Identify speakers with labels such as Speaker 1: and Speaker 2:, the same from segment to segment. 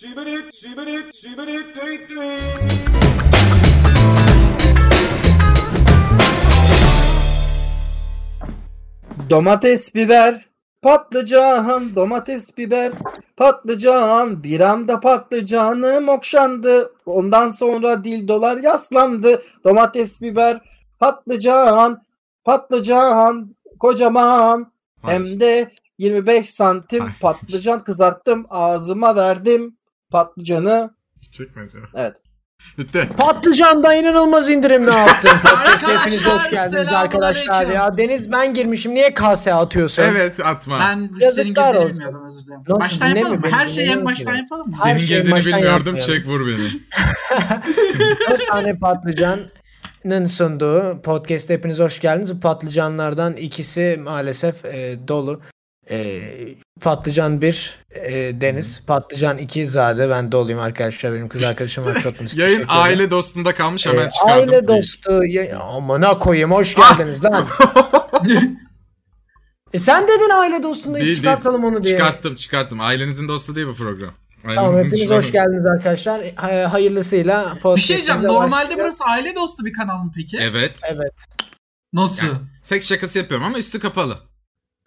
Speaker 1: Sübülüp, sübülüp, sübülüp, düt düt.
Speaker 2: Domates, biber, patlıcan, domates, biber, patlıcan. Bir anda patlıcanım okşandı. Ondan sonra dildolar yaslandı. Domates, biber, patlıcan, patlıcan, kocaman. Hem de 25 santim
Speaker 3: Hayır.
Speaker 2: patlıcan kızarttım. Ağzıma verdim patlıcanı.
Speaker 3: Hiç çekmedi.
Speaker 2: Evet.
Speaker 3: Bitti.
Speaker 4: Patlıcan'da inanılmaz indirim yaptı.
Speaker 5: Arkadaşlar,
Speaker 4: Hepiniz hoş geldiniz arkadaşlar
Speaker 5: selamünaleyküm.
Speaker 4: ya. Deniz ben girmişim niye kase atıyorsun?
Speaker 3: Evet atma.
Speaker 5: Ben senin
Speaker 4: Yazıklar
Speaker 5: gibi
Speaker 4: olsun.
Speaker 5: bilmiyordum özür dilerim.
Speaker 4: Nasıl,
Speaker 5: baştan yapalım mı?
Speaker 4: dinlemiyor
Speaker 5: Her
Speaker 4: beni,
Speaker 5: şeyi en
Speaker 4: dinlemiyor
Speaker 5: baştan
Speaker 4: ki.
Speaker 5: yapalım mı?
Speaker 4: Her
Speaker 3: Senin
Speaker 4: şeyi
Speaker 3: girdiğini
Speaker 4: baştan
Speaker 3: bilmiyordum.
Speaker 4: yapmayalım.
Speaker 3: Çek vur beni.
Speaker 4: 4 tane patlıcanın sunduğu podcast'e hepiniz hoş geldiniz. Bu patlıcanlardan ikisi maalesef e, dolu. E, patlıcan 1 Deniz, patlıcan 2 Zade. Ben doluyum arkadaşlar. Benim kız arkadaşım var. Çok müthiş.
Speaker 3: Yayın
Speaker 4: Teşekkür ederim.
Speaker 3: aile dostunda kalmış hemen
Speaker 4: E,
Speaker 3: çıkardım.
Speaker 4: aile dostu. Ya, amına koyayım hoş geldiniz lan.
Speaker 5: şey
Speaker 4: E sen dedin aile dostunda
Speaker 3: Değil,
Speaker 4: iş çıkartalım
Speaker 3: değil.
Speaker 4: onu diye.
Speaker 3: Ee, Çıkarttım çıkarttım. Ailenizin dostu değil bu program.
Speaker 4: Tamam
Speaker 3: Ailenizin
Speaker 4: hepiniz
Speaker 3: düşmanı.
Speaker 4: hoş geldiniz arkadaşlar. Ha- Hayırlısıyla
Speaker 5: Bir şey diyeceğim.
Speaker 4: podcast'imize
Speaker 5: Normalde
Speaker 4: başlıyoruz.
Speaker 5: burası aile dostu bir kanal mı peki?
Speaker 3: Evet.
Speaker 4: Evet.
Speaker 5: Nasıl?
Speaker 3: Yani. Seks şakası yapıyorum ama üstü kapalı.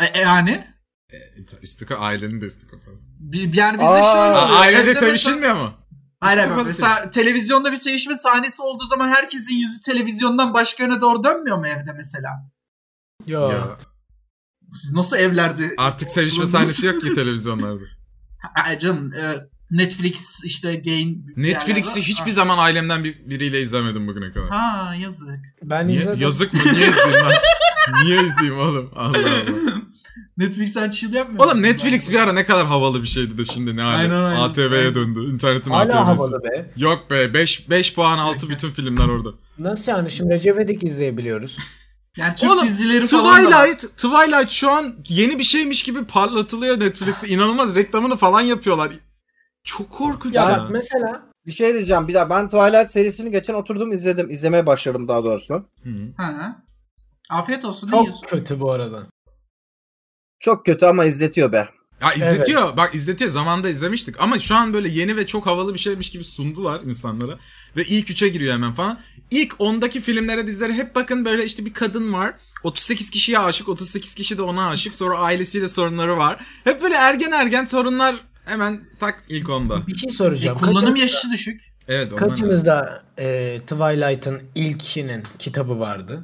Speaker 5: E, e, yani?
Speaker 3: E, ta- Üstü ka- ailenin de üstü kapalı.
Speaker 5: Bir, yani bizde
Speaker 2: Aa.
Speaker 5: şöyle
Speaker 3: Aa,
Speaker 5: oluyor. Evde
Speaker 3: ailede
Speaker 5: mesela-
Speaker 3: sevişilmiyor mu?
Speaker 5: Hayır
Speaker 3: Üstü
Speaker 5: hayır,
Speaker 3: kapalı
Speaker 5: Mesela
Speaker 3: sevişilmiyor.
Speaker 5: televizyonda bir sevişme sahnesi olduğu zaman herkesin yüzü televizyondan başka yöne doğru dönmüyor mu evde mesela?
Speaker 4: Yo.
Speaker 3: Ya,
Speaker 5: Siz nasıl evlerde?
Speaker 3: Artık sevişme
Speaker 5: Bulundunuz?
Speaker 3: sahnesi yok ki televizyonlarda.
Speaker 5: Ay canım e, Netflix işte gain.
Speaker 3: Netflix'i hiçbir zaman ailemden bir, biriyle izlemedim bugüne kadar.
Speaker 5: Ha yazık.
Speaker 4: Ben
Speaker 3: Niye-
Speaker 4: izledim.
Speaker 3: yazık mı? Niye izleyeyim ben? Niye izleyeyim oğlum? Allah Allah.
Speaker 5: Netflix'ten chill yapmıyor
Speaker 3: Oğlum
Speaker 5: musun
Speaker 3: Netflix
Speaker 5: sen?
Speaker 3: bir ara ne kadar havalı bir şeydi de şimdi ne hali.
Speaker 5: Aynen, aynen.
Speaker 3: ATV'ye döndü. İnternetin
Speaker 4: Hala
Speaker 3: ATV'si.
Speaker 4: havalı be.
Speaker 3: Yok be 5 5 puan altı bütün filmler orada.
Speaker 4: Nasıl yani şimdi Recep İvedik izleyebiliyoruz.
Speaker 5: Yani Türk
Speaker 3: Oğlum,
Speaker 5: dizileri falan da var.
Speaker 3: Twilight Twilight şu an yeni bir şeymiş gibi parlatılıyor Netflix'te. İnanılmaz reklamını falan yapıyorlar. Çok korkunç
Speaker 4: Ya
Speaker 3: ya.
Speaker 4: bak mesela
Speaker 2: Bir şey diyeceğim. Bir daha ben Twilight serisini geçen oturdum izledim. İzlemeye başladım daha doğrusu.
Speaker 3: Hı.
Speaker 5: Ha. Afiyet olsun. ne yiyorsun?
Speaker 4: çok kötü bu arada.
Speaker 2: Çok kötü ama izletiyor be.
Speaker 3: Ya izletiyor. Bak izletiyor. Zamanında izlemiştik ama şu an böyle yeni ve çok havalı bir şeymiş gibi sundular insanlara ve ilk üçe giriyor hemen falan. İlk 10'daki filmlere dizilere hep bakın böyle işte bir kadın var. 38 kişiye aşık, 38 kişi de ona aşık. Sonra ailesiyle sorunları var. Hep böyle ergen ergen sorunlar hemen tak ilk onda.
Speaker 4: Bir şey
Speaker 5: E,
Speaker 4: soracağım.
Speaker 5: kullanım yaşı düşük.
Speaker 3: Evet ondan.
Speaker 4: Kaçı- Kaçımızda e, Twilight'ın ilkinin kitabı vardı?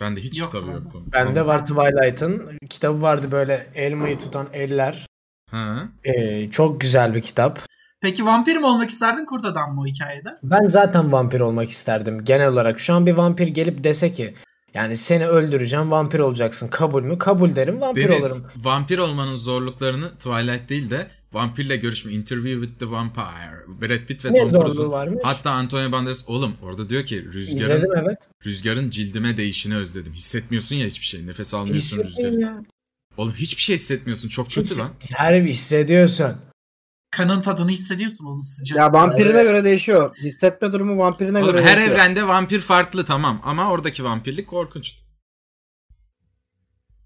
Speaker 3: Ben de hiç
Speaker 5: Yok
Speaker 3: kitabı
Speaker 5: lan.
Speaker 3: yoktu.
Speaker 4: Bende var Twilight'ın kitabı vardı böyle elmayı tutan eller.
Speaker 3: Ha.
Speaker 4: E, çok güzel bir kitap.
Speaker 5: Peki vampir mi olmak isterdin kurt adam mı o hikayede?
Speaker 4: Ben zaten vampir olmak isterdim genel olarak. Şu an bir vampir gelip dese ki yani seni öldüreceğim vampir olacaksın kabul mü? Kabul derim vampir
Speaker 3: Deniz,
Speaker 4: olurum.
Speaker 3: vampir olmanın zorluklarını Twilight değil de vampirle görüşme, Interview with the Vampire, Brad Pitt ve
Speaker 4: Ne
Speaker 3: Tom
Speaker 4: zorluğu
Speaker 3: Cruise'un.
Speaker 4: varmış?
Speaker 3: Hatta Antonio Banderas oğlum orada diyor ki rüzgarın
Speaker 4: İzledim evet.
Speaker 3: rüzgarın cildime değişini özledim. Hissetmiyorsun ya hiçbir şey. Nefes almıyorsun
Speaker 4: Hissetmiyorum
Speaker 3: rüzgarı.
Speaker 4: ya.
Speaker 3: Oğlum hiçbir şey hissetmiyorsun. Çok kötü lan.
Speaker 4: Her bir hissediyorsun.
Speaker 5: Kanın tadını hissediyorsun onun sıcağı.
Speaker 2: Ya vampirine göre değişiyor. Hissetme durumu vampirine
Speaker 3: Oğlum
Speaker 2: göre
Speaker 3: her
Speaker 2: değişiyor.
Speaker 3: evrende vampir farklı tamam ama oradaki vampirlik korkunç.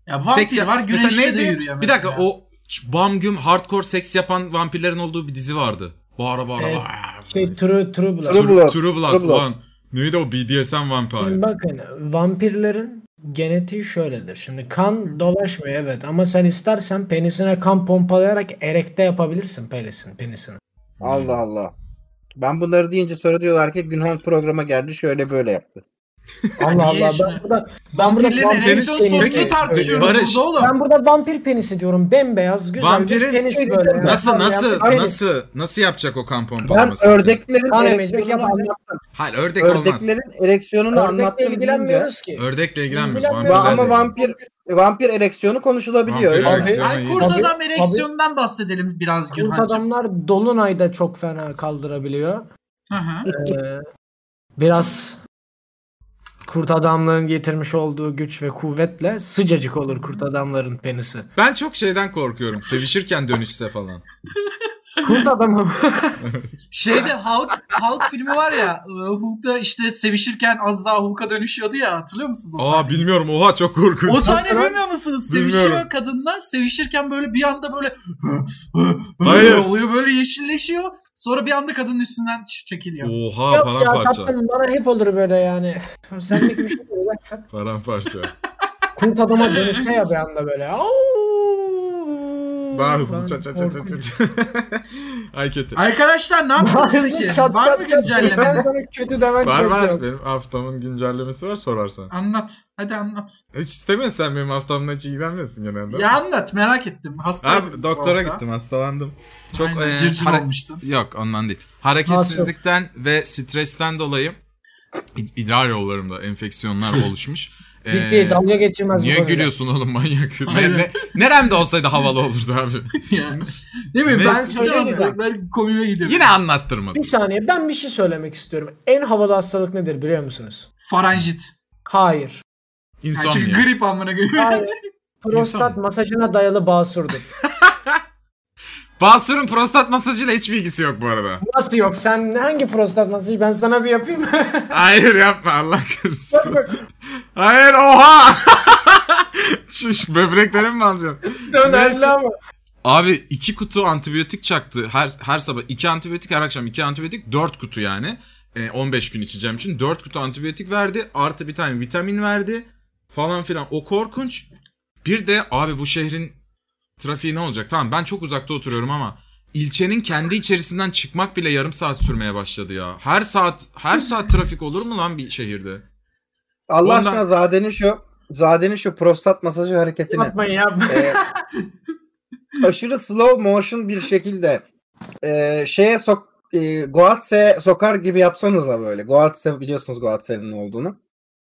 Speaker 5: Ya vampir
Speaker 3: Seks yap-
Speaker 5: var güneşte
Speaker 3: Mesela
Speaker 5: de
Speaker 3: neydi?
Speaker 5: yürüyor mesela.
Speaker 3: Bir dakika o ç- bam güm hardcore seks yapan vampirlerin olduğu bir dizi vardı. Bağıra bağıra
Speaker 4: Evet,
Speaker 3: bağıra.
Speaker 4: Şey True, true
Speaker 2: True
Speaker 4: Blood.
Speaker 3: True
Speaker 2: Blood.
Speaker 3: Blood. True Blood.
Speaker 2: True Blood.
Speaker 3: Ulan neydi o BDSM vampire?
Speaker 4: Şimdi bakın vampirlerin genetiği şöyledir. Şimdi kan dolaşmıyor evet ama sen istersen penisine kan pompalayarak erekte yapabilirsin penisin, penisini.
Speaker 2: Allah Allah. Ben bunları deyince sonra diyorlar ki Günhan programa geldi şöyle böyle yaptı.
Speaker 4: Allah
Speaker 5: niye
Speaker 4: Allah
Speaker 5: şimdi-
Speaker 4: ben burada, ben burada
Speaker 5: Vampirlerin
Speaker 4: vampir
Speaker 5: ereksiyon
Speaker 4: penisi
Speaker 5: sorununu
Speaker 3: Peki,
Speaker 5: tartışıyoruz
Speaker 3: Barış,
Speaker 5: burada oğlum.
Speaker 4: Ben burada vampir penisi diyorum. Bembeyaz güzel
Speaker 3: Vampirin-
Speaker 4: bir penis böyle. Yani.
Speaker 3: Nasıl nasıl
Speaker 4: Aynen.
Speaker 3: nasıl nasıl yapacak o kan
Speaker 2: Ben
Speaker 3: pompalamasını?
Speaker 2: ördeklerin
Speaker 4: Kan emecek
Speaker 2: ereksiyonunu
Speaker 4: yapacak.
Speaker 2: anlattım.
Speaker 3: Hayır ördek olmaz.
Speaker 2: Ördeklerin ereksiyonunu
Speaker 4: Ördekle
Speaker 2: anlattım deyince.
Speaker 4: ilgilenmiyoruz ki.
Speaker 3: Ördekle ilgilenmiyoruz.
Speaker 4: İlgilenmiyor.
Speaker 3: Vampirlerle.
Speaker 2: Va- Ama vampir e, vampir ereksiyonu konuşulabiliyor.
Speaker 3: Vampir
Speaker 2: öyle mi?
Speaker 3: ereksiyonu.
Speaker 5: Ay, kurt
Speaker 4: Tabii,
Speaker 5: adam
Speaker 4: tabii.
Speaker 5: ereksiyonundan bahsedelim biraz
Speaker 4: Kurt
Speaker 5: Günhan'cığım.
Speaker 4: adamlar Dolunay'da çok fena kaldırabiliyor.
Speaker 5: Hı hı.
Speaker 4: Ee, biraz kurt adamların getirmiş olduğu güç ve kuvvetle sıcacık olur kurt adamların penisi.
Speaker 3: Ben çok şeyden korkuyorum. Sevişirken dönüşse falan.
Speaker 4: Kurt adamı
Speaker 5: Şeyde Hulk, Hulk filmi var ya e, Hulk'ta işte sevişirken az daha Hulk'a dönüşüyordu ya hatırlıyor musunuz o sahneyi?
Speaker 3: Aa bilmiyorum. Oha çok korkunç.
Speaker 5: O sahne
Speaker 4: Nasıl lan?
Speaker 5: bilmiyor musunuz?
Speaker 3: Bilmiyorum.
Speaker 5: Sevişiyor kadınlar. Sevişirken böyle bir anda böyle
Speaker 3: Hayır.
Speaker 5: oluyor böyle yeşilleşiyor. Sonra bir anda kadının üstünden ç- çekiliyor.
Speaker 3: Oha
Speaker 4: Yok ya
Speaker 3: paramparça.
Speaker 4: tatlım bana hep olur böyle yani. Senlik bir şey değil. ya.
Speaker 3: Paramparça.
Speaker 4: Kurt adama dönüşse ya bir anda böyle. Auuu.
Speaker 3: Daha hızlı
Speaker 4: Ben
Speaker 3: çat çat çat çat
Speaker 4: korkunç.
Speaker 3: çat. Ay kötü.
Speaker 5: Arkadaşlar ne
Speaker 4: Daha
Speaker 5: yaptınız
Speaker 4: hızlı
Speaker 5: ki?
Speaker 4: çat çat çat.
Speaker 5: var mı
Speaker 4: Ben
Speaker 5: güncellemeniz?
Speaker 4: sana kötü demen
Speaker 3: Var
Speaker 4: çok
Speaker 3: var
Speaker 4: yok.
Speaker 3: benim haftamın güncellemesi var sorarsan.
Speaker 5: Anlat. Hadi anlat.
Speaker 3: Hiç istemiyorsun sen benim haftamla hiç ilgilenmiyorsun genelde.
Speaker 5: Ya anlat merak ettim. Hasta
Speaker 3: Abi doktora gittim hastalandım. Çok
Speaker 5: Çok
Speaker 3: e,
Speaker 5: cırcır
Speaker 3: hare-
Speaker 5: olmuştun.
Speaker 3: Yok ondan değil. Hareketsizlikten ve stresten dolayı id- idrar yollarımda enfeksiyonlar oluşmuş.
Speaker 4: Ciddi
Speaker 3: Ee,
Speaker 4: dalga geçilmez
Speaker 3: Niye
Speaker 4: konuyla.
Speaker 3: gülüyorsun oğlum manyak? Ne,
Speaker 5: Aynen. şey
Speaker 3: ne, neremde olsaydı havalı olurdu abi.
Speaker 5: Yani. Değil mi?
Speaker 3: Neyse.
Speaker 5: Ben söyleyeyim.
Speaker 4: Neyse.
Speaker 5: hastalıklar komiğe gidiyor.
Speaker 3: Yine anlattırmadı.
Speaker 4: Bir saniye ben bir şey söylemek istiyorum. En havalı hastalık nedir biliyor musunuz?
Speaker 5: Faranjit.
Speaker 4: Hayır.
Speaker 5: Yani çünkü
Speaker 3: İnsomnia.
Speaker 5: grip amına koyayım.
Speaker 4: Hayır. Prostat
Speaker 3: İnsan. masajına
Speaker 4: masajına dayalı basurdur.
Speaker 3: Basur'un prostat masajıyla hiç bilgisi yok bu arada.
Speaker 4: Nasıl yok? Sen hangi prostat masajı? Ben sana bir yapayım.
Speaker 3: Hayır yapma Allah
Speaker 4: Bak
Speaker 3: kırsın.
Speaker 4: bak.
Speaker 3: Hayır oha. Şuş böbreklerimi mi alacaksın?
Speaker 4: Dön
Speaker 3: Neyse.
Speaker 4: elli ama.
Speaker 3: Abi iki kutu antibiyotik çaktı. Her, her sabah iki antibiyotik her akşam iki antibiyotik dört kutu yani. E, 15 gün içeceğim için dört kutu antibiyotik verdi. Artı bir tane vitamin verdi. Falan filan. O korkunç. Bir de abi bu şehrin trafiği ne olacak? Tamam ben çok uzakta oturuyorum ama ilçenin kendi içerisinden çıkmak bile yarım saat sürmeye başladı ya. Her saat her saat trafik olur mu lan bir şehirde?
Speaker 2: Allah
Speaker 3: Ondan-
Speaker 2: aşkına Zade'nin şu Zade'nin şu prostat masajı hareketini
Speaker 4: Yapmayın ya.
Speaker 2: e, aşırı slow motion bir şekilde e, şeye sok e, Goatse sokar gibi yapsanıza böyle. Goatse biliyorsunuz Goatse'nin ne olduğunu.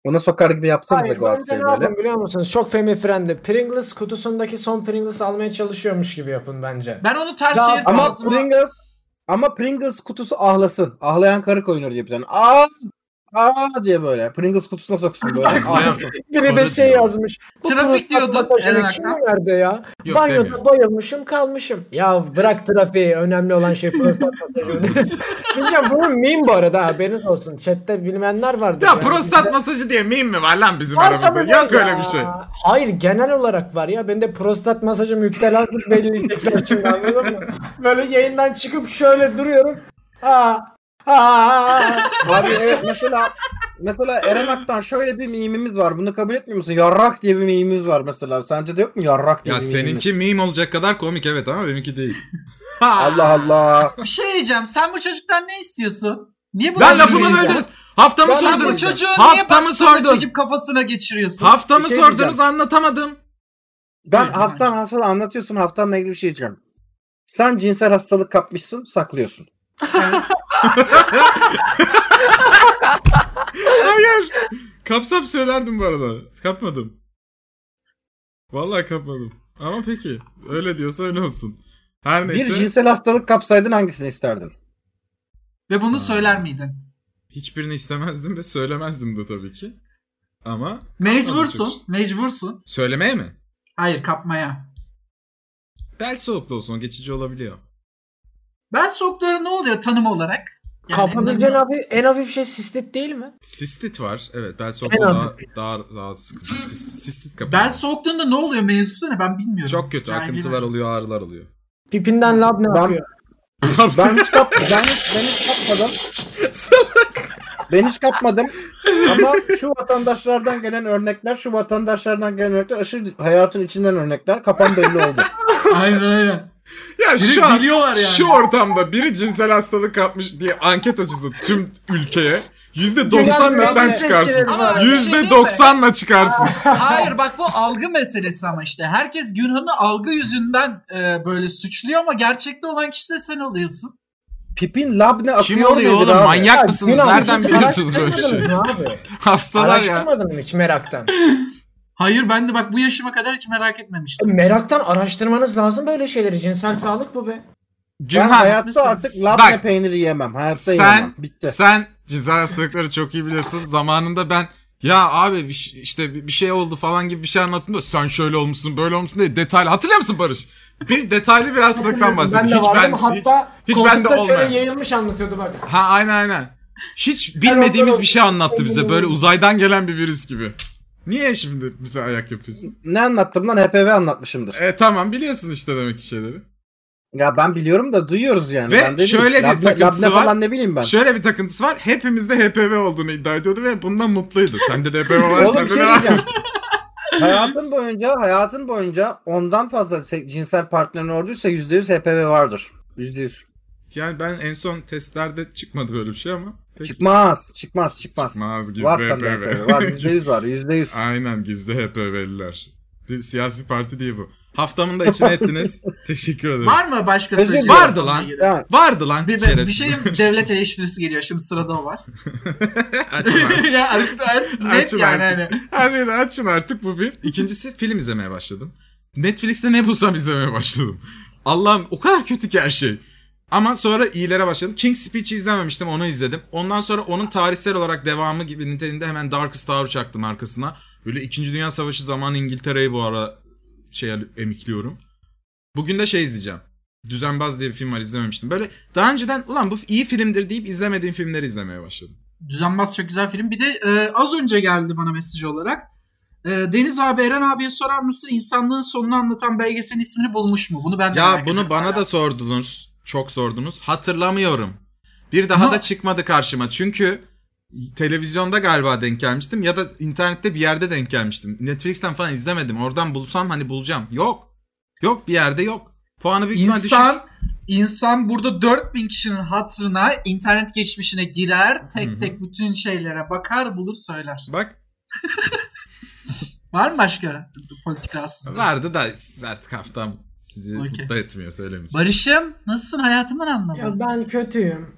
Speaker 2: Ona sokar gibi yapsanıza
Speaker 4: Hayır, bence
Speaker 2: Goatse'yi
Speaker 4: ne
Speaker 2: böyle.
Speaker 4: yapın biliyor musunuz? Çok family friendly. Pringles kutusundaki son Pringles almaya çalışıyormuş gibi yapın bence.
Speaker 5: Ben onu ters
Speaker 4: Ya,
Speaker 5: çevirip
Speaker 2: Ama
Speaker 5: ağzıma...
Speaker 2: Pringles ama Pringles kutusu ahlasın. Ahlayan karı koyunur diye bir tane. Aa, aa diye böyle. Pringles kutusuna soksun böyle.
Speaker 3: Bayağı-
Speaker 2: Ağlasın.
Speaker 4: Biri de
Speaker 3: Doğru
Speaker 4: şey
Speaker 3: diyor.
Speaker 4: yazmış. bu prostat
Speaker 5: Trafik diyordu
Speaker 4: masajını
Speaker 5: Eren
Speaker 4: Kim
Speaker 5: Aktan.
Speaker 4: verdi ya?
Speaker 3: Yok
Speaker 4: Banyoda
Speaker 3: demiyor.
Speaker 4: bayılmışım kalmışım. Ya bırak trafiği. Önemli olan şey prostat masajı. Diyeceğim bunu meme bu arada haberiniz olsun. Chatte bilmeyenler vardır.
Speaker 3: Ya
Speaker 4: yani.
Speaker 3: prostat masajı diye miyim mi var lan bizim
Speaker 4: Var
Speaker 3: aramızda?
Speaker 4: tabii var
Speaker 3: Yok
Speaker 4: ya.
Speaker 3: öyle bir şey.
Speaker 4: Hayır genel olarak var ya. Ben de prostat masajı müptelası belirleyecekler şimdi anladın mı? Böyle yayından çıkıp şöyle duruyorum. Ha. Ha.
Speaker 2: Abi evet mesela mesela Eren Aktan şöyle bir mimimiz var. Bunu kabul etmiyor musun? Yarrak diye bir mimimiz var mesela. Sence de yok mu yarrak diye
Speaker 3: Ya
Speaker 2: bir mimimiz?
Speaker 3: seninki meme olacak kadar komik evet ama benimki değil.
Speaker 2: Allah Allah.
Speaker 5: Bir şey diyeceğim. Sen bu çocuktan ne istiyorsun? Niye bu
Speaker 3: ben
Speaker 5: adamı
Speaker 3: lafımı
Speaker 5: veriyorsun?
Speaker 3: böldünüz. Haftamı
Speaker 2: Ben
Speaker 5: Sen bu
Speaker 2: Sordunuz.
Speaker 3: sordunuz.
Speaker 5: çocuğu niye
Speaker 3: Haftamı
Speaker 5: baksana
Speaker 3: sordun.
Speaker 5: çekip kafasına geçiriyorsun?
Speaker 3: Haftamı
Speaker 2: Bir şey
Speaker 3: sordunuz
Speaker 2: diyeceğim.
Speaker 3: anlatamadım.
Speaker 2: Ben
Speaker 5: Buyurun,
Speaker 2: haftan haftada anlatıyorsun. Haftanla ilgili bir şey diyeceğim. Sen cinsel hastalık kapmışsın, saklıyorsun.
Speaker 3: Hayır. Kapsam söylerdim bu arada. Kapmadım. Vallahi kapmadım. Ama peki. Öyle diyorsa öyle olsun. Her neyse.
Speaker 2: Bir cinsel hastalık kapsaydın hangisini isterdin?
Speaker 5: Ve bunu söyler miydin?
Speaker 3: Hiçbirini istemezdim ve söylemezdim de tabii ki. Ama
Speaker 5: Mecbursun. Mecbursun.
Speaker 3: söylemeye mi?
Speaker 5: Hayır kapmaya.
Speaker 3: Bel soğukluğu olsun. o Geçici olabiliyor.
Speaker 5: Ben soktuğuna ne oluyor tanım olarak?
Speaker 4: Kafanın en
Speaker 5: bilmiyorum.
Speaker 4: hafif, en hafif şey sistit değil mi?
Speaker 3: Sistit var. Evet bel soğukluğu
Speaker 4: En
Speaker 3: daha, daha, daha sıkıcı. Sistit, sistit kapıyor.
Speaker 5: Ben soktuğunda ne oluyor mevzusu ne ben bilmiyorum.
Speaker 3: Çok kötü.
Speaker 5: Yani
Speaker 3: Akıntılar
Speaker 5: bilmiyorum.
Speaker 3: oluyor, ağrılar oluyor.
Speaker 4: Pipinden lab ne
Speaker 2: Ben-
Speaker 4: yapıyor?
Speaker 2: Ben hiç kap ben hiç, ben hiç kapmadım. Ben hiç kapmadım. Ama şu vatandaşlardan gelen örnekler, şu vatandaşlardan gelen örnekler aşırı hayatın içinden örnekler. Kapan belli oldu.
Speaker 5: Aynen aynen.
Speaker 3: Ya
Speaker 5: Direkt
Speaker 3: şu an
Speaker 5: biliyorlar yani.
Speaker 3: şu ortamda biri cinsel hastalık kapmış diye anket açısı tüm ülkeye %90'la
Speaker 4: Gülen
Speaker 3: sen
Speaker 4: Bey'in
Speaker 3: çıkarsın.
Speaker 4: seçileri
Speaker 5: var.
Speaker 3: %90'la çıkarsın.
Speaker 5: Hayır bak bu algı meselesi ama işte. Herkes Günhan'ı algı yüzünden e, böyle suçluyor ama gerçekte olan kişi de sen oluyorsun.
Speaker 2: Pipin labne akıyor
Speaker 3: Kim oluyor
Speaker 2: dedi
Speaker 3: oğlum?
Speaker 2: abi.
Speaker 3: Manyak
Speaker 2: Ya,
Speaker 3: mısınız?
Speaker 2: günah,
Speaker 3: Nereden
Speaker 2: hiç
Speaker 3: biliyorsunuz böyle
Speaker 2: araştırmadın
Speaker 3: şey?
Speaker 2: mı?
Speaker 4: Ne şey abi?
Speaker 3: Hastalar ya.
Speaker 4: Araştırmadın mı hiç meraktan?
Speaker 5: Hayır ben de bak bu yaşıma kadar hiç merak etmemiştim.
Speaker 4: meraktan araştırmanız lazım böyle şeyleri. Cinsel sağlık bu be.
Speaker 2: Ben
Speaker 3: Gülhan
Speaker 2: hayatta artık labne
Speaker 3: Bak.
Speaker 2: peyniri yemem. Hayatta
Speaker 3: Sen-
Speaker 2: yemem. Bitti.
Speaker 3: sen cinsel hastalıkları çok iyi biliyorsun. Zamanında ben ya abi bir şey- işte bir bir şey oldu falan gibi bir şey anlattım da sen şöyle olmuşsun böyle olmuşsun diye detaylı hatırlıyor musun Barış? Bir detaylı bir hastalıktan bahsediyor.
Speaker 4: Ben de
Speaker 3: Hiç
Speaker 4: vardım.
Speaker 3: ben, hiç,
Speaker 4: Hatta
Speaker 3: hiç
Speaker 4: koltukta
Speaker 3: bende olmayan.
Speaker 4: şöyle yayılmış anlatıyordu bak.
Speaker 3: Ha aynen aynen. Hiç
Speaker 4: ondan
Speaker 3: bilmediğimiz bir şey
Speaker 4: oldum.
Speaker 3: anlattı bize. Böyle uzaydan gelen bir virüs gibi. Niye şimdi bize ayak yapıyorsun?
Speaker 2: Ne anlattım lan? HPV anlatmışımdır.
Speaker 3: E tamam biliyorsun işte demek ki şeyleri.
Speaker 2: Ya ben biliyorum da duyuyoruz yani.
Speaker 3: Ve
Speaker 2: ben de
Speaker 3: şöyle bir
Speaker 2: Labne-
Speaker 3: sakıntısı
Speaker 2: labne
Speaker 3: var.
Speaker 2: falan ne bileyim ben.
Speaker 3: Şöyle bir takıntısı var. Hepimizde HPV olduğunu iddia ediyordu ve bundan mutluydu. Sende de HPV var,
Speaker 2: Oğlum bir
Speaker 3: sende de
Speaker 2: şey
Speaker 3: var.
Speaker 2: diyeceğim. hayatın boyunca hayatın boyunca ondan fazla se- cinsel partnerin olduysa %100 HPV vardır. %100.
Speaker 3: Yani ben en son testlerde çıkmadı böyle bir şey ama. Peki.
Speaker 2: Çıkmaz, çıkmaz, çıkmaz.
Speaker 3: Çıkmaz, gizli
Speaker 2: var tabii
Speaker 3: HPV.
Speaker 2: HPV. Var %100 var, %100.
Speaker 3: Aynen gizli HPV'liler. Bir siyasi parti değil bu. Haftamın da içine ettiniz. Teşekkür ederim.
Speaker 5: Var mı başka
Speaker 2: Özgür-
Speaker 5: söyleyeceğim?
Speaker 3: Vardı lan.
Speaker 2: Yani,
Speaker 3: Vardı lan
Speaker 5: Bir, bir, bir
Speaker 3: şerefsiz.
Speaker 5: şeyin devlet eleştirisi geliyor şimdi sırada o var.
Speaker 3: Açın artık.
Speaker 5: ya artık, artık net
Speaker 3: Açın
Speaker 5: yani
Speaker 3: artık.
Speaker 5: hani.
Speaker 3: Her yeri açın artık bu bir. İkincisi film izlemeye başladım. Netflix'te ne bulsam izlemeye başladım. Allah'ım o kadar kötü ki her şey. Ama sonra iyilere başladım. King's Speech'i izlememiştim onu izledim. Ondan sonra onun tarihsel olarak devamı gibi niteliğinde hemen Darkest Hour çaktım arkasına. Böyle 2. Dünya Savaşı zamanı İngiltere'yi bu ara şey emikliyorum. Bugün de şey izleyeceğim. Düzenbaz diye bir film var izlememiştim. Böyle daha önceden ulan bu iyi filmdir deyip izlemediğim filmleri izlemeye başladım.
Speaker 5: Düzenbaz çok güzel film. Bir de e, az önce geldi bana mesaj olarak. E, Deniz abi Eren abiye sorar mısın insanlığın sonunu anlatan belgeselin ismini bulmuş mu? Bunu ben de
Speaker 3: Ya
Speaker 5: merak
Speaker 3: bunu
Speaker 5: ediyorum
Speaker 3: bana
Speaker 5: hala.
Speaker 3: da sordunuz. Çok sordunuz. Hatırlamıyorum. Bir daha
Speaker 5: Ama-
Speaker 3: da çıkmadı karşıma. Çünkü televizyonda galiba denk gelmiştim ya da internette bir yerde denk gelmiştim. Netflix'ten falan izlemedim. Oradan bulsam hani bulacağım. Yok. Yok bir yerde yok. Puanı büyük şey- ihtimal düşük.
Speaker 5: İnsan, insan burada 4000 kişinin hatırına internet geçmişine girer. Tek
Speaker 3: Hı hı.
Speaker 5: tek bütün şeylere bakar bulur söyler.
Speaker 3: Bak
Speaker 5: Var mı başka politik rahatsızlık?
Speaker 3: vardı da siz artık haftam sizi
Speaker 5: Okey.
Speaker 3: mutlu etmiyor söylemeyeceğim.
Speaker 5: Barış'ım nasılsın hayatımın
Speaker 4: Ya
Speaker 5: anlamı?
Speaker 4: ben kötüyüm.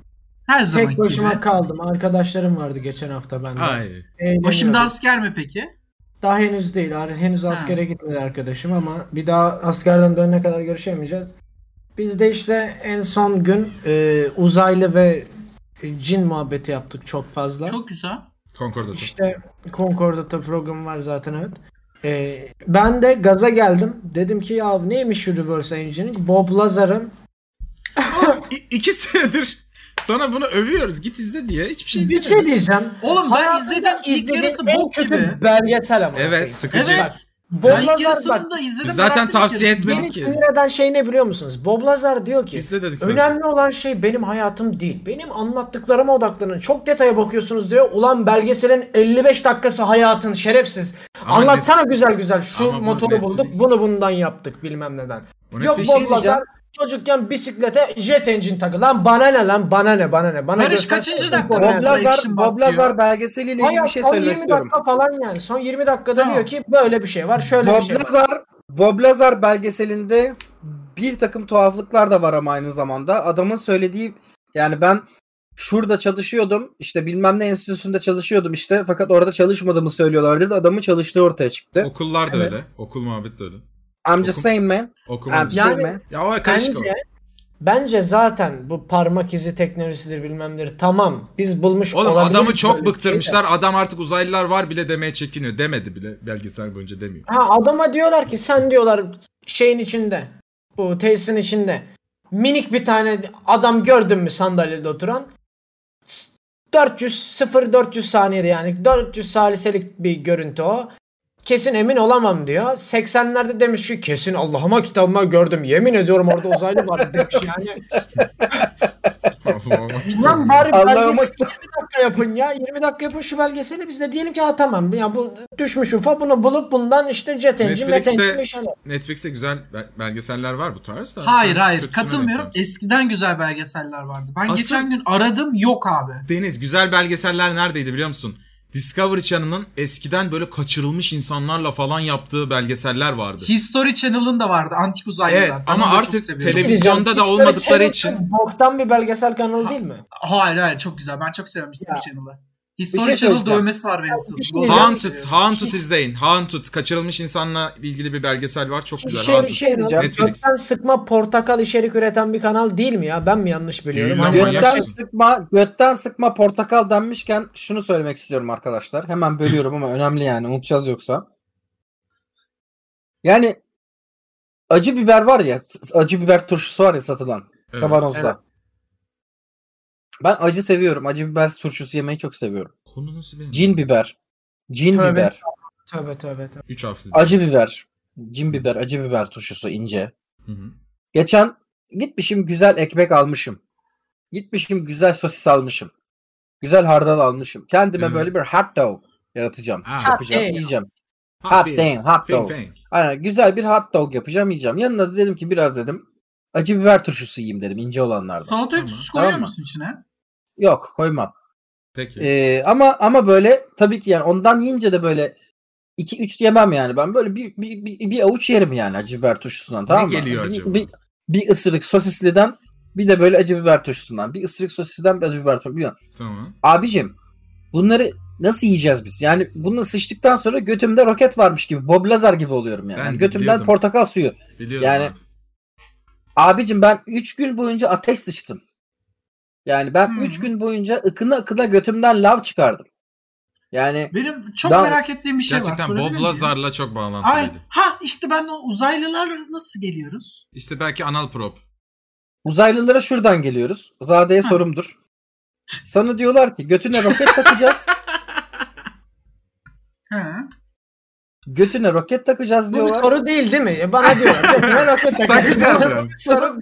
Speaker 5: Her zaman
Speaker 4: Tek başıma
Speaker 5: gibi.
Speaker 4: kaldım. Arkadaşlarım vardı geçen hafta benden.
Speaker 3: Ay.
Speaker 4: Eğleniyorum.
Speaker 5: Başımda asker mi peki?
Speaker 4: Daha henüz değil. har- Henüz
Speaker 5: Ha.
Speaker 4: askere gitmedi arkadaşım ama bir daha askerden dönene kadar görüşemeyeceğiz. Biz de işte en son gün e, uzaylı ve cin muhabbeti yaptık çok fazla.
Speaker 5: Çok güzel.
Speaker 3: Concorde'a çok-
Speaker 4: İşte Concordat'ta programı var zaten evet. E, ben de gaza geldim. Dedim ki ya neymiş şu reverse engineering? Bob Lazar'ın
Speaker 3: Oğlum, i- iki senedir sana bunu övüyoruz. Git izle diye. Hiçbir şey
Speaker 4: bir
Speaker 3: izlemedim.
Speaker 4: şey diyeceğim.
Speaker 5: Oğlum ben
Speaker 4: Hayatımda
Speaker 5: izledim ilk
Speaker 4: izlediğim
Speaker 5: yarısı
Speaker 4: en
Speaker 5: bok
Speaker 4: kötü
Speaker 5: gibi.
Speaker 4: belgesel ama.
Speaker 3: Evet sıkıcı.
Speaker 5: Evet.
Speaker 4: Bob
Speaker 5: Ben ilk
Speaker 4: Lazar bak
Speaker 5: yarısını da izledim.
Speaker 3: Biz zaten
Speaker 5: merak ettim
Speaker 3: tavsiye
Speaker 5: yarısını.
Speaker 3: etmedik.
Speaker 4: beni
Speaker 3: ki.
Speaker 4: sinir eden şey ne biliyor musunuz? Bob Lazar diyor ki
Speaker 3: İzle dedik sana.
Speaker 4: önemli olan şey benim hayatım değil. Benim anlattıklarıma odaklanın. Çok detaya bakıyorsunuz diyor. Ulan belgeselin 55 dakikası hayatın şerefsiz.
Speaker 3: Ama
Speaker 4: Anlatsana güzel güzel. Şu
Speaker 3: Ama bu
Speaker 4: motoru
Speaker 3: Netflix. şey
Speaker 4: bulduk. Bunu bundan yaptık bilmem neden.
Speaker 3: Bu
Speaker 4: Yok
Speaker 3: Netflix-
Speaker 4: Bob Lazar çocukken bisiklete jet engine takı. Lan bana ne lan bana ne bana ne. Bana
Speaker 5: Barış,
Speaker 4: göster-
Speaker 5: kaçıncı dakika?
Speaker 4: Bob
Speaker 2: Bob
Speaker 4: Lazar-
Speaker 5: Boblar-
Speaker 2: Lazar, Bob
Speaker 5: Action basıyor.
Speaker 2: Lazar belgeseliyle ilgili
Speaker 4: Hayır,
Speaker 2: bir şey
Speaker 4: son
Speaker 2: söylemek
Speaker 4: 20
Speaker 2: istiyorum.
Speaker 4: dakika falan yani. Son 20 dakikada
Speaker 5: Tamam.
Speaker 4: diyor ki böyle bir şey var, şöyle bir
Speaker 2: Bob
Speaker 4: şey var.
Speaker 2: Lazar, Bob Lazar belgeselinde bir takım tuhaflıklar da var ama aynı zamanda. Adamın söylediği yani ben şurada çalışıyordum işte bilmem ne enstitüsünde çalışıyordum işte fakat orada çalışmadığımı söylüyorlar dedi. Adamın çalıştığı ortaya çıktı.
Speaker 3: Okullar da
Speaker 4: Evet.
Speaker 3: öyle. Okul muhabbet de öyle.
Speaker 2: I'm just
Speaker 3: Oku-
Speaker 2: saying man.
Speaker 3: Okuma.
Speaker 2: I'm just saying
Speaker 4: Yani-
Speaker 2: man.
Speaker 3: ya o karışık
Speaker 4: Bence, bence zaten bu parmak izi teknolojisidir bilmemleri tamam. Biz bulmuş
Speaker 3: o. Oğlum
Speaker 4: olabiliriz
Speaker 3: adamı
Speaker 4: böyle
Speaker 3: çok
Speaker 4: bir şey de.
Speaker 3: bıktırmışlar. Adam artık uzaylılar var bile demeye çekiniyor. Demedi bile belgesel boyunca demiyor.
Speaker 4: Ha adama diyorlar ki sen diyorlar şeyin içinde. Bu tesisin içinde. Minik bir tane adam gördün mü sandalyede oturan? 400 0 400 saniyede yani 400 saliselik bir görüntü o. Kesin emin olamam diyor. 80'lerde demiş ki kesin Allah'ıma kitabıma gördüm. Yemin ediyorum orada uzaylı var demiş yani.
Speaker 3: Allah Allah.
Speaker 4: Lan bari
Speaker 2: Allah'ıma-
Speaker 4: belgeseli 20 dakika yapın ya. 20 dakika yapın şu belgeseli biz de diyelim ki ha tamam ya bu düşmüş ufa bunu bulup bundan işte jet engine, met
Speaker 3: Netflix'te-
Speaker 4: engine bir şeyler.
Speaker 3: Netflix'te güzel bel- belgeseller var bu tarz da.
Speaker 5: Hayır
Speaker 3: Sen
Speaker 5: hayır
Speaker 3: kötüsüne
Speaker 5: katılmıyorum.
Speaker 3: denk gelmişsin.
Speaker 5: Eskiden güzel belgeseller vardı. Ben
Speaker 3: Asıl-
Speaker 5: geçen gün aradım yok abi.
Speaker 3: Deniz güzel belgeseller neredeydi biliyor musun? Discovery Channel'ın eskiden böyle kaçırılmış insanlarla falan yaptığı belgeseller vardı.
Speaker 5: History Channel'ın da vardı antik uzaylılar.
Speaker 3: Evet,
Speaker 5: Ben
Speaker 3: ama
Speaker 5: onu da
Speaker 3: artık
Speaker 5: çok seviyorum.
Speaker 3: tele- Televizyonda da
Speaker 4: Hiç böyle
Speaker 3: olmadıkları
Speaker 4: şey yok.
Speaker 3: için-
Speaker 4: Boktan bir belgesel kanalı değil mi?
Speaker 5: Hayır hayır çok güzel. Ben çok seviyorum History Channel'ı. History
Speaker 2: şey
Speaker 5: Channel
Speaker 2: söyleyeceğim.
Speaker 5: dövmesi var benim sırtımda.
Speaker 4: bir şey
Speaker 5: O
Speaker 4: diyeceğim.
Speaker 5: zaman
Speaker 3: Haunted,
Speaker 5: seviyorum.
Speaker 3: Haunted izleyin. Haunted. Kaçırılmış insanla ilgili bir belgesel var. Çok güzel.
Speaker 2: şey-
Speaker 3: Haunted.
Speaker 2: şey diyeceğim.
Speaker 3: Netflix.
Speaker 4: Gökten sıkma portakal içerik üreten bir kanal değil mi ya? Ben mi yanlış biliyorum?
Speaker 3: Değil lan,
Speaker 4: Hani
Speaker 3: manyak
Speaker 2: Götten
Speaker 3: mısın?
Speaker 2: sıkma, götten sıkma portakal denmişken şunu söylemek istiyorum arkadaşlar. Hemen bölüyorum ama önemli yani unutacağız yoksa. Yani acı biber var ya, s- acı biber turşusu var ya satılan
Speaker 3: Evet.
Speaker 2: kavanozda.
Speaker 4: Evet.
Speaker 2: Ben acı seviyorum. Acı biber turşusu yemeyi çok seviyorum.
Speaker 3: Konu nasıl benim?
Speaker 2: Cin biber, cin
Speaker 4: Tövbe.
Speaker 2: biber,
Speaker 4: Tövbe tövbe tövbe.
Speaker 3: 3 hafta.
Speaker 2: acı biber, cin biber, acı biber turşusu ince.
Speaker 3: Hı hı.
Speaker 2: Geçen Gitmişim güzel ekmek almışım. Gitmişim güzel sosis almışım. Güzel hardal almışım. Kendime
Speaker 3: Evet.
Speaker 2: böyle bir hot dog yaratacağım.
Speaker 3: Ha.
Speaker 2: yapacağım,
Speaker 5: Hot dog.
Speaker 2: yiyeceğim.
Speaker 3: Hot
Speaker 2: Hot
Speaker 3: Wheels.
Speaker 2: damn, hot
Speaker 3: Fink
Speaker 2: dog.
Speaker 3: fink.
Speaker 2: Aynen, güzel bir hot dog yapacağım, yiyeceğim. Yanına da dedim ki biraz dedim acı biber turşusu yiyeyim dedim ince olanlardan.
Speaker 5: Salatalık
Speaker 3: Tamam.
Speaker 5: sosu koyuyor
Speaker 2: Tamam mı?
Speaker 5: musun içine?
Speaker 2: Yok, koymam.
Speaker 3: Peki.
Speaker 2: Ee, ama ama böyle tabii ki yani ondan yiyince de böyle 2 3 yemem yani. Ben böyle bir bir, bir, bir avuç yerim yani acı biber turşusundan tamam mı?
Speaker 3: geliyor
Speaker 2: bir,
Speaker 3: acaba?
Speaker 2: Bir, bir ısırık sosisliden bir de böyle acı biber turşusundan. Bir ısırık sosisliden bir acı biber turşusundan. Biliyorum.
Speaker 3: Tamam.
Speaker 2: Abicim bunları nasıl yiyeceğiz biz? Yani bunu sıçtıktan sonra götümde roket varmış gibi. Bob Lazar gibi oluyorum yani.
Speaker 3: Ben
Speaker 2: Yani götümden
Speaker 3: biliyordum.
Speaker 2: portakal suyu.
Speaker 3: Biliyorum.
Speaker 2: Yani-
Speaker 3: abi.
Speaker 2: Abicim ben 3 gün boyunca ateş sıçtım. Yani ben
Speaker 5: Hı.
Speaker 2: 3 gün boyunca ıkına ıkına götümden lav çıkardım. Yani
Speaker 5: Benim çok
Speaker 2: Daha-
Speaker 5: merak ettiğim bir şey var.
Speaker 3: Gerçekten
Speaker 5: sorabilir
Speaker 3: Bob
Speaker 5: miyim?
Speaker 3: Lazar'la çok
Speaker 5: Ay,
Speaker 3: bağlantılıydı.
Speaker 5: ha işte ben o uzaylılar nasıl geliyoruz?
Speaker 3: İşte belki anal prop.
Speaker 2: uzaylılara şuradan geliyoruz. Zade'ye
Speaker 5: Hı.
Speaker 2: sorumdur. Sana diyorlar ki götüne roket takacağız.
Speaker 5: He.
Speaker 2: götüne roket takacağız
Speaker 4: Bu bir
Speaker 2: diyorlar.
Speaker 4: soru değil değil mi? E, Bana diyorlar. Ben roket takarım.
Speaker 3: Takacağız yani.
Speaker 4: Soru-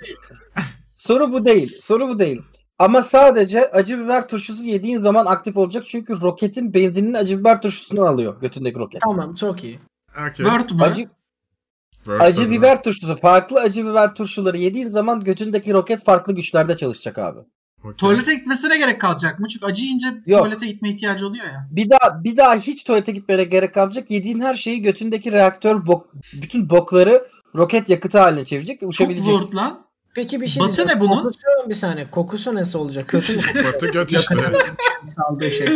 Speaker 2: Soru bu değil. Soru bu değil. Ama sadece acı biber turşusu yediğin zaman aktif olacak. Çünkü roketin benzinini acı biber turşusunu alıyor götündeki roket.
Speaker 4: Tamam çok iyi.
Speaker 3: Okay.
Speaker 5: Word mu?
Speaker 2: Acı,
Speaker 3: Word,
Speaker 2: acı
Speaker 3: word,
Speaker 2: biber turşusu. Farklı acı biber turşuları yediğin zaman götündeki roket farklı güçlerde çalışacak abi.
Speaker 3: word. Okey.
Speaker 5: Tuvalete gitmesine gerek kalacak mı? Çünkü acı yiyince
Speaker 2: Yok.
Speaker 5: tuvalete gitme ihtiyacı oluyor ya.
Speaker 2: Bir daha bir daha hiç tuvalete gitmene gerek kalmayacak. Yediğin her şeyi götündeki reaktör bok, bütün bokları roket yakıtı haline çevirecek ve
Speaker 5: Çok
Speaker 2: uçabileceksin.
Speaker 5: word lan.
Speaker 4: Peki bir şey
Speaker 5: Batı
Speaker 4: diyeceğim.
Speaker 5: ne bunun?
Speaker 4: Kokusu bir saniye. Kokusu nasıl olacak? Kötü mü?
Speaker 3: Batı göt işte.
Speaker 4: Yakında saldığı şey.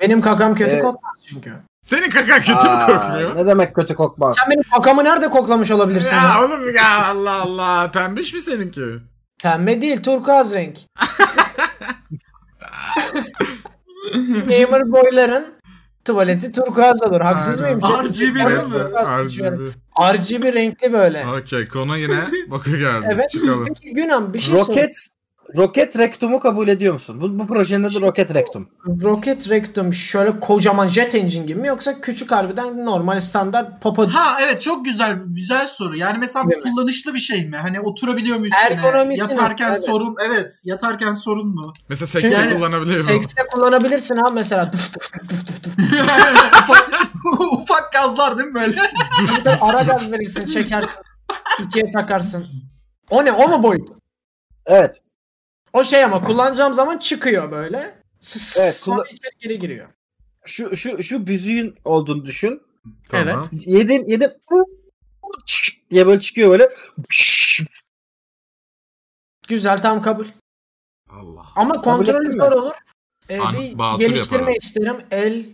Speaker 4: Benim kakam kötü
Speaker 2: Evet.
Speaker 4: kokmaz çünkü.
Speaker 3: Senin kaka kötü mü
Speaker 2: Aa,
Speaker 3: kokmuyor?
Speaker 2: Ne demek kötü kokmaz?
Speaker 4: Sen benim kakamı nerede koklamış olabilirsin? ya?
Speaker 3: Ya oğlum ya Allah Allah. Pembiş mi seninki?
Speaker 4: Pembe değil, turkuaz renk. Gamer boyların tuvaleti turkuaz olur. Haksız
Speaker 3: Aynen.
Speaker 4: mıyım? Çok-
Speaker 5: RGB
Speaker 4: Ben
Speaker 5: değil mi?
Speaker 4: turkuaz düşünüyorum.
Speaker 3: RGB.
Speaker 4: RGB renkli böyle.
Speaker 3: Okey konu yine boku geldi.
Speaker 4: Evet.
Speaker 3: Çıkalım.
Speaker 4: Peki Günhan bir şey
Speaker 2: roket roket rektumu kabul ediyor musun? Bu, bu projenin adı roket rektum.
Speaker 4: sorayım. Roket rektum şöyle kocaman jet engine gibi mi yoksa küçük harbiden normal standart popo
Speaker 5: Ha evet çok güzel güzel soru. Yani mesela
Speaker 4: Değil mi?
Speaker 5: kullanışlı bir şey mi? Hani oturabiliyor muyuz? Ergonomisi
Speaker 4: Ergonomisi mi?
Speaker 5: Yatarken
Speaker 4: Evet.
Speaker 5: sorun evet. Yatarken sorun mu?
Speaker 3: Mesela sekste
Speaker 5: Yani-
Speaker 3: kullanabilir miyim?
Speaker 4: Sekste kullanabilirsin ha mesela. Tıf tıf tıf tıf tıf tıf.
Speaker 5: ufak, ufak gazlar değil mi böyle?
Speaker 4: Bir de ara gaz verirsin çeker. ikiye takarsın. O ne? O mu boyut?
Speaker 2: Evet.
Speaker 4: O şey ama kullanacağım zaman çıkıyor böyle. Sıs,
Speaker 2: Evet,
Speaker 4: sonra
Speaker 2: kullan-
Speaker 4: içeri geri giriyor.
Speaker 2: Şu şu şu büzüğün olduğunu düşün.
Speaker 3: Tamam.
Speaker 2: Yedin yedin diye böyle çıkıyor böyle.
Speaker 4: Güzel tam kabul.
Speaker 3: Allah.
Speaker 4: Ama
Speaker 2: ettin
Speaker 4: kontrolü
Speaker 2: mi?
Speaker 4: zor olur. Ee,
Speaker 3: An-
Speaker 4: bir
Speaker 3: basur
Speaker 4: geliştirme
Speaker 3: yaparım.
Speaker 4: isterim. El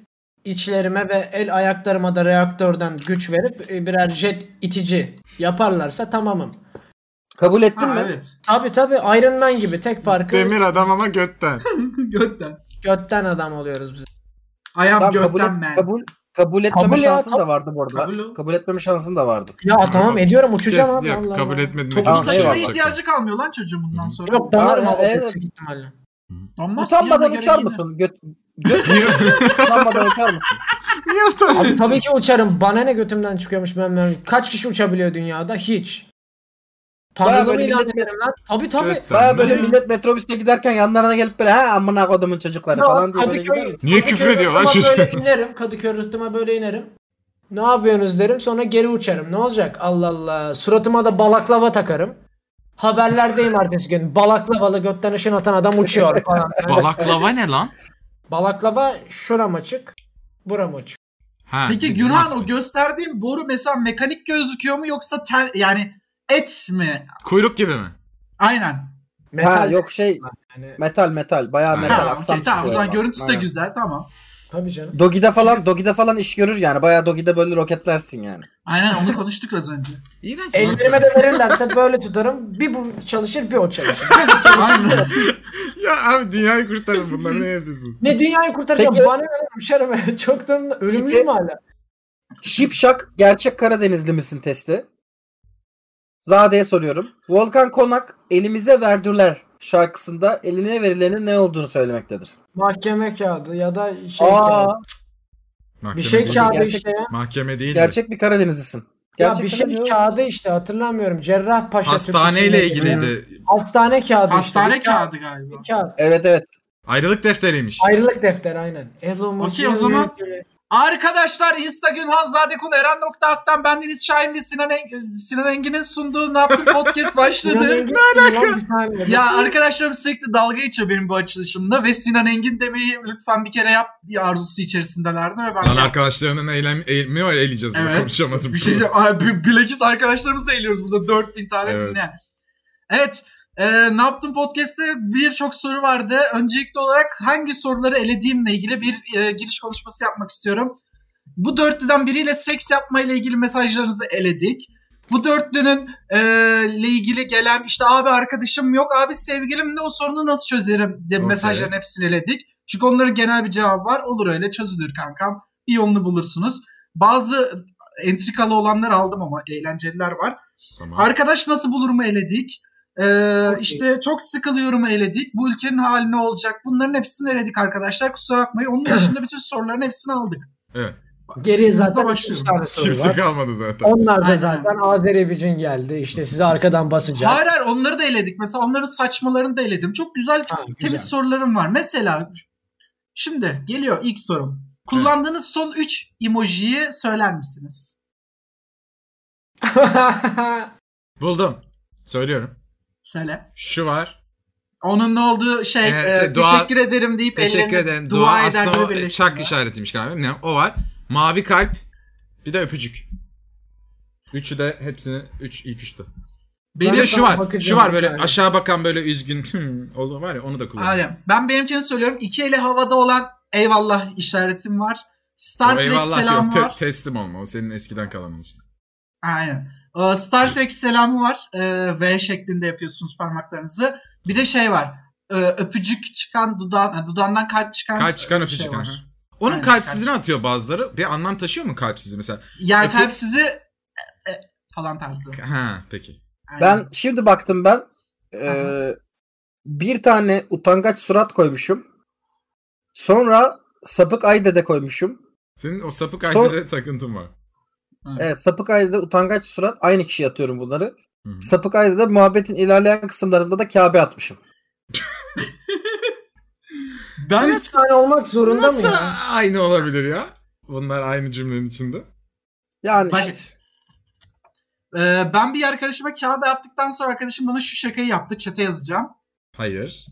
Speaker 4: içlerime ve el ayaklarıma da reaktörden güç verip e, birer jet itici yaparlarsa tamamım.
Speaker 2: Kabul ettin
Speaker 5: ha,
Speaker 2: mi?
Speaker 5: evet.
Speaker 4: Tabi tabi Iron Man gibi tek farkı
Speaker 3: Demir adam ama götten.
Speaker 5: Götten.
Speaker 4: götten adam oluyoruz biz.
Speaker 5: Ayağım
Speaker 2: Tamam, kabul,
Speaker 5: götten
Speaker 2: et-
Speaker 5: men.
Speaker 2: kabul kabul etmeme
Speaker 4: Kabul ya,
Speaker 2: şansın
Speaker 4: tam-
Speaker 2: da vardı bu arada.
Speaker 5: Kabul o.
Speaker 2: Kabul, etmeme şansın da vardı.
Speaker 4: Ya tamam ediyorum uçacağım
Speaker 3: Kes,
Speaker 4: abi.
Speaker 3: yok
Speaker 4: Allah
Speaker 3: kabul şey
Speaker 4: Allah.
Speaker 3: etmedin.
Speaker 5: Toplu
Speaker 2: Tamam,
Speaker 5: taşıma
Speaker 2: eyvallah.
Speaker 5: ihtiyacı kalmıyor lan çocuğum bundan
Speaker 3: Hı.
Speaker 5: sonra.
Speaker 4: Yok donarım
Speaker 2: Aa,
Speaker 4: abi
Speaker 2: evet.
Speaker 4: yüksek ihtimalle.
Speaker 5: Donmaz,
Speaker 2: Utanmadan
Speaker 5: yanına
Speaker 2: uçar
Speaker 5: göre
Speaker 2: mısın?
Speaker 5: giyinir.
Speaker 2: Göt, göt utanmadan uçar mısın?
Speaker 3: Niye
Speaker 4: Abi
Speaker 3: utanıyorsun?
Speaker 4: tabii ki uçarım. Bana ne götümden çıkıyormuş ben ben. Kaç kişi uçabiliyor dünyada? Hiç.
Speaker 2: Bayağı
Speaker 4: Tanrılığımı
Speaker 2: böyle
Speaker 4: ilan
Speaker 2: millet-
Speaker 4: ederim lan. Tabii tabii.
Speaker 3: Götten.
Speaker 2: Baya böyle millet metrobüste giderken yanlarına gelip böyle ha amına kodumun çocukları falan diye böyle gider
Speaker 4: Kadıköy,
Speaker 2: misin?
Speaker 3: Niye küfür
Speaker 4: Kadıköy
Speaker 3: ediyor lan
Speaker 4: rıhtıma
Speaker 3: çocuk?
Speaker 4: Böyle inerim. Kadıköy rıhtıma böyle inerim. Ne yapıyorsunuz derim. Sonra geri uçarım. Ne olacak? Allah Allah. Suratıma da balaklava takarım. Haberlerdeyim ertesi gün. Balaklavalı götten ışın atan adam uçuyor falan.
Speaker 3: Balaklava ne lan?
Speaker 4: Balaklava şuram açık. Buram açık.
Speaker 3: Ha,
Speaker 5: Peki
Speaker 3: bir
Speaker 5: Günhan
Speaker 3: maske.
Speaker 5: o gösterdiğim boru mesela mekanik gözüküyor mu yoksa tel, yani et mi?
Speaker 3: Kuyruk gibi mi?
Speaker 5: Aynen.
Speaker 4: Metal
Speaker 2: Ha yok şey
Speaker 4: yani.
Speaker 2: metal metal bayağı
Speaker 3: Ha,
Speaker 2: metal
Speaker 5: Ha,
Speaker 2: aksam
Speaker 5: okey, tamam o
Speaker 2: çıkıyor
Speaker 5: zaman
Speaker 2: yani.
Speaker 5: görüntüsü de
Speaker 2: Aynen.
Speaker 5: güzel tamam.
Speaker 4: Tabii canım.
Speaker 2: Dogi'de falan Dogi'de falan iş görür yani bayağı Dogi'de böyle roketlersin yani.
Speaker 5: Aynen onu konuştuk az önce.
Speaker 3: İğrenç.
Speaker 4: Ellerime de verirlerse böyle tutarım. Bir bu çalışır bir o çalışır.
Speaker 5: Aynen.
Speaker 3: Ya abi dünyayı kurtarın bunları ne yapıyorsunuz?
Speaker 4: ne dünyayı kurtaracağım?
Speaker 2: Peki-
Speaker 4: Bana ne hemşerim? Çoktan ölümlüyüm
Speaker 2: Peki-
Speaker 4: hala.
Speaker 2: Şipşak gerçek Karadenizli misin testi. Zade'ye soruyorum. Volkan Konak elimize verdiler şarkısında eline verilenin ne olduğunu söylemektedir.
Speaker 4: Mahkeme kağıdı ya da şey
Speaker 2: Aa,
Speaker 4: kağıdı.
Speaker 3: Mahkeme
Speaker 4: Bir şey
Speaker 3: değil.
Speaker 4: kağıdı
Speaker 2: Gerçek-
Speaker 4: işte ya.
Speaker 3: Mahkeme değil.
Speaker 2: gerçek bir Karadenizlisin.
Speaker 4: Ya bir şey
Speaker 2: hatırlamıyorum.
Speaker 4: kağıdı işte hatırlamıyorum. Cerrahpaşa
Speaker 3: Hastaneyle
Speaker 4: Türküsü'ndeki-
Speaker 3: ilgiliydi.
Speaker 4: Hastane kağıdı
Speaker 5: Hastane
Speaker 4: işte. Bir
Speaker 5: kağıdı galiba.
Speaker 4: bir kağıt.
Speaker 2: Evet evet.
Speaker 3: Ayrılık defteriymiş.
Speaker 4: Ayrılık defteri aynen. Elon Musk-
Speaker 5: Okey, o zaman- Arkadaşlar Instagram Hanzade Kun Eren nokta Aktan bendeniz Şahin ve Sinan, Eng- Sinan Engin'in sunduğu ne yaptın podcast
Speaker 4: Sinan
Speaker 5: başladı.
Speaker 4: Engin- Ulan bir saniye.
Speaker 5: ya arkadaşlarım sürekli dalga geçiyor benim bu açılışımda ve Sinan Engin demeyi lütfen bir kere yap diye arzusu içerisindelerdi ve ben
Speaker 3: Lan arkadaşlarının eylem, eğilimi var eğileceğiz. bunu,
Speaker 5: Evet.
Speaker 3: Konuşamadım.
Speaker 5: bir şey diyeceğim. Ay, bi- Bilakis arkadaşlarımızla eğiliyoruz burada 4000 tane
Speaker 3: Evet.
Speaker 5: dinleyen. Evet. E, ne yaptım podcast'te birçok soru vardı. Öncelikli olarak hangi soruları elediğimle ilgili bir e, giriş konuşması yapmak istiyorum. Bu dörtlüden biriyle seks yapmayla ilgili mesajlarınızı eledik. Bu dörtlünün e, ile ilgili gelen işte abi arkadaşım yok, abi sevgilim de o sorunu nasıl çözerim diye
Speaker 3: Okey.
Speaker 5: mesajların hepsini eledik. Çünkü onların genel bir cevabı var. Olur öyle çözülür kankam. Bir yolunu bulursunuz. Bazı entrikalı olanlar aldım ama eğlenceliler var.
Speaker 3: Tamam.
Speaker 5: Arkadaş nasıl bulurumu eledik. Ee,
Speaker 4: Okey.
Speaker 5: işte çok sıkılıyorum eledik. Bu ülkenin hali ne olacak? Bunların hepsini eledik arkadaşlar. Kusura bakmayın. Onun dışında bütün soruların hepsini aldık.
Speaker 3: Evet.
Speaker 4: Geriye
Speaker 5: Sizle
Speaker 4: zaten üç
Speaker 5: başlıyorum.
Speaker 4: tane soru
Speaker 3: Kimse
Speaker 4: var.
Speaker 3: kalmadı zaten.
Speaker 4: Onlar
Speaker 5: Aynen.
Speaker 4: da zaten Azeri Bicin geldi. İşte size arkadan basacak.
Speaker 5: Hayır hayır onları da eledik. Mesela onların saçmalarını da eledim. Çok güzel, çok
Speaker 4: Ha,
Speaker 5: temiz
Speaker 4: güzel.
Speaker 5: sorularım var. Mesela şimdi geliyor ilk sorum. Kullandığınız son 3 emojiyi söyler misiniz?
Speaker 3: Buldum. Söylüyorum.
Speaker 5: Söyle.
Speaker 3: Şu var.
Speaker 5: Onun ne olduğu şey
Speaker 3: Evet,
Speaker 5: e,
Speaker 3: dua-
Speaker 5: teşekkür ederim deyip
Speaker 3: Teşekkür
Speaker 5: ellerine
Speaker 3: ederim.
Speaker 5: dua,
Speaker 3: Dua,
Speaker 5: eder
Speaker 3: aslında
Speaker 5: gibi
Speaker 3: o
Speaker 5: birleştirme.
Speaker 3: çak işaretiymiş galiba. Ne? O var. Mavi kalp. Bir de öpücük. Üçü de hepsini üç ilk üçtü.
Speaker 5: Benim
Speaker 3: Bir de şu
Speaker 4: sana
Speaker 3: var.
Speaker 4: bakacağım
Speaker 3: Şu var böyle
Speaker 4: aşağıya.
Speaker 3: aşağı bakan böyle üzgün hmm, oldu var ya onu da kullanıyorum.
Speaker 5: Aynen. Ben benimkini söylüyorum. İki eli havada olan eyvallah işaretim var. Star
Speaker 3: O
Speaker 5: Trek
Speaker 3: eyvallah
Speaker 5: selamı
Speaker 3: diyor. Te-
Speaker 5: var.
Speaker 3: teslim olma. O senin eskiden kalan için.
Speaker 5: Aynen. Ee, Star Trek selamı var. Ee, v şeklinde yapıyorsunuz parmaklarınızı. Bir de şey var. Ee, öpücük çıkan dudağın, ha, dudağından kalp çıkan
Speaker 3: Kalp çıkan
Speaker 5: şey
Speaker 3: öpücük.
Speaker 5: var.
Speaker 3: aha. Onun
Speaker 5: Aynen,
Speaker 3: kalpsizini atıyor bazıları. Bir anlam taşıyor mu kalpsizi mesela?
Speaker 5: Yani
Speaker 3: Öpü-
Speaker 5: kalp sizi e, e, falan tarzı.
Speaker 3: Ha peki.
Speaker 5: Aynen.
Speaker 2: Ben şimdi baktım ben eee, bir tane utangaç surat koymuşum. Sonra sapık ay dede koymuşum.
Speaker 3: Senin o sapık
Speaker 2: Son-
Speaker 3: aydere takıntın var.
Speaker 2: Evet sapık ay dede utangaç surat aynı kişiye atıyorum bunları.
Speaker 3: Hı hı.
Speaker 2: Sapık ay dede muhabbetin ilerleyen kısımlarında da Kabe atmışım.
Speaker 5: ben
Speaker 4: Üç tane olmak zorunda
Speaker 3: Nasıl
Speaker 4: mı ya?
Speaker 3: aynı olabilir ya? Bunlar aynı cümlenin içinde.
Speaker 2: Yani
Speaker 5: Bak-
Speaker 2: işte,
Speaker 5: e, ben bir arkadaşıma kağıda attıktan sonra arkadaşım bana şu şakayı yaptı. Çete yazacağım.
Speaker 3: Hayır.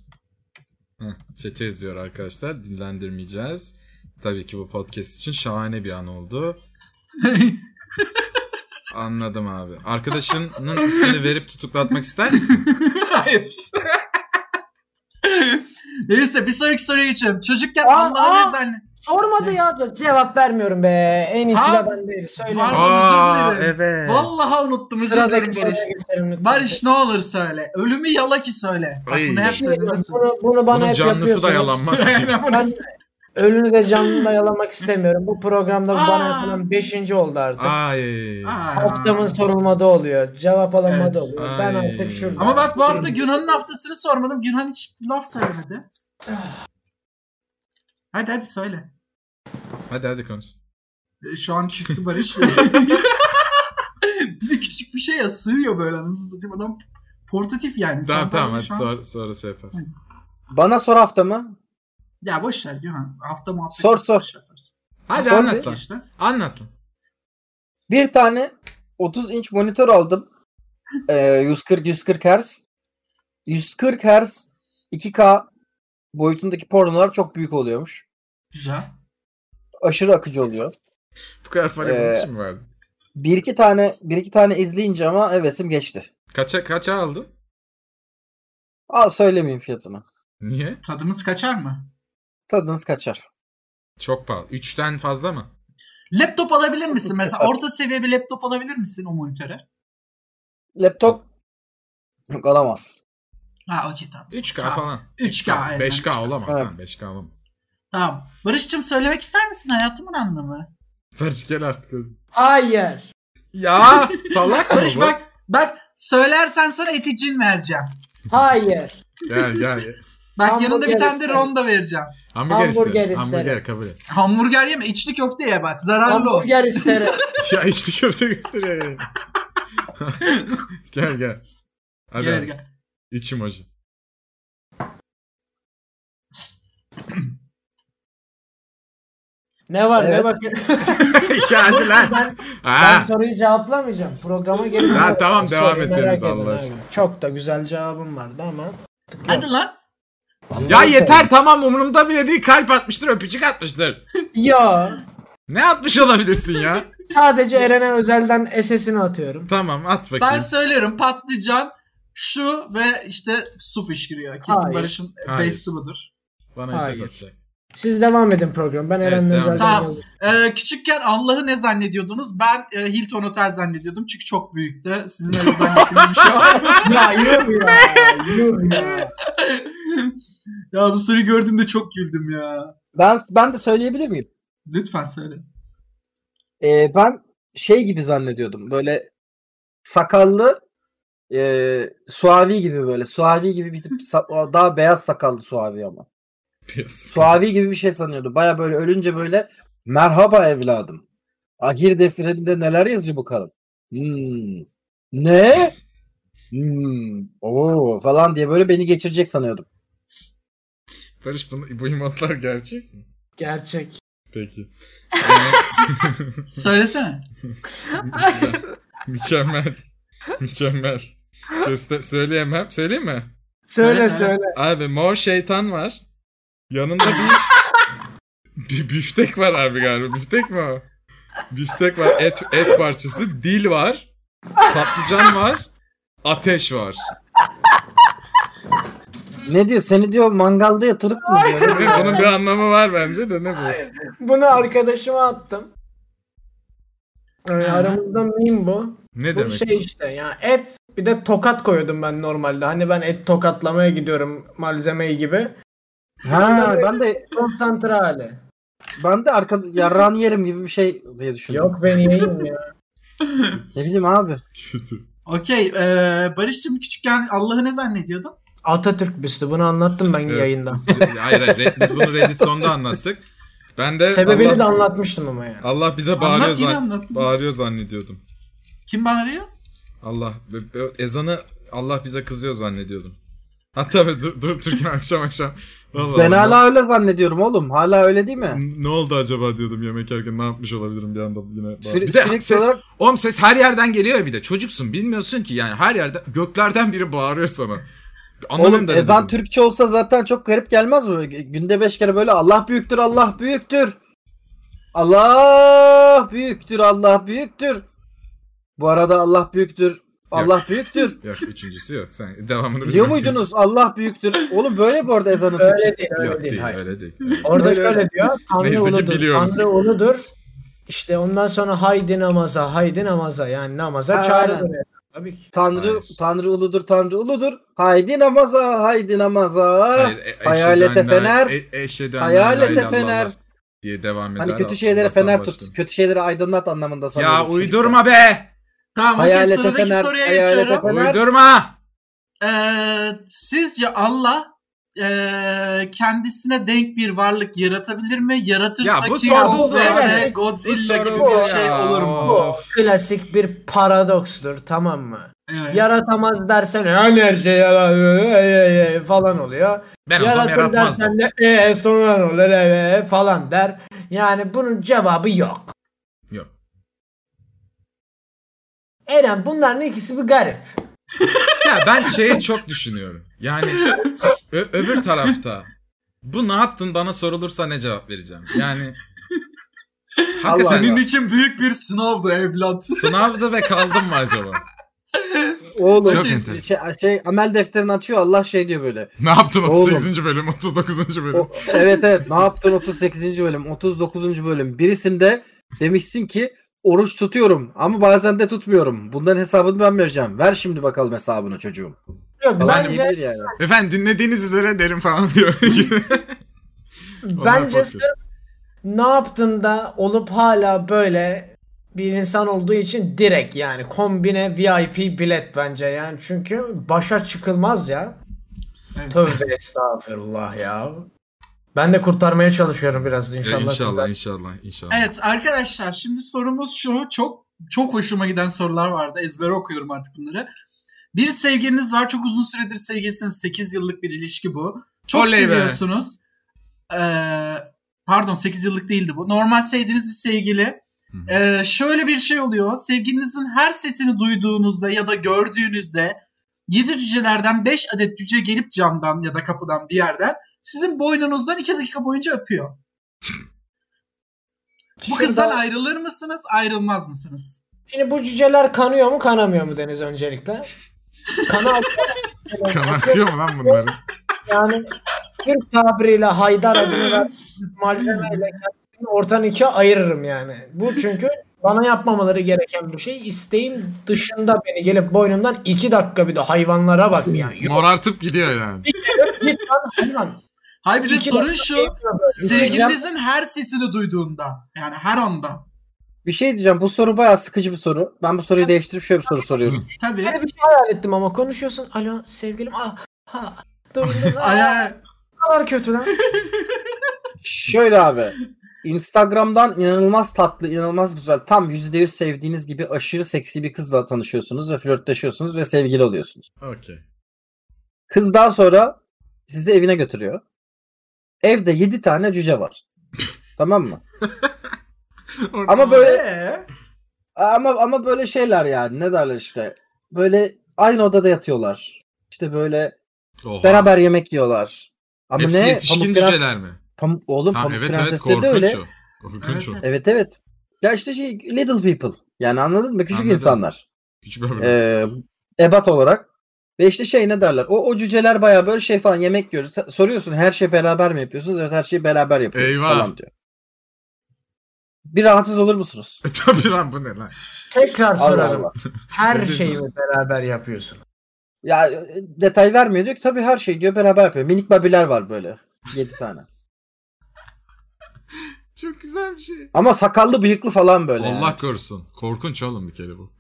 Speaker 3: Hı, Çete izliyor arkadaşlar. Dinlendirmeyeceğiz. Tabii ki bu podcast için şahane bir an oldu. Anladım abi. Arkadaşının ismini verip tutuklatmak ister misin?
Speaker 5: Hayır. Neyse bir sonraki soruya geçiyorum. Çocukken
Speaker 4: Aa,
Speaker 5: Allah'ın
Speaker 4: aa.
Speaker 5: ezanı.
Speaker 4: Sormadı ya. Cevap vermiyorum be. En iyisi
Speaker 5: Ha?
Speaker 4: de ben değil. Söyle.
Speaker 5: Pardon, özür dilerim.
Speaker 3: evet.
Speaker 5: Vallahi unuttum. özür
Speaker 4: Sıradaki
Speaker 5: dilerim Barış.
Speaker 4: soruya geçelim lütfen.
Speaker 5: Barış ne olur söyle. Ölümü yala ki söyle. Bak
Speaker 3: Ay.
Speaker 5: bunu her
Speaker 4: Bir şey
Speaker 5: söylediğinde
Speaker 4: diyeceğim,
Speaker 5: söyle.
Speaker 4: bunu, bunu bana
Speaker 3: Bunun
Speaker 4: hep
Speaker 3: canlısı da
Speaker 4: yapıyorsunuz.
Speaker 3: yalanmaz ki.
Speaker 4: Ben ölünü de canını da yalamak istemiyorum. Bu programda bu bana
Speaker 5: Aa.
Speaker 4: yapılan beşinci oldu artık.
Speaker 3: Ay.
Speaker 5: Aa.
Speaker 4: Haftamın sorulmadı oluyor. Cevap alınmadı
Speaker 5: Evet.
Speaker 4: oluyor. Ben
Speaker 3: Ay.
Speaker 4: artık şurada.
Speaker 5: Ama bak bu hafta Günhan'ın haftasını sormadım. Günhan hiç laf söylemedi. Hadi hadi söyle.
Speaker 3: Hadi hadi konuş.
Speaker 5: Ee, Şu an küstü Barış. bir de küçük bir şey ya sığıyor böyle anasını satayım adam portatif yani.
Speaker 3: Tamam
Speaker 5: Sen
Speaker 3: tamam hadi
Speaker 5: şu an-
Speaker 3: sonra, sonra şey yapar.
Speaker 2: bana sor haftamı.
Speaker 5: Ya boş ver Gühan. Hafta muhabbeti.
Speaker 2: Sor, sor.
Speaker 5: Şey yaparız.
Speaker 3: Hadi
Speaker 2: Sonra
Speaker 3: anlat
Speaker 2: bir-
Speaker 3: sen.
Speaker 5: İşte.
Speaker 3: Anlat. lan.
Speaker 2: Bir tane 30 inç monitör aldım. Ee, 140 140 Hz. 140 Hz 2K boyutundaki pornolar çok büyük oluyormuş.
Speaker 5: Güzel.
Speaker 2: Aşırı akıcı oluyor.
Speaker 3: Bu kadar para
Speaker 2: Ee,
Speaker 3: bunun için mi vardı?
Speaker 2: Bir iki tane bir iki tane izleyince ama hevesim geçti.
Speaker 3: Kaça, kaça aldın?
Speaker 2: Al söylemeyeyim fiyatını.
Speaker 3: Niye?
Speaker 5: Tadımız kaçar mı?
Speaker 2: Tadınız kaçar.
Speaker 3: Çok pahalı. Üçten fazla mı?
Speaker 5: Laptop alabilir misin? Mesela
Speaker 2: Kaçar.
Speaker 5: orta seviye bir laptop alabilir misin o monitöre?
Speaker 2: Laptop yok alamaz.
Speaker 5: Ha okey tamam.
Speaker 3: 3K
Speaker 5: Tamam.
Speaker 3: falan.
Speaker 5: 3K, aynen,
Speaker 3: 5K olamaz
Speaker 2: Evet.
Speaker 3: sen 5K olamaz.
Speaker 5: Tamam. Barış'cığım söylemek ister misin hayatımın anlamı?
Speaker 3: Barış gel artık.
Speaker 4: Hayır.
Speaker 3: Ya salak mı
Speaker 5: Barış
Speaker 3: bu?
Speaker 5: bak bak söylersen sana eticin vereceğim.
Speaker 4: Hayır.
Speaker 3: Gel gel.
Speaker 5: Bak
Speaker 4: Hamburger
Speaker 5: yanında bir tane de
Speaker 4: isterim.
Speaker 5: ronda vereceğim.
Speaker 3: Hamburger,
Speaker 4: Hamburger
Speaker 3: isterim.
Speaker 4: isterim.
Speaker 3: Hamburger kabul et.
Speaker 5: Hamburger yeme içli köfte ye bak zararlı o.
Speaker 4: Hamburger isterim.
Speaker 3: ya içli köfte gösteriyor yani. gel gel. Hadi
Speaker 5: Gel,
Speaker 3: abi.
Speaker 5: gel.
Speaker 3: İç emoji.
Speaker 4: ne var ne
Speaker 2: Evet.
Speaker 4: bak.
Speaker 3: yani lan.
Speaker 4: Ben, ben
Speaker 3: Ha.
Speaker 4: soruyu cevaplamayacağım. Programa gelin.
Speaker 3: Ha, tamam,
Speaker 4: Soru
Speaker 3: devam et
Speaker 4: merak
Speaker 3: Deniz,
Speaker 4: edin
Speaker 3: Allah
Speaker 4: abi.
Speaker 3: aşkına.
Speaker 4: Çok da güzel cevabım vardı ama.
Speaker 5: Hadi lan.
Speaker 3: Ya yeter tamam umurumda bile değil kalp atmıştır öpücük atmıştır.
Speaker 4: Ya
Speaker 3: Ne atmış olabilirsin ya?
Speaker 4: sadece Eren'e özelden SS'ini atıyorum.
Speaker 3: tamam at
Speaker 5: Ben
Speaker 3: bakayım.
Speaker 5: söylerim patlıcan şu ve işte su fışkırıyor. Kesin
Speaker 4: Hayır.
Speaker 5: Barış'ın
Speaker 3: Hayır.
Speaker 5: besti budur.
Speaker 3: Bana SS
Speaker 4: Hayır.
Speaker 3: atacak.
Speaker 4: Siz devam edin program. Ben
Speaker 3: Evet,
Speaker 4: Eren'le
Speaker 3: devam.
Speaker 4: özelden
Speaker 5: Tamam.
Speaker 4: yazdım.
Speaker 5: Ee, küçükken Allah'ı ne zannediyordunuz? Ben e, Hilton Otel zannediyordum çünkü çok büyüktü. Sizin öyle zannettiğiniz bir şey var.
Speaker 4: ya yuh ya. yuh ya.
Speaker 5: ya bu soruyu gördüğümde çok güldüm ya.
Speaker 2: Ben ben de söyleyebilir miyim?
Speaker 5: Lütfen söyle.
Speaker 2: Ee, ben şey gibi zannediyordum. Böyle sakallı e, suavi gibi böyle. Suavi gibi bir tip sa- o daha beyaz sakallı suavi ama. Suavi gibi bir şey sanıyordu. Baya böyle ölünce böyle merhaba evladım. Agir defterinde neler yazıyor bu karın? Hmm. Ne? Hmm. Oo falan diye böyle beni geçirecek sanıyordum.
Speaker 3: Barış bunu, bu imatlar gerçek mi?
Speaker 4: Gerçek.
Speaker 3: Peki.
Speaker 5: Söylesene.
Speaker 3: Mükemmel. Mükemmel. Göster söyleyemem. Söyleyeyim mi?
Speaker 4: Söyle
Speaker 5: Söyle, söyle.
Speaker 4: söyle.
Speaker 3: Abi mor şeytan var. Yanında bir, bir büftek var abi galiba. Büftek mi o? Büftek var. Et, et parçası. Dil var. Patlıcan var. Ateş var.
Speaker 2: Ne diyor? Seni diyor mangalda yatırıp mı diyor?
Speaker 3: Ne, bunun bir anlamı var bence de ne bu?
Speaker 4: Bunu arkadaşıma attım. Ee, aramızda meme bu.
Speaker 3: Ne
Speaker 4: Bu
Speaker 3: demek?
Speaker 4: şey işte ya et bir de tokat koyuyordum ben normalde. Hani ben et tokatlamaya gidiyorum malzemeyi gibi.
Speaker 2: ha ben de
Speaker 4: Konsantre hali.
Speaker 2: ben de arka yarrağını yerim gibi bir şey diye düşündüm.
Speaker 4: Yok ben yiyeyim ya.
Speaker 2: Ne bileyim abi.
Speaker 3: Kötü.
Speaker 5: Okey. E, Barış'cığım küçükken Allah'ı ne zannediyordun?
Speaker 4: Atatürk büstü bunu anlattım ben
Speaker 3: Evet.
Speaker 4: yayında.
Speaker 3: Hayır hayır Red- biz bunu Reddit sonda anlattık. Ben de
Speaker 4: Sebebini
Speaker 3: Allah,
Speaker 4: de anlatmıştım ama yani.
Speaker 3: Allah bize bağırıyor,
Speaker 5: Anlat yine
Speaker 3: zan-
Speaker 5: anlat.
Speaker 3: bağırıyor zannediyordum.
Speaker 5: Kim bağırıyor?
Speaker 3: Allah ve- ve ezanı Allah bize kızıyor zannediyordum. Hatta böyle dur, dur Türkan akşam akşam. Allah
Speaker 2: Ben
Speaker 3: Allah.
Speaker 2: hala öyle zannediyorum oğlum. Hala öyle değil mi?
Speaker 3: N- ne oldu acaba diyordum yemek yerken ne yapmış olabilirim bir anda yine. bağır-
Speaker 2: Süre-
Speaker 3: bir de
Speaker 2: sürekli
Speaker 3: ses,
Speaker 2: olarak-
Speaker 3: oğlum ses her yerden geliyor ya bir de çocuksun bilmiyorsun ki yani her yerde göklerden biri bağırıyor sana. Anlamam
Speaker 2: Oğlum
Speaker 3: da ne
Speaker 2: ezan
Speaker 3: dedim.
Speaker 2: Türkçe olsa zaten çok garip gelmez mi? Günde beş kere böyle Allah büyüktür, Allah büyüktür. Allah büyüktür, Allah büyüktür. Bu arada Allah büyüktür, Allah büyüktür.
Speaker 3: Yok üçüncüsü yok sen devamını
Speaker 2: Biliyor
Speaker 3: bilmem.
Speaker 2: muydunuz Allah büyüktür? Oğlum böyle bu arada ezanın Türkçesi.
Speaker 4: Öyle değil,
Speaker 3: Yok
Speaker 4: öyle
Speaker 3: değil
Speaker 4: değil. hayır.
Speaker 3: öyle değil. öyle değil.
Speaker 4: Orada
Speaker 2: Öyle
Speaker 4: şöyle
Speaker 2: öyle.
Speaker 4: diyor. Tanrı
Speaker 3: Neyse ki
Speaker 4: uludur.
Speaker 3: biliyoruz.
Speaker 4: Tanrı uludur. İşte ondan sonra haydi namaza, haydi namaza. Yani namaza
Speaker 2: Ha,
Speaker 4: çağrıdır. Tabii ki.
Speaker 2: Tanrı,
Speaker 3: Hayır.
Speaker 2: Tanrı uludur, Tanrı uludur. Haydi namaza, haydi namaza. Hani
Speaker 3: Hayır, e- eşhedü
Speaker 2: Hayalete
Speaker 3: en la-
Speaker 2: fener.
Speaker 3: e- eşhedü en la
Speaker 2: Hayalete
Speaker 3: ilahe illallah
Speaker 2: fener.
Speaker 3: Diye devam eder.
Speaker 2: Hani kötü
Speaker 3: Allah'tan
Speaker 2: şeylere fener
Speaker 3: başlayalım.
Speaker 2: tut, şey kötü şeyleri aydınlat anlamında sanıyorum.
Speaker 3: Ya
Speaker 2: çocuklar.
Speaker 3: uydurma be.
Speaker 5: Tamam okey
Speaker 2: Hayalete
Speaker 5: sıradaki
Speaker 2: Fener,
Speaker 5: soruya
Speaker 2: Hayalete
Speaker 5: geçiyorum.
Speaker 2: Fener.
Speaker 3: Uydurma.
Speaker 5: Ee, sizce Allah e, kendisine denk bir varlık yaratabilir mi? Yaratırsa
Speaker 3: Ya bu
Speaker 5: kim
Speaker 3: soru
Speaker 5: oldu?
Speaker 4: bu ya.
Speaker 5: Yani
Speaker 3: Bu
Speaker 5: Godzilla
Speaker 3: soru
Speaker 5: gibi
Speaker 3: bu
Speaker 5: bir
Speaker 3: ya.
Speaker 5: şey olur mu?
Speaker 3: Of.
Speaker 4: Klasik bir paradokstur tamam mı?
Speaker 5: Evet.
Speaker 4: Yaratamaz dersen yani her şey yaratıyor e, e, falan oluyor.
Speaker 3: Ben o zaman
Speaker 4: Yaratır
Speaker 3: yaratmazdım.
Speaker 4: dersen de e, sonra olur e, e, falan der. Yani bunun cevabı yok.
Speaker 3: Yok.
Speaker 4: Eren bunların ikisi bir garip.
Speaker 3: Ya ben şeyi çok düşünüyorum. Yani ö- öbür tarafta bu ne yaptın bana sorulursa ne cevap vereceğim? Yani hakikaten
Speaker 2: Allah
Speaker 5: Senin için büyük bir sınavdı evlat.
Speaker 3: sınavdı ve kaldım mı acaba?
Speaker 2: Oğlum
Speaker 3: Çok
Speaker 2: şey,
Speaker 3: enteresan.
Speaker 2: şey, amel defterini açıyor Allah şey diyor böyle.
Speaker 3: Ne yaptın
Speaker 2: Oğlum.
Speaker 3: 38. bölüm, 39. bölüm?
Speaker 2: O- evet evet ne yaptın 38. bölüm 39. bölüm birisinde demişsin ki oruç tutuyorum ama bazen de tutmuyorum. Bunların hesabını ben vereceğim. Ver şimdi bakalım hesabını çocuğum.
Speaker 4: Yok
Speaker 2: Falan
Speaker 4: bence
Speaker 2: diyebilir yani.
Speaker 3: Efendim dinlediğiniz üzere derim falan diyor. Onlar
Speaker 4: Bence
Speaker 3: podcast.
Speaker 4: sırf ne yaptın da olup hala böyle bir insan olduğu için direkt yani kombine VIP bilet bence yani çünkü başa çıkılmaz ya.
Speaker 5: Evet.
Speaker 4: Tövbe estağfurullah ya. Ben de kurtarmaya çalışıyorum biraz
Speaker 3: İnşallah,
Speaker 4: inşallah.
Speaker 3: inşallah,
Speaker 4: kurtar-
Speaker 3: inşallah, inşallah.
Speaker 5: Evet arkadaşlar şimdi sorumuz şu. Çok çok hoşuma giden sorular vardı. Ezbere okuyorum artık bunları. Bir sevgiliniz var. Çok uzun süredir sevgilisiniz. 8 yıllık bir ilişki bu. Çok
Speaker 3: Oley be.
Speaker 5: seviyorsunuz. Ee, pardon 8 yıllık değildi bu. Normal sevdiğiniz bir sevgili.
Speaker 3: Hı hı.
Speaker 5: Ee, şöyle bir şey oluyor. Sevgilinizin her sesini duyduğunuzda ya da gördüğünüzde 7 cücelerden 5 adet cüce gelip camdan ya da kapıdan bir yerden sizin boynunuzdan 2 dakika boyunca öpüyor. Bu
Speaker 4: Şurada-
Speaker 5: kızdan ayrılır mısınız, ayrılmaz mısınız?
Speaker 4: Şimdi bu cüceler kanıyor mu kanamıyor mu Deniz öncelikle? Kanal
Speaker 3: Kan akıyor mu lan bunları?
Speaker 4: yani Türk tabiriyle haydar adını ver- malzemeyle kendimi ortadan ikiye ayırırım yani. Bu çünkü bana yapmamaları gereken bir şey. İsteğim dışında beni gelip boynumdan iki dakika bir de hayvanlara bak yani. Yok,
Speaker 3: Morartıp gidiyor yani.
Speaker 4: git lan hayvan.
Speaker 5: Hayır bir de
Speaker 4: İki
Speaker 5: sorun
Speaker 4: dakika
Speaker 5: şu.
Speaker 4: eğiliyorum.
Speaker 5: Sevgilinizin her sesini duyduğunda yani her anda.
Speaker 2: Bir şey diyeceğim. Bu soru bayağı sıkıcı bir soru. Ben bu soruyu değiştirip şöyle bir soru soruyorum.
Speaker 5: Tabii.
Speaker 4: Böyle bir şey hayal ettim ama konuşuyorsun. Alo sevgilim. Ah, ha, dur dur. Ay,
Speaker 5: Ay, ay.
Speaker 4: kadar kötü lan.
Speaker 2: Şöyle abi. Instagram'dan inanılmaz tatlı, inanılmaz güzel, tam %100 sevdiğiniz gibi aşırı seksi bir kızla tanışıyorsunuz ve flörtleşiyorsunuz ve sevgili oluyorsunuz.
Speaker 3: Okey.
Speaker 2: Kız daha sonra sizi evine götürüyor. Evde 7 tane cüce var. tamam mı? Ama böyle
Speaker 5: Ee,
Speaker 2: ama ama böyle şeyler yani ne derler işte. Böyle aynı odada yatıyorlar. İşte böyle
Speaker 3: Oha.
Speaker 2: beraber yemek yiyorlar. Ama
Speaker 3: Hepsi
Speaker 2: ne?
Speaker 3: yetişkin
Speaker 2: Pamuk Prens-
Speaker 3: cüceler mi?
Speaker 2: Pamuk, oğlum
Speaker 3: Tamam
Speaker 2: Pamuk
Speaker 3: evet evet
Speaker 2: Prenses'te de
Speaker 3: korkunç
Speaker 2: öyle.
Speaker 3: o. Korkunç o.
Speaker 5: Evet.
Speaker 2: Evet evet. Ya işte şey little people. Yani anladın mı? Küçük
Speaker 3: Anladım.
Speaker 2: insanlar.
Speaker 3: Küçük bir haber.
Speaker 2: Ee, ebat olarak. Ve işte şey ne derler? O, o cüceler bayağı böyle şey falan yemek yiyoruz. Sa- Soruyorsun her şey beraber mi yapıyorsunuz? Evet her şeyi beraber yapıyoruz
Speaker 3: Eyvah.
Speaker 2: falan diyor. Bir rahatsız olur musunuz?
Speaker 3: E, Tabii lan bu ne lan?
Speaker 4: Tekrar
Speaker 2: Allah
Speaker 4: sorarım.
Speaker 2: Allah.
Speaker 4: Her şeyi mi beraber yapıyorsun?
Speaker 2: Ya e, detay vermiyor diyor ki tabii her şey diyor beraber yapıyor. Minik babiler var böyle. 7 tane.
Speaker 3: Çok güzel bir şey.
Speaker 2: Ama sakallı bıyıklı falan böyle.
Speaker 3: Allah
Speaker 2: yani.
Speaker 3: korusun. Korkunç oğlum bir kere bu.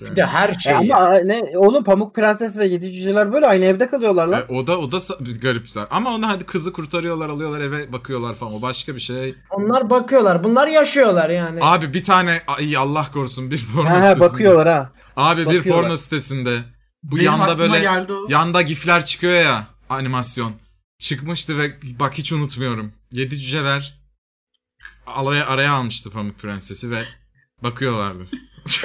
Speaker 4: Bir de her
Speaker 2: E
Speaker 4: şeyi.
Speaker 2: ama ne oğlum Pamuk Prenses ve Yedi Cüceler böyle aynı evde kalıyorlar lan.
Speaker 3: E, o da o da sa- bir garip zaten. Ama ona hadi kızı kurtarıyorlar, alıyorlar eve bakıyorlar falan. O başka bir şey.
Speaker 4: Onlar bakıyorlar. Bunlar yaşıyorlar yani.
Speaker 3: Abi bir tane ay Allah korusun bir porno
Speaker 2: Ha,
Speaker 3: sitesinde.
Speaker 2: ha, bakıyorlar ha.
Speaker 3: Abi bir
Speaker 2: bakıyorlar.
Speaker 3: porno sitesinde bu
Speaker 5: benim
Speaker 3: yanda
Speaker 5: aklıma
Speaker 3: böyle
Speaker 5: geldi o.
Speaker 3: yanda gifler çıkıyor ya animasyon. Çıkmıştı ve bak hiç unutmuyorum. Yedi cüceler araya, araya almıştı Pamuk Prensesi ve bakıyorlardı.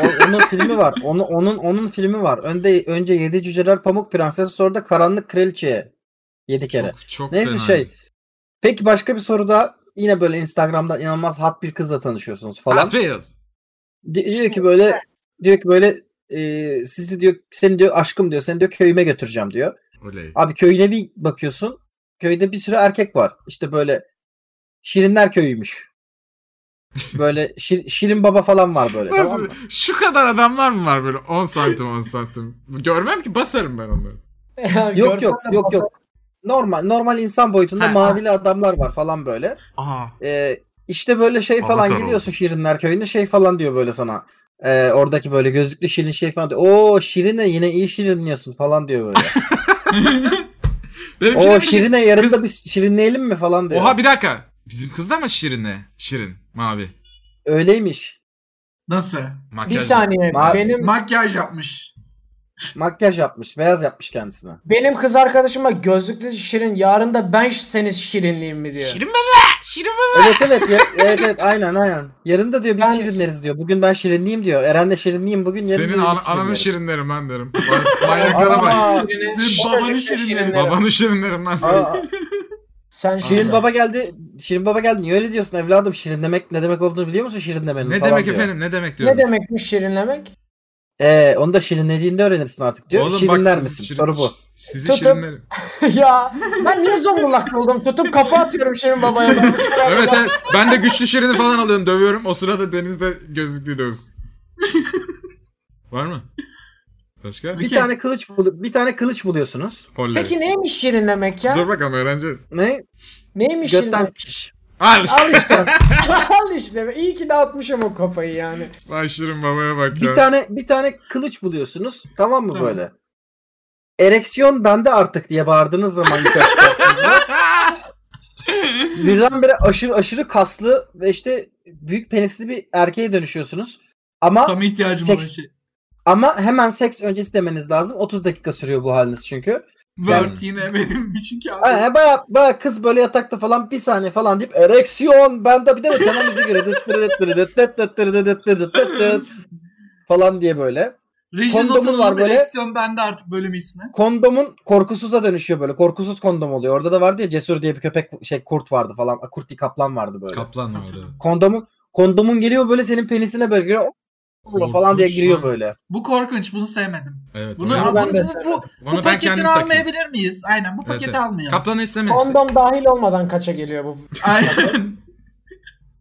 Speaker 2: O- onun filmi var. Onu, onun onun filmi var. Önde önce Yedi Cüceler Pamuk Prenses sonra da Karanlık Kraliçe'ye. Yedi kere.
Speaker 3: Çok, çok
Speaker 2: Neyse
Speaker 3: fena.
Speaker 2: şey. Peki başka bir soruda yine böyle Instagram'dan inanılmaz hot bir kızla tanışıyorsunuz falan.
Speaker 3: Hot Wheels.
Speaker 2: Di- Diyor ki böyle diyor ki böyle e, sizi diyor seni diyor aşkım diyor seni diyor köyüme götüreceğim diyor.
Speaker 3: Oley.
Speaker 2: Abi köyüne bir bakıyorsun. Köyde bir sürü erkek var. İşte böyle Şirinler köyüymüş. Böyle Şir- Şirin Baba falan var böyle.
Speaker 3: Nasıl?
Speaker 2: E, tamam mı?
Speaker 3: Şu kadar adamlar mı var böyle 10 santim 10 santim? Görmem ki basarım ben onları.
Speaker 2: Yok yok yok yok. Normal normal insan boyutunda
Speaker 3: Ha,
Speaker 2: mavili adamlar var falan böyle.
Speaker 3: Aa.
Speaker 2: Ee, işte böyle şey falan
Speaker 3: Avatar
Speaker 2: gidiyorsun Şirinler köyüne şey falan diyor böyle sana. Ee, oradaki böyle gözlüklü Şirin şey falan diyor. Oo Şirine yine iyi Şirinliyorsun falan diyor böyle.
Speaker 3: Benimki de
Speaker 2: Oo
Speaker 3: bir şey-
Speaker 2: Şirine yarın
Speaker 3: Kız-
Speaker 2: da bir Şirinleyelim mi falan diyor.
Speaker 3: Oha bir dakika. Bizim kız da mı Şirin ne? Şirin. Mavi.
Speaker 2: Öyleymiş.
Speaker 5: Nasıl?
Speaker 4: Bir
Speaker 3: Makyaj.
Speaker 4: saniye.
Speaker 2: Mavi.
Speaker 4: Benim
Speaker 5: Makyaj yapmış.
Speaker 2: Makyaj yapmış. Beyaz yapmış kendisine.
Speaker 4: benim kız arkadaşıma gözlüklü şirin yarın da ben seniz şirinliyim mi diyor.
Speaker 3: Şirin baba. Şirin baba.
Speaker 2: Evet evet ya- evet evet aynen aynen. Yarın da diyor biz
Speaker 4: Yani-
Speaker 2: şirinleriz diyor. Bugün ben şirinliyim diyor. Eren de şirinliyim bugün yarın
Speaker 3: Senin
Speaker 2: da
Speaker 3: an-
Speaker 2: biz
Speaker 3: ananın
Speaker 2: şirinleriz.
Speaker 3: şirinlerim ben derim. Bak, Manyaklara bak.
Speaker 2: Aa,
Speaker 5: Senin
Speaker 4: Şirin-
Speaker 5: babanın
Speaker 4: şirin-
Speaker 5: şirinleri.
Speaker 3: Babanın şirinlerim lan senin.
Speaker 2: aa,
Speaker 4: Sen
Speaker 2: Şirin baba geldi. Şirin baba geldi. Niye öyle diyorsun evladım? Şirin demek ne demek olduğunu biliyor musun şirin demenin
Speaker 3: Ne
Speaker 2: falan
Speaker 3: demek
Speaker 2: diyor.
Speaker 3: efendim ne demek diyorum.
Speaker 4: Ne demekmiş şirinlemek?
Speaker 2: Ee, onu da şirinlediğinde öğrenirsin artık diyor.
Speaker 3: Oğlum bak
Speaker 2: Şirinler
Speaker 3: siz
Speaker 2: misin?
Speaker 3: şirin-
Speaker 2: Soru bu.
Speaker 3: siz- Sizi
Speaker 4: Tutup-
Speaker 3: şirinlerim.
Speaker 4: ya ben niye Zonguldaklı oldum? Tutup kafa atıyorum şirin babaya. Ben.
Speaker 3: Evet evet. Ben de güçlü şirini falan alıyorum dövüyorum. O sırada denizde gözlüklü dövsün. Var mı? Başka?
Speaker 2: Bir tane kılıç bulu- bir tane kılıç buluyorsunuz.
Speaker 3: Holley.
Speaker 4: Peki neymiş şirinlemek ya?
Speaker 3: Dur bakalım öğreneceğiz.
Speaker 2: Ne?
Speaker 4: Neymiş
Speaker 2: Götten
Speaker 4: şirinlemek?
Speaker 2: sikiş.
Speaker 3: Al işte.
Speaker 4: Al işte. Al işte. İyi ki de atmışım o kafayı yani.
Speaker 3: Vay şirin babaya bak ya.
Speaker 2: Bir tane bir tane kılıç buluyorsunuz. Tamam mı
Speaker 5: Tamam.
Speaker 2: böyle? ereksiyon bende artık diye bağırdığınız zaman yukarı çıkarttığınızda birdenbire aşırı aşırı kaslı ve işte büyük penisli bir erkeğe dönüşüyorsunuz. Ama
Speaker 5: Tam ihtiyacım olan
Speaker 2: Seks-
Speaker 5: şey.
Speaker 2: ama hemen seks öncesi demeniz lazım. 30 dakika sürüyor bu haliniz çünkü.
Speaker 5: Word yine benim için kağıt.
Speaker 2: Baya baya, kız böyle yatakta falan bir saniye falan deyip ereksiyon bende bir de mi tamam müzik giriyor. Dıt dırı dıt dırı dıt dıt dıt dırı dıt dıt dıt dıt dıt falan diye böyle.
Speaker 5: Reji
Speaker 2: kondomun
Speaker 5: notunun
Speaker 2: var böyle.
Speaker 5: direksiyon bende artık bölüm ismi.
Speaker 2: kondomun korkusuza dönüşüyor böyle. Korkusuz kondom oluyor. Orada da vardı ya Cesur diye bir köpek şey kurt vardı falan. Kurt değil kaplan vardı böyle.
Speaker 3: Kaplan vardı.
Speaker 2: kondomun kondomun geliyor böyle senin penisine böyle giriyor.
Speaker 3: Korkunç
Speaker 2: falan diye
Speaker 3: lan.
Speaker 2: giriyor böyle.
Speaker 5: Bu korkunç bunu sevmedim.
Speaker 3: Evet.
Speaker 5: Bunu,
Speaker 3: onu-
Speaker 4: Bunu
Speaker 5: bu,
Speaker 4: ben de
Speaker 5: bu, bu,
Speaker 3: onu
Speaker 5: bu
Speaker 3: ben kendim
Speaker 5: paketini
Speaker 3: takayım.
Speaker 5: almayabilir miyiz? Aynen bu
Speaker 3: Evet,
Speaker 5: paketi
Speaker 3: evet.
Speaker 5: almayalım.
Speaker 3: Kaplanı istemeyiz.
Speaker 4: Kondom dahil olmadan kaça geliyor bu?
Speaker 5: Aynen.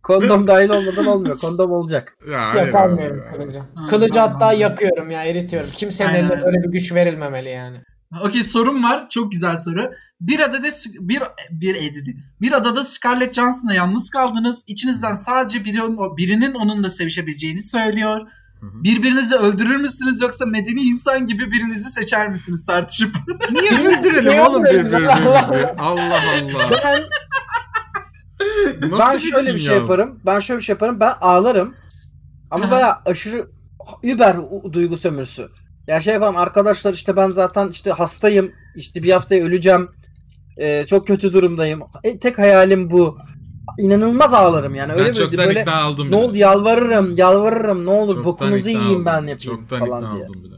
Speaker 2: Kondom dahil olmadan olmuyor. Kondom olacak.
Speaker 3: Ya, hayır
Speaker 4: Yok
Speaker 3: abi,
Speaker 4: almıyorum
Speaker 3: ya.
Speaker 4: kılıcı.
Speaker 5: Ha,
Speaker 4: Kılıcı
Speaker 5: tamam,
Speaker 4: hatta
Speaker 5: tamam.
Speaker 4: yakıyorum ya eritiyorum. Kimsenin
Speaker 5: Aynen,
Speaker 4: eline
Speaker 5: aynen.
Speaker 4: böyle bir güç verilmemeli yani.
Speaker 5: Okey sorum var. Çok güzel soru. Bir adada bir bir ededi. Bir adada Scarlett Johansson'la yalnız kaldınız. İçinizden sadece biri, birinin onunla sevişebileceğini söylüyor.
Speaker 3: Hı hı.
Speaker 5: Birbirinizi öldürür müsünüz yoksa medeni insan gibi birinizi seçer misiniz tartışıp?
Speaker 3: Niye öldürelim
Speaker 4: Niye
Speaker 3: oğlum
Speaker 4: öldürelim?
Speaker 3: birbirimizi? Allah Allah.
Speaker 2: Ben
Speaker 3: Nasıl
Speaker 2: ben şöyle
Speaker 3: dünya
Speaker 2: bir şey
Speaker 3: bu?
Speaker 2: yaparım. Ben şöyle bir şey yaparım. Ben ağlarım. Ama
Speaker 5: Aha.
Speaker 2: baya aşırı über duygu sömürüsü. Ya şey falan arkadaşlar işte ben zaten işte hastayım. işte bir haftaya öleceğim. Ee, çok kötü durumdayım. E, tek hayalim bu. İnanılmaz ağlarım yani. Öyle
Speaker 3: ben
Speaker 2: böyle,
Speaker 3: çoktan
Speaker 2: böyle
Speaker 3: ikna oldum.
Speaker 2: ne oldu yalvarırım yalvarırım ne olur bokunuzu yiyeyim ben yapayım
Speaker 3: Çoktan
Speaker 2: falan
Speaker 3: ikna
Speaker 2: diye.
Speaker 3: oldum bile.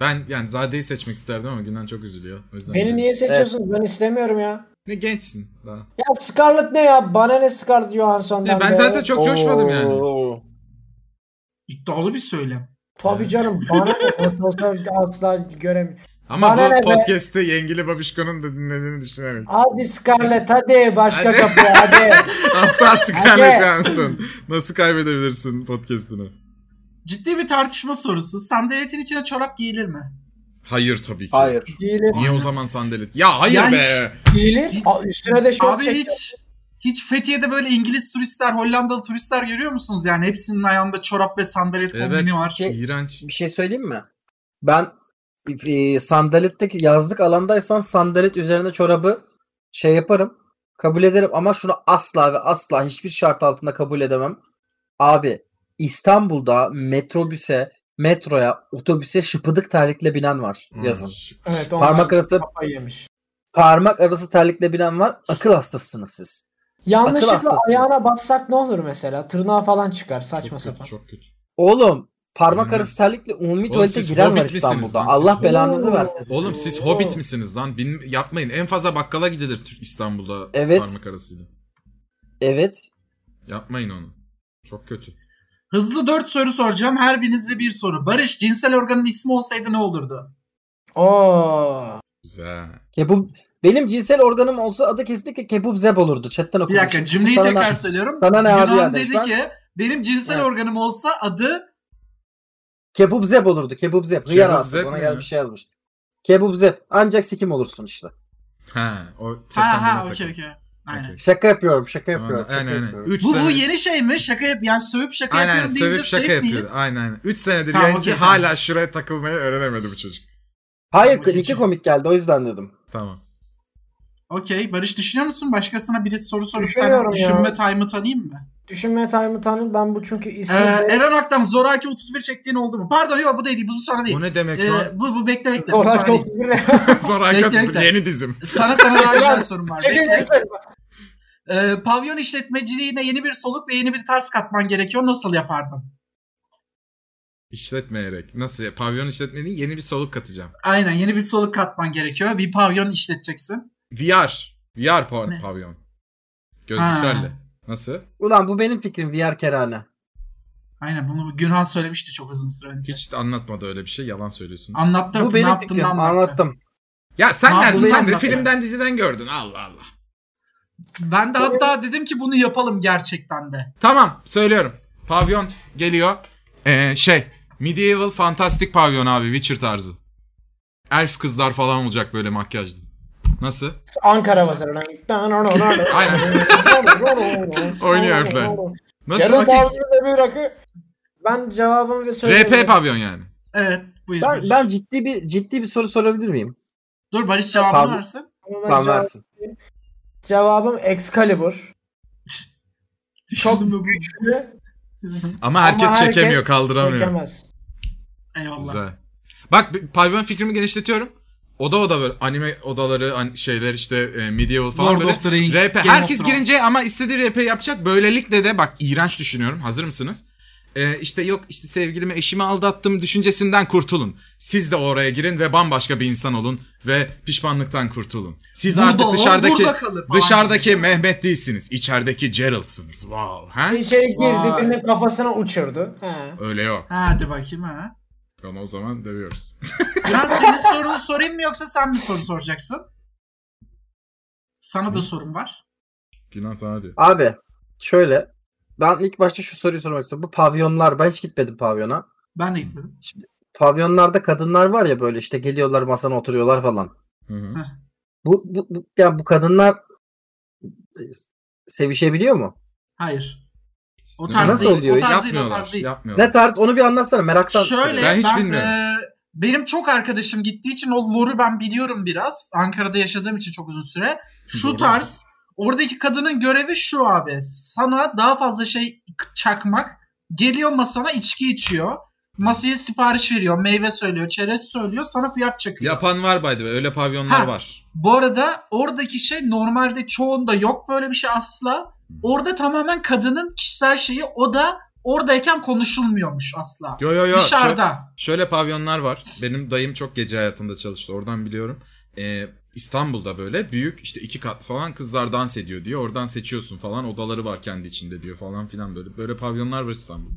Speaker 3: Ben yani Zade'yi seçmek isterdim ama Günden çok üzülüyor. O yüzden
Speaker 4: Beni
Speaker 3: böyle-
Speaker 4: niye seçiyorsunuz? Ben istemiyorum ya.
Speaker 3: Ne gençsin daha.
Speaker 4: Ya Scarlett ne ya? Bana ne Scarlett Johansson'dan
Speaker 3: Ya E, ben
Speaker 4: be?
Speaker 3: zaten çok coşmadım yani.
Speaker 2: Oo.
Speaker 5: İddialı bir söylem.
Speaker 4: Tabii canım bana ne? Nasıl olsa asla göremiyorum.
Speaker 3: Ama
Speaker 4: Bana ne
Speaker 3: bu
Speaker 4: be?
Speaker 3: podcast'te Yengili Babişko'nun da dinlediğini düşünerek.
Speaker 4: Hadi Scarlett hadi başka
Speaker 3: Hadi.
Speaker 4: kapıya hadi.
Speaker 3: Aptal Scarlett Johansson. Nasıl kaybedebilirsin podcast'ını?
Speaker 5: Ciddi bir tartışma sorusu. Sandaletin içine çorap giyilir mi?
Speaker 3: Hayır tabii ki.
Speaker 2: Hayır.
Speaker 4: Giyilir.
Speaker 3: Niye o zaman sandalet? Ya hayır
Speaker 5: Ya
Speaker 3: be.
Speaker 5: hiç-
Speaker 4: Giyilir.
Speaker 5: Hiç-
Speaker 4: Aa, üstüne de şort
Speaker 5: Abi
Speaker 4: çek.
Speaker 5: hiç hiç Fethiye'de böyle İngiliz turistler, Hollandalı turistler görüyor musunuz? Yani hepsinin ayağında çorap ve sandalet
Speaker 3: Evet.
Speaker 5: kombini var.
Speaker 2: Şey-
Speaker 3: İğrenç.
Speaker 2: Bir şey söyleyeyim mi? Ben e, sandaletteki yazlık alandaysan sandalet üzerine çorabı şey yaparım. Kabul ederim ama şunu asla ve asla hiçbir şart altında kabul edemem. Abi İstanbul'da metrobüse, metroya, otobüse şıpıdık terlikle binen var yazın.
Speaker 4: Evet onlar
Speaker 2: Parmak arası
Speaker 4: kafayı yemiş.
Speaker 2: parmak arası terlikle binen var. Akıl hastasısınız siz.
Speaker 4: Yanlışlıkla
Speaker 2: hastası.
Speaker 4: ayağına bassak ne olur mesela? Tırnağa falan çıkar saçma
Speaker 3: Çok kötü,
Speaker 4: sapan.
Speaker 3: çok kötü.
Speaker 2: Oğlum parmak
Speaker 3: Bilmez.
Speaker 2: arası terlikle umumi
Speaker 3: Oğlum
Speaker 2: tuvalete
Speaker 3: siz
Speaker 2: giren var
Speaker 3: hobbit misiniz
Speaker 2: İstanbul'da.
Speaker 3: lan?
Speaker 2: Allah
Speaker 3: Siz-
Speaker 2: belanızı versin.
Speaker 3: Oğlum siz
Speaker 4: Oo.
Speaker 3: hobbit misiniz lan? Bin, yapmayın. En fazla bakkala gidilir Tür- İstanbul'da
Speaker 2: Evet.
Speaker 3: parmak arasıyla.
Speaker 2: Evet.
Speaker 3: Yapmayın onu. Çok kötü.
Speaker 5: Hızlı 4 soru soracağım. Her birinize bir soru. Barış cinsel organın ismi olsaydı ne olurdu?
Speaker 4: Oo.
Speaker 3: Güzel.
Speaker 2: Kebub benim cinsel organım olsa adı kesinlikle kebub zeb olurdu. Chatten
Speaker 5: Bir
Speaker 2: okumuştum.
Speaker 5: dakika cümleyi
Speaker 2: Sana-
Speaker 5: tekrar söylüyorum.
Speaker 2: sana ne abi
Speaker 5: Yunan
Speaker 2: yani?
Speaker 5: dedi
Speaker 2: Şu an-
Speaker 5: ki benim cinsel
Speaker 2: Evet.
Speaker 5: organım olsa adı
Speaker 2: Kebub zeb olurdu. Kebub zeb. Hıyar
Speaker 3: Kebub
Speaker 2: ağası.
Speaker 3: zeb
Speaker 2: Bana
Speaker 3: ne
Speaker 2: gel
Speaker 3: ya?
Speaker 2: bir şey yazmış. Kebub zeb. Ancak sikim olursun işte.
Speaker 3: Ha, o
Speaker 5: ha
Speaker 2: Şey,
Speaker 3: chatten
Speaker 5: ha
Speaker 3: bana
Speaker 5: okey
Speaker 3: takıldı.
Speaker 5: okey. Aynen.
Speaker 3: Okey.
Speaker 2: Şaka yapıyorum. Şaka yapıyorum.
Speaker 3: Aynen
Speaker 2: şaka
Speaker 3: aynen.
Speaker 2: yapıyorum.
Speaker 3: 3
Speaker 5: Bu, bu
Speaker 3: sene.
Speaker 5: yeni şey mi? Şaka yap yani sövüp şaka
Speaker 3: Aynen aynen
Speaker 5: yapıyorum deyince
Speaker 3: sövüp şaka
Speaker 5: şey
Speaker 3: yapıyor.
Speaker 5: miyiz?
Speaker 3: Aynen aynen. 3 senedir
Speaker 5: Tamam,
Speaker 3: yani
Speaker 5: okey, tamam.
Speaker 3: hala şuraya takılmayı öğrenemedi bu çocuk.
Speaker 2: Hayır
Speaker 5: Bakın
Speaker 2: iki
Speaker 5: şimdi.
Speaker 2: komik geldi o yüzden dedim.
Speaker 3: Tamam.
Speaker 5: Okey. Barış düşünüyor musun? Başkasına biri soru sorup sen
Speaker 4: Düşünüyorum ya.
Speaker 5: düşünme time'ı tanıyayım mı?
Speaker 4: Düşünme time'ı tanır. Ben bu çünkü
Speaker 5: Ee,
Speaker 4: ismi de-
Speaker 5: Eren Aktan Zoraki 31 çektiğin oldu mu? Pardon yok bu da değil. Bu sonra değil.
Speaker 3: Bu ne demek
Speaker 5: Ee,
Speaker 3: lan?
Speaker 5: bu, bu bekle bekle. Bu
Speaker 4: Zorak
Speaker 5: sonra değil.
Speaker 4: çok sinirli.
Speaker 3: Sonra
Speaker 5: bekle,
Speaker 3: kötü
Speaker 5: bekle.
Speaker 3: yeni dizim.
Speaker 5: Sana sana daha
Speaker 4: Eren,
Speaker 5: güzel sorum var.
Speaker 4: Çekil,
Speaker 5: Bekle.
Speaker 4: çekil.
Speaker 5: Ee, pavyon işletmeciliğine yeni bir soluk ve yeni bir tarz katman gerekiyor. Nasıl yapardın?
Speaker 3: İşletmeyerek. Nasıl ya? Pavyon işletmeliği yeni bir soluk katacağım.
Speaker 5: Aynen yeni bir soluk katman gerekiyor. Bir pavyon işleteceksin.
Speaker 3: VR. VR pa-
Speaker 5: Ne?
Speaker 3: pavyon. Gözlüklerle.
Speaker 5: Ha.
Speaker 3: Nasıl?
Speaker 2: Ulan bu benim fikrim VR kerane.
Speaker 5: Aynen bunu Günhan söylemişti çok uzun süre önce.
Speaker 3: Hiç de anlatmadı öyle bir şey. Yalan söylüyorsun.
Speaker 5: Anlattı
Speaker 2: Bu
Speaker 5: ne
Speaker 2: benim
Speaker 5: yaptığını
Speaker 2: fikrim.
Speaker 5: anlattı.
Speaker 2: Anlattım.
Speaker 3: Ya sen
Speaker 5: Ha,
Speaker 3: nereden?
Speaker 5: bunu
Speaker 3: Sen de
Speaker 5: anlat
Speaker 3: filmden diziden gördün. Allah Allah.
Speaker 5: Ben de hatta dedim ki bunu yapalım gerçekten de.
Speaker 3: Tamam söylüyorum. Pavyon geliyor. Ee, şey. Medieval fantastik pavyon abi. Witcher tarzı. Elf kızlar falan olacak böyle makyajlı. Nasıl?
Speaker 4: Ankara basarına.
Speaker 3: Aynen. Oynuyor herifler. Nasıl
Speaker 4: Yarın
Speaker 3: bakayım?
Speaker 4: tarzında bir rakı. Ben cevabımı ve söyleyeyim.
Speaker 3: RP pavyon yani.
Speaker 5: Evet buyur.
Speaker 2: Ben,
Speaker 5: Barış.
Speaker 2: ben ciddi bir ciddi bir soru sorabilir miyim?
Speaker 5: Dur Barış cevabını
Speaker 2: Pablo-
Speaker 5: versin.
Speaker 4: Ama ben
Speaker 2: Tamam
Speaker 4: cevap-
Speaker 2: versin.
Speaker 4: cevabım Excalibur.
Speaker 5: Çok büyük.
Speaker 4: Güçlü,
Speaker 3: Ama herkes
Speaker 4: Ama herkes
Speaker 3: çekemiyor, kaldıramıyor.
Speaker 4: çekemez.
Speaker 5: Eyvallah.
Speaker 3: Güzel. Bak bir- pavyon fikrimi genişletiyorum. Oda oda böyle anime odaları hani şeyler işte e, medieval falan
Speaker 5: Lord
Speaker 3: böyle.
Speaker 5: of the Rings,
Speaker 3: RP
Speaker 5: Game
Speaker 3: herkes
Speaker 5: of Thrones.
Speaker 3: girince ama istediği RP yapacak. Böylelikle de bak iğrenç düşünüyorum. Hazır mısınız? E, işte yok işte sevgilimi eşimi aldattım düşüncesinden kurtulun. Siz de oraya girin ve bambaşka bir insan olun ve pişmanlıktan kurtulun. Siz
Speaker 5: Burada
Speaker 3: artık
Speaker 5: ol,
Speaker 3: dışarıdaki
Speaker 5: burada kalır falan
Speaker 3: dışarıdaki
Speaker 5: gibi.
Speaker 3: Mehmet değilsiniz. içerideki Geralt'sınız. Wow. Ha?
Speaker 4: İçeri girdi
Speaker 5: Vay.
Speaker 4: birinin kafasına uçurdu. Ha.
Speaker 3: Öyle yok.
Speaker 5: Hadi bakayım ha.
Speaker 3: Tamam o zaman dövüyoruz.
Speaker 5: Ben senin sorunu sorayım mı yoksa sen bir soru soracaksın? Sana da sorum var.
Speaker 3: Günan sana diyor.
Speaker 2: Abi şöyle. Ben ilk başta şu soruyu sormak istiyorum. Bu pavyonlar ben hiç gitmedim pavyona.
Speaker 5: Ben de gitmedim.
Speaker 2: Pavyonlarda kadınlar var ya böyle işte geliyorlar masana oturuyorlar falan.
Speaker 3: Hı hı.
Speaker 2: Bu, bu, bu yani bu kadınlar e, sevişebiliyor mu?
Speaker 5: Hayır. O tarz
Speaker 2: Nasıl
Speaker 5: değil.
Speaker 2: oluyor?
Speaker 5: O tarz değil. O
Speaker 3: yapmıyorlar.
Speaker 5: tarz değil.
Speaker 3: yapmıyorlar.
Speaker 2: Ne tarz onu bir anlatsana meraktan.
Speaker 5: Şöyle
Speaker 3: Ben
Speaker 5: ben,
Speaker 3: hiç bilmiyorum.
Speaker 5: e, benim çok arkadaşım gittiği için o lore'u ben biliyorum biraz. Ankara'da yaşadığım için çok uzun süre. Şu
Speaker 3: Doğru.
Speaker 5: tarz oradaki kadının görevi şu abi. Sana daha fazla şey çakmak. Geliyor masana içki içiyor. Masaya sipariş veriyor. Meyve söylüyor. Çerez söylüyor. Sana fiyat çakıyor.
Speaker 3: Yapan var by the way. Öyle pavyonlar
Speaker 5: Ha.
Speaker 3: var.
Speaker 5: Bu arada oradaki şey normalde çoğunda yok böyle bir şey asla. Orada tamamen kadının kişisel şeyi o da oradayken konuşulmuyormuş asla.
Speaker 3: Yo yo yo. Şö- Şöyle,
Speaker 5: Dışarıda.
Speaker 3: pavyonlar var. Benim dayım çok gece hayatında çalıştı. Oradan biliyorum. Ee, İstanbul'da böyle büyük işte iki katlı falan kızlar dans ediyor diyor. Oradan seçiyorsun falan. Odaları var kendi içinde diyor falan filan böyle. Böyle pavyonlar var İstanbul'da.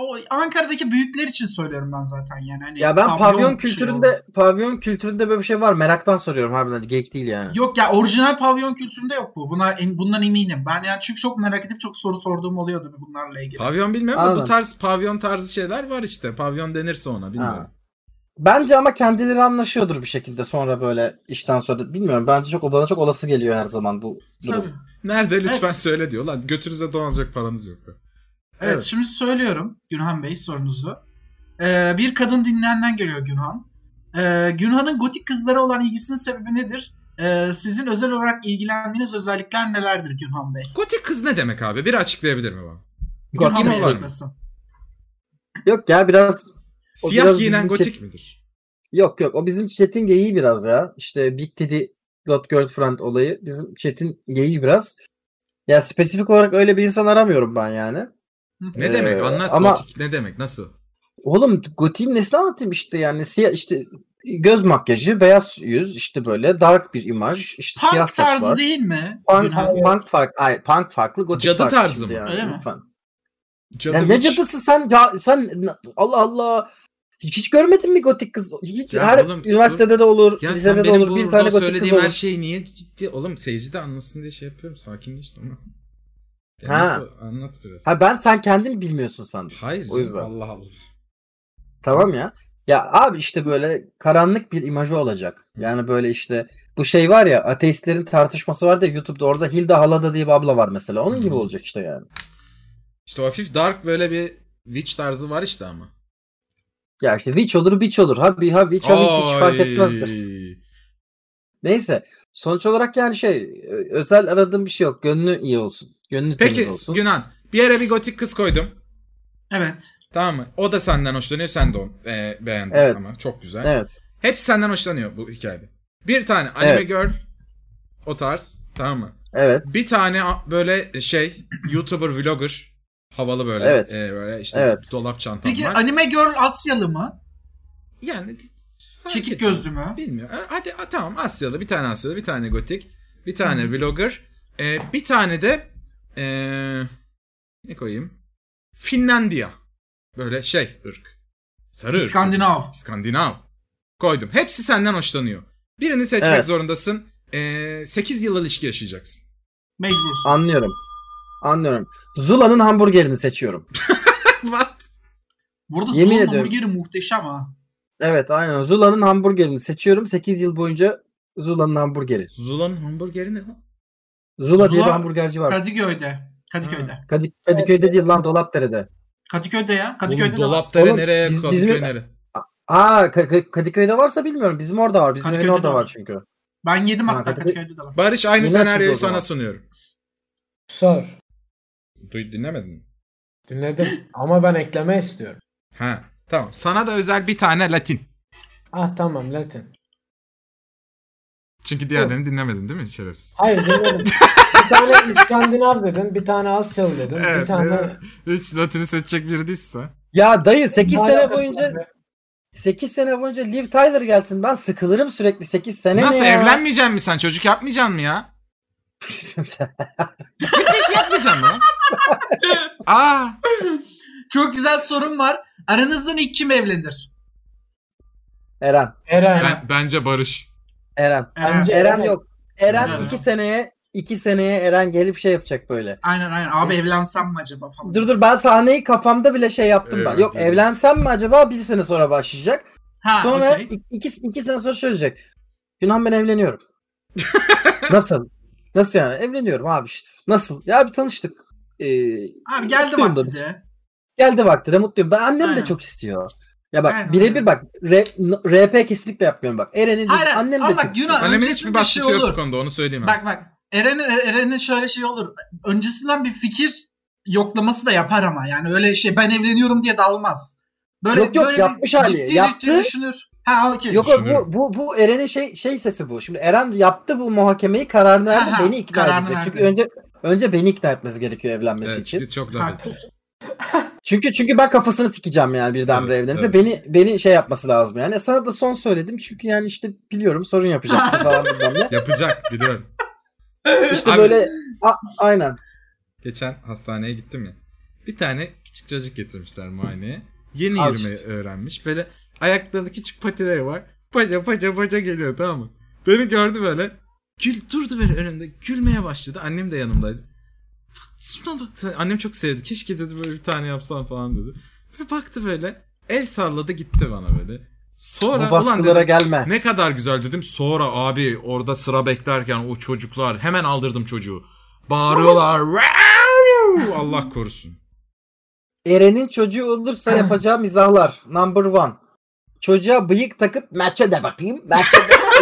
Speaker 5: O Ankara'daki büyükler için söylüyorum ben zaten yani. Hani
Speaker 2: Ya ben pavyon,
Speaker 5: şey
Speaker 2: kültüründe
Speaker 5: oldu.
Speaker 2: pavyon kültüründe böyle bir şey var meraktan soruyorum harbiden geyik değil yani.
Speaker 5: Yok ya orijinal pavyon kültüründe yok bu. Buna em- bundan eminim. Ben yani çünkü çok merak edip çok soru sorduğum oluyordu bunlarla ilgili.
Speaker 3: Pavyon bilmiyorum da bu
Speaker 2: Anladım.
Speaker 3: tarz pavyon tarzı şeyler var işte. Pavyon denirse ona bilmiyorum.
Speaker 2: Bence ama kendileri anlaşıyordur bir şekilde sonra böyle işten sonra bilmiyorum bence çok bana çok olası geliyor her zaman bu durum.
Speaker 5: Tabii.
Speaker 3: Nerede lütfen
Speaker 5: Evet.
Speaker 3: söyle diyor. Lan götünüze dolanacak paranız yok. be.
Speaker 5: Evet,
Speaker 3: Evet.
Speaker 5: şimdi söylüyorum Günhan Bey sorunuzu. Ee, bir kadın dinleyenden geliyor Günhan. Ee, Günhan'ın gotik kızlara olan ilgisinin sebebi nedir? Ee, sizin özel olarak ilgilendiğiniz özellikler nelerdir Günhan Bey?
Speaker 3: Gotik kız ne demek abi? Biri açıklayabilir mi bana?
Speaker 2: Gotik
Speaker 5: Günhan
Speaker 3: mi
Speaker 5: Bey
Speaker 3: var?
Speaker 5: açıklasın.
Speaker 2: Yok ya biraz O
Speaker 3: Siyah
Speaker 2: biraz
Speaker 3: giyinen
Speaker 2: bizim
Speaker 3: gotik
Speaker 2: çe-
Speaker 3: midir?
Speaker 2: yok yok o bizim Çetin geyiği biraz ya. İşte Big Teddy Got Girlfriend olayı bizim Çetin geyiği biraz. Ya spesifik olarak öyle bir insan aramıyorum ben yani.
Speaker 3: Ne
Speaker 2: Ee,
Speaker 3: demek? Anlat
Speaker 2: ama-
Speaker 3: gotik ne demek? Nasıl?
Speaker 2: Oğlum gotiğim nesini anlatayım işte yani siyah işte göz makyajı, beyaz yüz işte böyle dark bir imaj, işte siyah
Speaker 5: Punk
Speaker 2: saç
Speaker 5: tarzı
Speaker 2: var.
Speaker 5: değil mi?
Speaker 2: Punk,
Speaker 5: Günhan?
Speaker 2: punk farklı, ay, punk farklı, gotik
Speaker 3: Cadı
Speaker 2: farklı
Speaker 3: tarzı
Speaker 2: şimdi
Speaker 3: mı?
Speaker 2: Yani,
Speaker 5: Öyle mi?
Speaker 2: lütfen.
Speaker 3: Cadı
Speaker 2: Ya ne cadısı sen ya sen Allah Allah hiç, hiç görmedin mi gotik kız? Hiç
Speaker 3: Ya
Speaker 2: her
Speaker 3: oğlum,
Speaker 2: üniversitede de olur,
Speaker 3: Ya sen
Speaker 2: lisede de
Speaker 3: benim
Speaker 2: olur, bir
Speaker 3: burada
Speaker 2: tane gotik kız
Speaker 3: söylediğim her
Speaker 2: olur.
Speaker 3: şeyi niye ciddi? Oğlum seyirci de anlasın diye şey yapıyorum. Sakinleş tamam. Ya
Speaker 2: Ha.
Speaker 3: nasıl? Anlat biraz.
Speaker 2: Ha ben sen kendin bilmiyorsun sandım.
Speaker 3: Hayır.
Speaker 2: o yüzden.
Speaker 3: Allah Allah.
Speaker 2: Tamam ya. Ya abi işte böyle karanlık bir imajı olacak. Yani böyle işte bu şey var ya ateistlerin tartışması var da YouTube'da orada Hilda Halada diye bir abla var mesela. Onun gibi
Speaker 3: Hı.
Speaker 2: olacak işte yani.
Speaker 3: İşte o hafif dark böyle bir witch tarzı var işte ama.
Speaker 2: Ya işte witch olur bitch olur. Ha bir ha witch ha bir bitch fark
Speaker 3: Ay.
Speaker 2: etmezdir. Neyse sonuç olarak yani şey ö- özel aradığım bir şey yok. Gönlü iyi olsun. Gönlü
Speaker 3: Peki
Speaker 2: temiz olsun.
Speaker 3: Günan bir yere bir gotik kız koydum.
Speaker 5: Evet.
Speaker 3: Tamam mı? O da senden hoşlanıyor. Sen de onu e, beğendin
Speaker 2: Evet.
Speaker 3: ama. Çok güzel.
Speaker 2: Evet.
Speaker 3: Hepsi senden hoşlanıyor bu hikayede. Bir tane anime
Speaker 2: Evet.
Speaker 3: girl o tarz tamam mı?
Speaker 2: Evet.
Speaker 3: Bir tane a- böyle şey YouTuber vlogger havalı böyle
Speaker 2: Evet.
Speaker 3: e, böyle işte
Speaker 2: Evet.
Speaker 3: dolap çantam
Speaker 5: Peki hani
Speaker 3: var.
Speaker 5: anime girl Asyalı mı?
Speaker 3: yani fark
Speaker 5: Çekik
Speaker 3: etmez.
Speaker 5: gözlü mü?
Speaker 3: Bilmiyorum. E, Hadi a, tamam Asyalı bir tane Asyalı bir tane gotik bir tane vlogger e, bir tane de e, ne koyayım? Finlandiya böyle şey ırk. Sarı ırk.
Speaker 5: İskandinav.
Speaker 3: İskandinav. Koydum. Hepsi senden hoşlanıyor. Birini seçmek
Speaker 2: Evet.
Speaker 3: zorundasın. E, 8 yıl ilişki yaşayacaksın.
Speaker 5: Mecbursun.
Speaker 2: Anlıyorum. Anlıyorum. Zula'nın hamburgerini seçiyorum.
Speaker 3: What?
Speaker 5: Burada
Speaker 2: Yemin
Speaker 5: Solon
Speaker 2: ediyorum.
Speaker 5: hamburgeri muhteşem ha.
Speaker 2: Evet aynen. Zula'nın hamburgerini seçiyorum. 8 yıl boyunca Zula'nın hamburgeri.
Speaker 3: Zula'nın hamburgeri ne lan?
Speaker 2: Zula, diye
Speaker 5: Zula-
Speaker 2: bir hamburgerci var.
Speaker 5: Kadıköy'de. Kadıköy'de.
Speaker 2: Kadık- Kadıköy'de değil lan Dolapdere'de.
Speaker 5: Kadıköy'de ya. Kadıköy'de de var.
Speaker 3: dolapdere
Speaker 2: Oğlum,
Speaker 3: nereye?
Speaker 2: biz-
Speaker 3: Kadıköy
Speaker 2: bizim-
Speaker 3: nereye?
Speaker 2: Aa Ka- Ka- Kadıköy'de varsa bilmiyorum. Bizim orada var. Bizim evin
Speaker 5: Kadıköy'de
Speaker 2: orada
Speaker 5: de
Speaker 2: var
Speaker 5: var.
Speaker 2: çünkü.
Speaker 5: Ben yedim
Speaker 2: Ha,
Speaker 5: hatta
Speaker 2: Kadıköy-
Speaker 5: Kadıköy'de de var.
Speaker 3: Barış aynı
Speaker 2: Yine
Speaker 3: senaryoyu
Speaker 2: açıldı o zaman.
Speaker 3: sana sunuyorum.
Speaker 4: Sor.
Speaker 3: Duy, dinlemedin mi?
Speaker 4: Dinledim. Ama ben ekleme istiyorum.
Speaker 3: Ha. Tamam. Sana da özel bir tane Latin.
Speaker 4: Ah tamam Latin.
Speaker 3: Çünkü diğerlerini dinlemedin değil mi şerefsiz?
Speaker 4: Hayır dinledim. bir tane İskandinav dedin, bir tane Asyalı dedin, bir
Speaker 3: Evet,
Speaker 4: tane...
Speaker 3: evet. Hiç Latin'i seçecek biri değilse.
Speaker 2: Ya dayı 8
Speaker 4: Ne
Speaker 2: sene
Speaker 4: alakası
Speaker 2: boyunca
Speaker 4: var be?
Speaker 2: 8 sene boyunca Liv Tyler gelsin. Ben sıkılırım sürekli 8 sene
Speaker 3: Nasıl
Speaker 2: ne ya?
Speaker 3: evlenmeyeceksin mi sen? Çocuk yapmayacaksın mı ya? Hiç yapmayacaksın mı? Aa,
Speaker 5: Çok güzel sorum var. Aranızdan ilk kim evlenir?
Speaker 2: Eren.
Speaker 4: Eren.
Speaker 3: ben, bence Barış.
Speaker 2: Eren.
Speaker 5: Eren.
Speaker 4: Bence-
Speaker 2: Eren yok. Eren
Speaker 5: Eren.
Speaker 2: 2 seneye 2 seneye Eren gelip şey yapacak böyle.
Speaker 5: Aynen aynen. Abi evlensem mi acaba falan.
Speaker 2: Dur dur ben sahneyi kafamda bile şey yaptım ben.
Speaker 3: Evet,
Speaker 2: Yok
Speaker 3: evet.
Speaker 2: evlensem mi acaba bir sene sonra başlayacak.
Speaker 5: Ha,
Speaker 2: sonra
Speaker 5: okey.
Speaker 2: ik- iki, iki sene sonra şöyle diyecek. Günan ben evleniyorum. Nasıl? Nasıl yani? Evleniyorum abi işte. Nasıl? Ya bir tanıştık. Ee,
Speaker 5: Abi geldi
Speaker 2: mutluyum da biz.
Speaker 5: vaktinde.
Speaker 2: Geldi vaktine mutluyum. Ben annem
Speaker 5: Aynen.
Speaker 2: de çok istiyor. Ya bak
Speaker 5: Aynen,
Speaker 2: birebir
Speaker 5: aynen.
Speaker 2: bak re- n- RP kesinlikle yapmıyorum bak. Eren'in
Speaker 5: Hayır, hayır.
Speaker 2: annem de
Speaker 5: Ama
Speaker 2: çok
Speaker 5: bak,
Speaker 2: istiyor.
Speaker 5: Yunan-
Speaker 3: Annemin
Speaker 5: öncesinde
Speaker 3: hiçbir baskısı
Speaker 5: şey
Speaker 3: yok bu
Speaker 5: olur.
Speaker 3: konuda onu söyleyeyim. ben.
Speaker 5: Bak bak. Eren'in Eren'in şöyle şey olur. Öncesinden bir fikir yoklaması da yapar ama. Yani öyle şey ben evleniyorum diye dalmaz. Böyle,
Speaker 2: Yok, yok,
Speaker 5: böyle bir
Speaker 2: yapmış hali.
Speaker 5: ciddi
Speaker 2: Yaptı.
Speaker 5: düşünür. Ha okey.
Speaker 2: Yok o-
Speaker 3: Düşünürüm.
Speaker 2: bu, bu, bu Eren'in şey şey sesi bu. Şimdi Eren yaptı bu muhakemeyi kararını verdi
Speaker 5: Aha,
Speaker 2: beni ikna
Speaker 5: kararını
Speaker 2: edecek.
Speaker 5: verdi.
Speaker 2: Çünkü önce önce beni ikna etmesi gerekiyor evlenmesi
Speaker 3: Evet,
Speaker 2: için.
Speaker 3: çünkü çok laf ettim.
Speaker 5: Haklısın.
Speaker 2: Çünkü çünkü ben kafasını sikeceğim yani birdenbire
Speaker 3: Evet,
Speaker 2: evlenirse.
Speaker 3: evet.
Speaker 2: Beni beni şey yapması lazım yani. E, Sana da son söyledim çünkü yani işte biliyorum sorun yapacaksın falan bilmem ne.
Speaker 3: Yapacak biliyorum.
Speaker 2: İşte
Speaker 3: Abi-
Speaker 2: böyle a- aynen.
Speaker 3: Geçen hastaneye gittim ya. Bir tane küçük çocuk getirmişler muayeneye. Yeni
Speaker 2: Al
Speaker 3: yürümeyi
Speaker 2: işte.
Speaker 3: öğrenmiş. Böyle ayaklarında küçük patileri var. Paca paca paca geliyor tamam mı? Beni gördü böyle. Gül durdu böyle önümde. Gülmeye başladı. Annem de yanımdaydı. Bak, Şuna bak. sen- Annem çok sevdi. Keşke dedi böyle bir tane yapsan falan dedi. Ve baktı böyle. El salladı gitti bana böyle. Sonra
Speaker 2: Bu
Speaker 3: ulan
Speaker 2: baskılara
Speaker 3: dedim,
Speaker 2: gelme.
Speaker 3: ne kadar güzel dedim. Sonra abi orada sıra beklerken o çocuklar hemen aldırdım çocuğu. Bağırıyorlar. "Wow!" Allah korusun.
Speaker 2: Eren'in çocuğu olursa yapacağı mizahlar. Number one. Çocuğa bıyık takıp maça da bakayım. Maça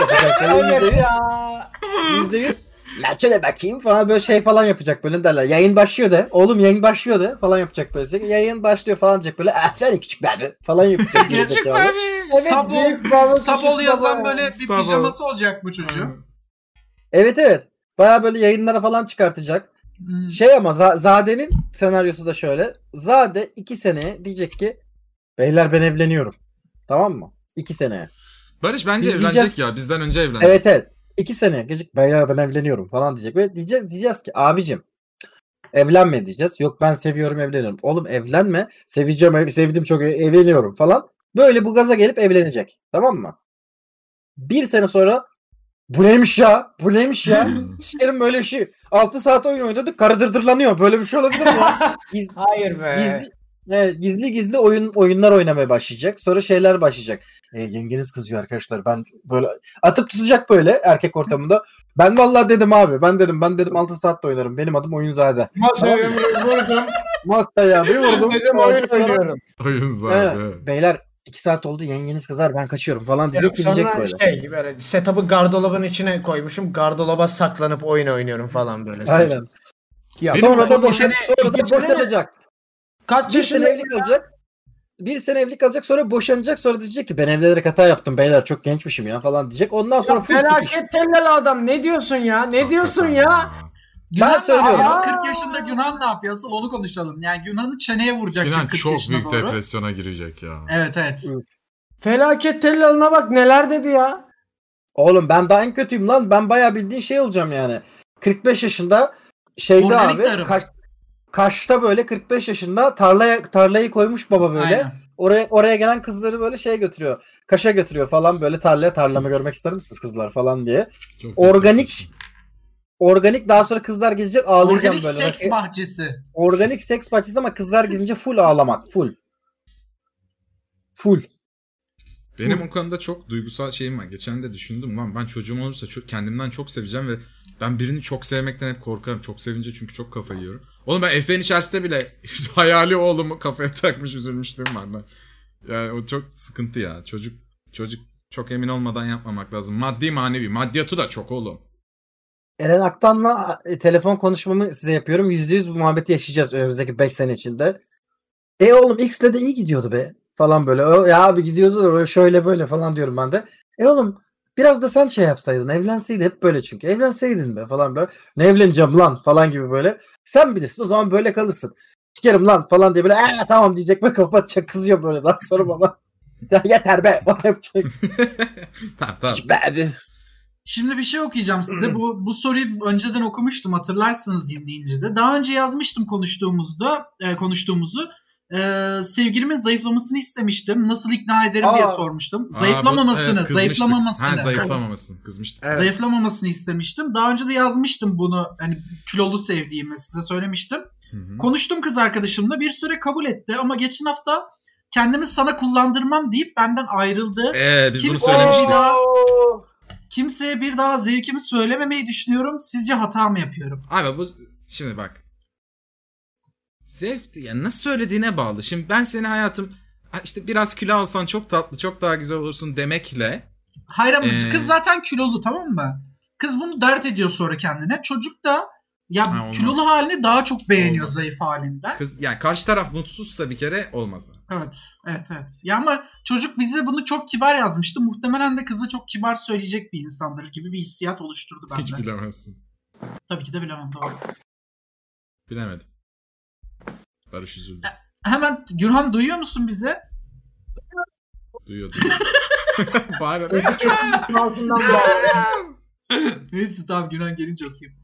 Speaker 2: da yapacak. Yani
Speaker 4: Evet
Speaker 2: yüzde yüz-
Speaker 4: ya.
Speaker 2: Yüzde yüz. Maça da bakayım falan böyle şey falan yapacak böyle derler. Yayın başlıyor de. Oğlum yayın başlıyor de falan yapacak böyle. sürekli. Yayın başlıyor falan diyecek böyle. Aferin küçük bebe falan yapacak.
Speaker 3: Gerçek
Speaker 2: gerizekalı.
Speaker 3: abi.
Speaker 4: Evet,
Speaker 5: Sabol-
Speaker 4: büyük baba,
Speaker 5: Sabol
Speaker 4: küçük baba
Speaker 5: yazan
Speaker 4: ya.
Speaker 5: böyle bir
Speaker 3: Sabol.
Speaker 5: pijaması olacak bu çocuğun.
Speaker 2: Evet evet. Baya böyle yayınlara falan çıkartacak.
Speaker 5: Hmm.
Speaker 2: Şey ama Za- Zade'nin senaryosu da şöyle. Zade 2 seneye diyecek ki beyler ben evleniyorum. Tamam mı? 2 seneye.
Speaker 3: Barış bence
Speaker 2: Biz
Speaker 3: evlenecek
Speaker 2: diyeceğiz-
Speaker 3: ya. Bizden önce evlenecek.
Speaker 2: Evet evet. 2 seneye gelecek beyler ben evleniyorum falan diyecek. Ve diyeceğiz, diyeceğiz ki abicim evlenme diyeceğiz. Yok ben seviyorum evleniyorum. Oğlum evlenme. Seveceğim ev- sevdim çok ev- evleniyorum falan. Böyle bu gaza gelip evlenecek. Tamam mı? Bir sene sonra bu neymiş ya? Bu neymiş ya?
Speaker 3: Hmm.
Speaker 2: Sikerim böyle bir şey. 6 saat oyun oynadık karı dırdırlanıyor. Böyle bir şey olabilir mi ya? Giz-
Speaker 4: Hayır be.
Speaker 2: gizli, evet, gizli gizli oyun oyunlar oynamaya başlayacak. Sonra şeyler başlayacak. E, yengeniz kızıyor arkadaşlar. Ben böyle atıp tutacak böyle erkek ortamında. Ben vallahi dedim abi. Ben dedim ben dedim 6 saat de oynarım. Benim adım oyun zade.
Speaker 4: Masaya yumruğu vurdum.
Speaker 2: Masta ya bir vurdum.
Speaker 4: Dedim
Speaker 2: Ondan
Speaker 4: oyun
Speaker 2: sonra-
Speaker 4: oynuyorum.
Speaker 3: Oyun
Speaker 2: Evet,
Speaker 3: zaten.
Speaker 2: beyler 2 saat oldu yengeniz kızar ben kaçıyorum falan diyecek gidecek
Speaker 4: Sonra
Speaker 2: böyle.
Speaker 4: şey böyle setup'ı gardırobun içine koymuşum. Gardıroba saklanıp oyun oynuyorum falan böyle.
Speaker 2: Aynen.
Speaker 4: Ya,
Speaker 3: Benim
Speaker 2: Sonra da
Speaker 4: bu
Speaker 2: boşan
Speaker 4: sene-
Speaker 2: sonra da
Speaker 4: bu sene-
Speaker 2: boşanacak.
Speaker 4: Kaç
Speaker 2: Bir sene
Speaker 4: yaşında
Speaker 2: evlilik alacak. Bir sene evlilik alacak sonra boşanacak sonra diyecek ki ben evlenerek hata yaptım beyler çok gençmişim ya falan diyecek. Ondan sonra full sikiş.
Speaker 4: Felaket tembel adam ne diyorsun ya? Ne diyorsun ya?
Speaker 5: Yunan
Speaker 2: söylüyorum.
Speaker 5: Ne yapıyor?
Speaker 4: Aa.
Speaker 5: 40 yaşında Yunan ne yapıyor? Asıl onu konuşalım. Yani Yunan'ı çeneye vuracak
Speaker 3: Yunan
Speaker 5: çünkü 40
Speaker 3: çok
Speaker 5: yaşına
Speaker 3: büyük
Speaker 5: doğru.
Speaker 3: depresyona girecek ya.
Speaker 5: Evet evet.
Speaker 4: Felaket tellalına bak neler dedi ya.
Speaker 2: Oğlum ben daha en kötüyüm lan. Ben bayağı bildiğin şey olacağım yani. 45 yaşında şeyde
Speaker 5: Organik
Speaker 2: abi
Speaker 5: tarım.
Speaker 2: Kaş- Kaş'ta böyle 45 yaşında tarlaya tarlayı koymuş baba böyle.
Speaker 5: Aynen.
Speaker 2: Oraya oraya gelen kızları böyle şey götürüyor. Kaş'a götürüyor falan böyle tarlaya tarlamı görmek ister misiniz kızlar falan diye.
Speaker 3: Çok büyük
Speaker 2: Organik-
Speaker 3: depresyon.
Speaker 2: Organik daha sonra kızlar gelecek ağlayacağım
Speaker 5: Organik
Speaker 2: böyle. e,
Speaker 5: seks bahçesi.
Speaker 2: Organik seks bahçesi ama kızlar gelince full ağlamak. Full. Full.
Speaker 3: Benim o konuda çok duygusal şeyim var. Geçen de düşündüm lan ben çocuğum olursa çok, kendimden çok seveceğim ve ben birini çok sevmekten hep korkarım. Çok sevince çünkü çok kafayı yiyorum. Oğlum ben Efe'nin içerisinde bile hayali oğlumu kafaya takmış üzülmüşlüğüm var lan. Yani o çok sıkıntı ya. Çocuk çocuk çok emin olmadan yapmamak lazım. Maddi manevi. Maddiyatı da çok oğlum.
Speaker 2: Eren Aktan'la e, telefon konuşmamı size yapıyorum. %100 bu muhabbeti yaşayacağız önümüzdeki 5 sene içinde. E oğlum X'le de iyi gidiyordu be falan böyle. O, ya abi gidiyordu da böyle şöyle böyle falan diyorum ben de. E oğlum biraz da sen şey yapsaydın evlenseydin hep böyle çünkü. Evlenseydin be falan böyle. Ne evleneceğim lan falan gibi böyle. Sen bilirsin o zaman böyle kalırsın. Sikerim lan falan diye böyle "Ee, tamam diyecek ve kapatacak kızıyor böyle daha sonra bana. Ya yeter be. yapacak
Speaker 3: Tamam tamam.
Speaker 2: be abi.
Speaker 5: Şimdi bir şey okuyacağım size. bu bu soruyu önceden okumuştum hatırlarsınız dinleyince de. Daha önce yazmıştım konuştuğumuzda e, konuştuğumuzu. E, sevgilimin zayıflamasını istemiştim. Nasıl ikna ederim diye
Speaker 2: Aa.
Speaker 5: sormuştum.
Speaker 3: Aa, bu-
Speaker 5: Zayıflamamasını,
Speaker 3: evet, kızmıştık.
Speaker 5: zayıflamamasını.
Speaker 3: Ha zayıflamamasını kızmıştık.
Speaker 4: Evet.
Speaker 5: Zayıflamamasını istemiştim. Daha önce de yazmıştım bunu. Hani kilolu sevdiğimi size söylemiştim.
Speaker 3: Hı hı.
Speaker 5: Konuştum kız arkadaşımla. Bir süre kabul etti ama geçen hafta kendimi sana kullandırmam deyip benden ayrıldı.
Speaker 3: Ee, biz bunu
Speaker 5: Kimse-
Speaker 3: söylemiştik.
Speaker 5: Oo. Kimseye bir daha zevkimi söylememeyi düşünüyorum. Sizce hata mı yapıyorum?
Speaker 3: Abi bu şimdi bak. Zevk yani nasıl söylediğine bağlı. Şimdi ben seni hayatım "Ha işte biraz kilo alsan çok tatlı, çok daha güzel olursun demekle
Speaker 5: Hayır ama
Speaker 3: Ee.
Speaker 5: kız zaten kilolu tamam mı? Kız bunu dert ediyor sonra kendine. Çocuk da ya
Speaker 3: Ha, olmaz.
Speaker 5: kilolu halini daha çok beğeniyor
Speaker 3: Olmaz.
Speaker 5: zayıf halinden.
Speaker 3: kız yani karşı taraf mutsuzsa bir kere olmaz. abi.
Speaker 5: Evet, evet, evet. Ya ama çocuk bize bunu çok kibar yazmıştı. Muhtemelen de kıza çok kibar söyleyecek bir insandır gibi bir hissiyat oluşturdu bende.
Speaker 3: Hiç bilemezsin.
Speaker 5: Tabii ki de bilemem doğru.
Speaker 3: Bilemedim. Barış üzüldü.
Speaker 5: Hemen Gürhan duyuyor musun bizi?
Speaker 3: Duyuyordu. Bağır.
Speaker 4: Sesi kesilmesi altından bağlı.
Speaker 5: Neyse tamam Yunan gelince okuyayım.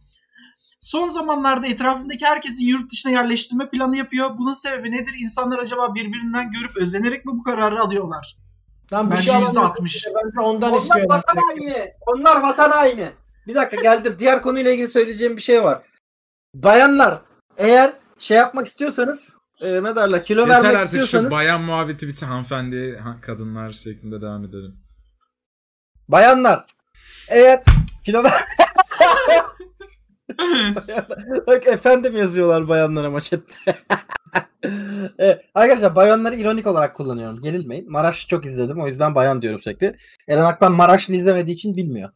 Speaker 5: Son zamanlarda etrafındaki herkesin yurt dışına yerleştirme planı yapıyor. Bunun sebebi nedir? İnsanlar acaba birbirinden görüp özenerek mi bu kararı alıyorlar?
Speaker 4: Lan bir
Speaker 5: Bence
Speaker 4: şey
Speaker 5: yüzde
Speaker 4: alamadım.
Speaker 5: altmış.
Speaker 4: Bence ondan
Speaker 2: Onlar
Speaker 4: istiyorlar.
Speaker 2: vatan haini. Onlar vatan haini. Bir dakika geldim. Diğer konuyla ilgili söyleyeceğim bir şey var. Bayanlar eğer şey yapmak istiyorsanız e, ne derler kilo
Speaker 3: Yeter
Speaker 2: vermek
Speaker 3: artık şu
Speaker 2: istiyorsanız
Speaker 3: bayan muhabbeti bitsin hanımefendi, ha- kadınlar şeklinde devam edelim.
Speaker 2: bayanlar eğer kilo ver Bak efendim yazıyorlar bayanlara maçette. evet, arkadaşlar bayanları ironik olarak kullanıyorum. Gerilmeyin. Maraş'ı çok izledim. O yüzden bayan diyorum sürekli. Eren Aktan Maraş'ı izlemediği için bilmiyor.